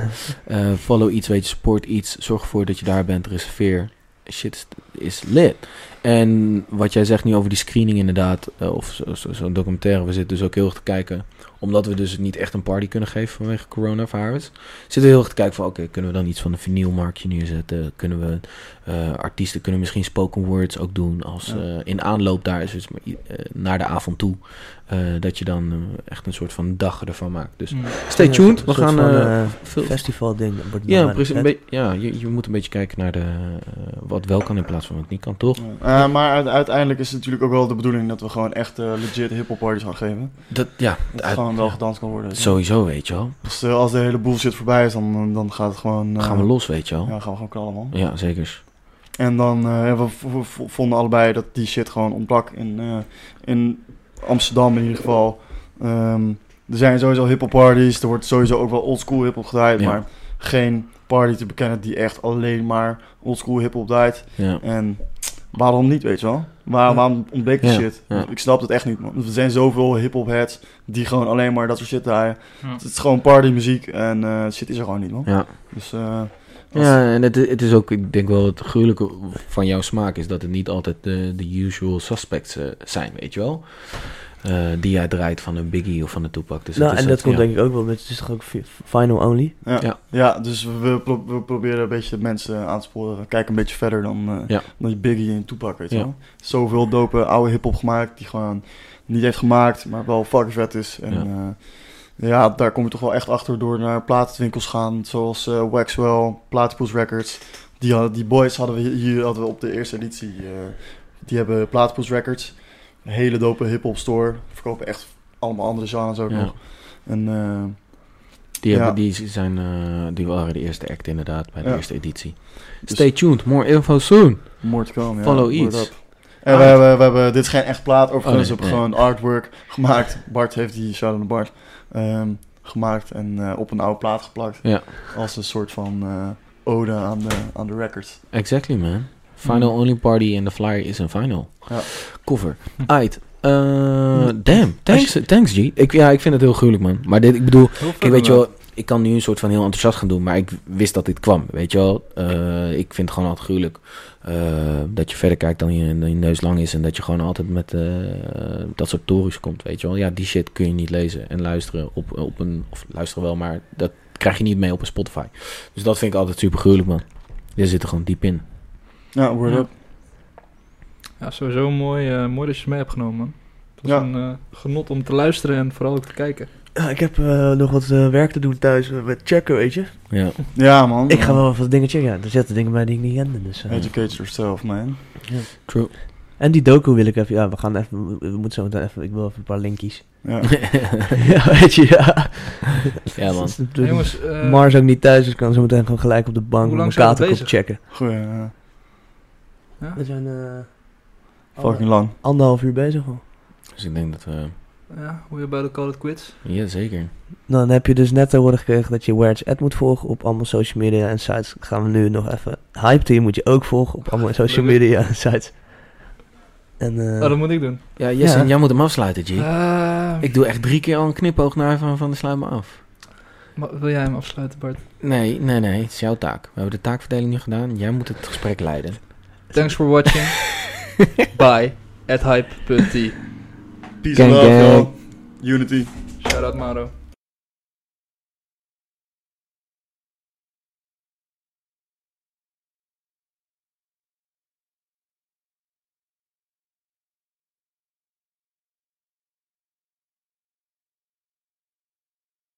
[SPEAKER 4] Eh, follow iets, weet je, support iets. Zorg ervoor dat je daar bent, reserveer. Shit is, is lit. En wat jij zegt nu over die screening inderdaad, eh, of zo- zo- zo'n documentaire, we zitten dus ook heel erg te kijken, omdat we dus niet echt een party kunnen geven vanwege coronavirus, zitten we heel erg te kijken van, oké, kunnen we dan iets van een vinylmarktje neerzetten? Kunnen we, eh, artiesten kunnen misschien spoken words ook doen, als
[SPEAKER 2] Ja.
[SPEAKER 4] eh, in aanloop daar is, dus maar i- eh, naar de avond toe, eh, dat je dan eh, echt een soort van dag ervan maakt. Dus
[SPEAKER 3] Mm.
[SPEAKER 4] stay
[SPEAKER 1] Ja,
[SPEAKER 4] tuned,
[SPEAKER 1] een
[SPEAKER 4] we
[SPEAKER 1] soort
[SPEAKER 4] gaan
[SPEAKER 1] van,
[SPEAKER 4] eh,
[SPEAKER 1] eh,
[SPEAKER 4] veel,
[SPEAKER 1] festival ding. dat wordt
[SPEAKER 4] ja,
[SPEAKER 1] dan
[SPEAKER 4] precies. Een
[SPEAKER 1] vet.
[SPEAKER 4] beetje- ja je, je moet een beetje kijken naar de, eh, wat wel kan in plaats van wat niet kan, toch?
[SPEAKER 2] Ja. Eh, maar uite- uiteindelijk is het natuurlijk ook wel de bedoeling dat we gewoon echt eh, legit hip-hop parties gaan geven.
[SPEAKER 4] Dat, ja,
[SPEAKER 2] Dat het
[SPEAKER 4] uit-
[SPEAKER 2] gewoon wel gedanst kan worden.
[SPEAKER 4] sowieso, weet je wel.
[SPEAKER 2] Dus eh, als de hele bullshit voorbij is, dan, dan gaat het gewoon. eh,
[SPEAKER 4] Dan gaan we los, weet je wel.
[SPEAKER 2] Ja,
[SPEAKER 4] Ja,
[SPEAKER 2] gaan we gewoon knallen, man.
[SPEAKER 4] zeker.
[SPEAKER 2] En dan eh, ja, we, v- v- v- vonden allebei dat die shit gewoon ontbrak in, eh, in Amsterdam in ieder geval. Ehm, er zijn sowieso hip-hop parties, er wordt sowieso ook wel oldschool hip-hop gedraaid,
[SPEAKER 4] Ja.
[SPEAKER 2] maar geen party te bekennen die echt alleen maar oldschool hip-hop draait.
[SPEAKER 4] Ja.
[SPEAKER 2] En waarom niet, weet je wel? Waar,
[SPEAKER 1] Ja.
[SPEAKER 2] Waarom ontbreekt die
[SPEAKER 4] Ja,
[SPEAKER 2] shit?
[SPEAKER 4] ja.
[SPEAKER 2] Ik snap dat echt niet, man. Er zijn zoveel hip-hop heads die gewoon alleen maar dat soort shit draaien.
[SPEAKER 3] Ja.
[SPEAKER 2] Het is gewoon partymuziek en eh, shit is er gewoon niet, man.
[SPEAKER 4] Ja.
[SPEAKER 2] Dus eh, als-
[SPEAKER 4] ja, en het, het is ook, ik denk wel, het gruwelijke van jouw smaak is dat het niet altijd de, de usual suspects eh, zijn, weet je wel. Eh, die jij draait van een Biggie of van een Tupac. Dus
[SPEAKER 1] nou,
[SPEAKER 4] het is
[SPEAKER 1] en dat komt
[SPEAKER 4] ja.
[SPEAKER 1] denk ik ook wel met. Het is toch ook fi- Final Only?
[SPEAKER 2] Ja,
[SPEAKER 4] Ja.
[SPEAKER 2] ja. dus we, pro- we proberen een beetje mensen aan te sporen. Kijk een beetje verder dan, eh,
[SPEAKER 4] Ja.
[SPEAKER 2] dan je Biggie en Tupac, weet je
[SPEAKER 4] Ja.
[SPEAKER 2] wel. Zoveel dope oude hip-hop gemaakt die gewoon niet heeft gemaakt, maar wel fucking vet is. En
[SPEAKER 4] Ja.
[SPEAKER 2] ja, ja daar kom je toch wel echt achter door naar platenwinkels gaan, zoals eh, Waxwell, Platypus Records. Die, hadden- die boys hadden we hier- hier hadden we op de eerste editie. eh, die hebben Platypus Records, een hele dope hip-hop store. Verkopen echt allemaal andere genres ook
[SPEAKER 4] Ja.
[SPEAKER 2] nog. En eh,
[SPEAKER 4] Die,
[SPEAKER 2] Ja.
[SPEAKER 4] hebben, die, zijn, eh, die waren de eerste act inderdaad bij de
[SPEAKER 2] Ja.
[SPEAKER 4] eerste editie.
[SPEAKER 2] Dus-
[SPEAKER 4] Stay tuned, more info soon.
[SPEAKER 2] More to come, ja.
[SPEAKER 4] Follow
[SPEAKER 2] Word
[SPEAKER 4] iets.
[SPEAKER 2] up. En we hebben, we hebben, dit is geen echt plaat
[SPEAKER 4] Oh,
[SPEAKER 2] overigens,
[SPEAKER 4] nee,
[SPEAKER 2] we hebben
[SPEAKER 4] nee.
[SPEAKER 2] gewoon artwork gemaakt. Bart heeft die, shout out Bart, ehm, gemaakt en eh, op een oude plaat geplakt.
[SPEAKER 4] Ja.
[SPEAKER 2] Als een soort van eh, ode aan de, aan de records.
[SPEAKER 4] Exactly, man. Final Only Party and the Flyer is een final.
[SPEAKER 2] Ja.
[SPEAKER 4] Cover. Ait. eh, damn. Thanks, thanks G. Ik, ja, ik vind het heel gruwelijk, man. Maar dit, ik bedoel,
[SPEAKER 3] Heel vet
[SPEAKER 4] kijk, weet je wel, ik kan nu een soort van heel enthousiast gaan doen, maar ik wist dat dit kwam, weet je wel. Eh, ik vind het gewoon altijd gruwelijk eh, dat je verder kijkt dan je, dan je neus lang is en dat je gewoon altijd met eh, dat soort tories komt, weet je wel. Ja, die shit kun je niet lezen en luisteren op, op een, of luisteren wel, maar dat krijg je niet mee op een Spotify. Dus dat vind ik altijd super gruwelijk, man. Je zit er gewoon diep in.
[SPEAKER 2] Ja, word
[SPEAKER 3] Ja.
[SPEAKER 2] up.
[SPEAKER 3] Ja, sowieso mooi, eh, mooi dat je het mee hebt genomen, man. Het was
[SPEAKER 2] Ja.
[SPEAKER 3] een eh, genot om te luisteren en vooral ook te kijken.
[SPEAKER 1] Ja, ik heb eh, nog wat eh, werk te doen thuis eh, met checken, weet je.
[SPEAKER 4] Ja.
[SPEAKER 2] Ja, man.
[SPEAKER 1] Ik ga wel even wat dingen checken. Ja, er zitten dingen bij die ik niet kende. Dus, eh.
[SPEAKER 2] Educate yourself, man.
[SPEAKER 4] True.
[SPEAKER 1] En die docu wil ik even... Ja, we gaan even... We, we moeten zo meteen even... Ik wil even een paar
[SPEAKER 4] *laughs*
[SPEAKER 1] linkies. *laughs*
[SPEAKER 2] Ja.
[SPEAKER 1] ja, weet je, ja.
[SPEAKER 4] *laughs* ja, man.
[SPEAKER 3] Hey, jongens, eh,
[SPEAKER 1] Mars ook niet thuis, dus kan zo meteen gewoon gelijk op de bank
[SPEAKER 3] Hoe
[SPEAKER 1] met
[SPEAKER 3] lang
[SPEAKER 1] mijn
[SPEAKER 3] zijn we
[SPEAKER 1] katerkop
[SPEAKER 3] bezig?
[SPEAKER 1] checken.
[SPEAKER 2] Goeie, eh, ja.
[SPEAKER 3] ja?
[SPEAKER 1] We zijn eh,
[SPEAKER 4] Oh.
[SPEAKER 2] fucking lang.
[SPEAKER 1] anderhalf uur bezig al.
[SPEAKER 4] Dus ik denk dat we...
[SPEAKER 3] Ja, hoe je bij de Call It Quits.
[SPEAKER 4] Ja, zeker.
[SPEAKER 1] Nou, dan heb je dus net te horen gekregen dat je Where It's At moet volgen op allemaal social media en sites. Gaan we nu nog even... Hype Team moet je ook volgen op allemaal social
[SPEAKER 3] Leuk.
[SPEAKER 1] media en sites. En, eh,
[SPEAKER 3] Oh, dat moet ik doen.
[SPEAKER 4] Ja, Jesse,
[SPEAKER 1] Ja.
[SPEAKER 4] jij moet hem afsluiten, G.
[SPEAKER 3] Eh,
[SPEAKER 4] Ik doe echt drie keer al een knipoog naar van, van de sluit me af.
[SPEAKER 3] ma- wil jij hem afsluiten, Bart?
[SPEAKER 4] Nee, nee, nee. Het is jouw taak. We hebben de taakverdeling nu gedaan. Jij moet het gesprek leiden.
[SPEAKER 3] Thanks for watching. Bye. At hype.t.
[SPEAKER 2] Peace
[SPEAKER 4] Gang,
[SPEAKER 2] and love,
[SPEAKER 4] gang.
[SPEAKER 2] y'all. Unity.
[SPEAKER 3] Shout out Maro.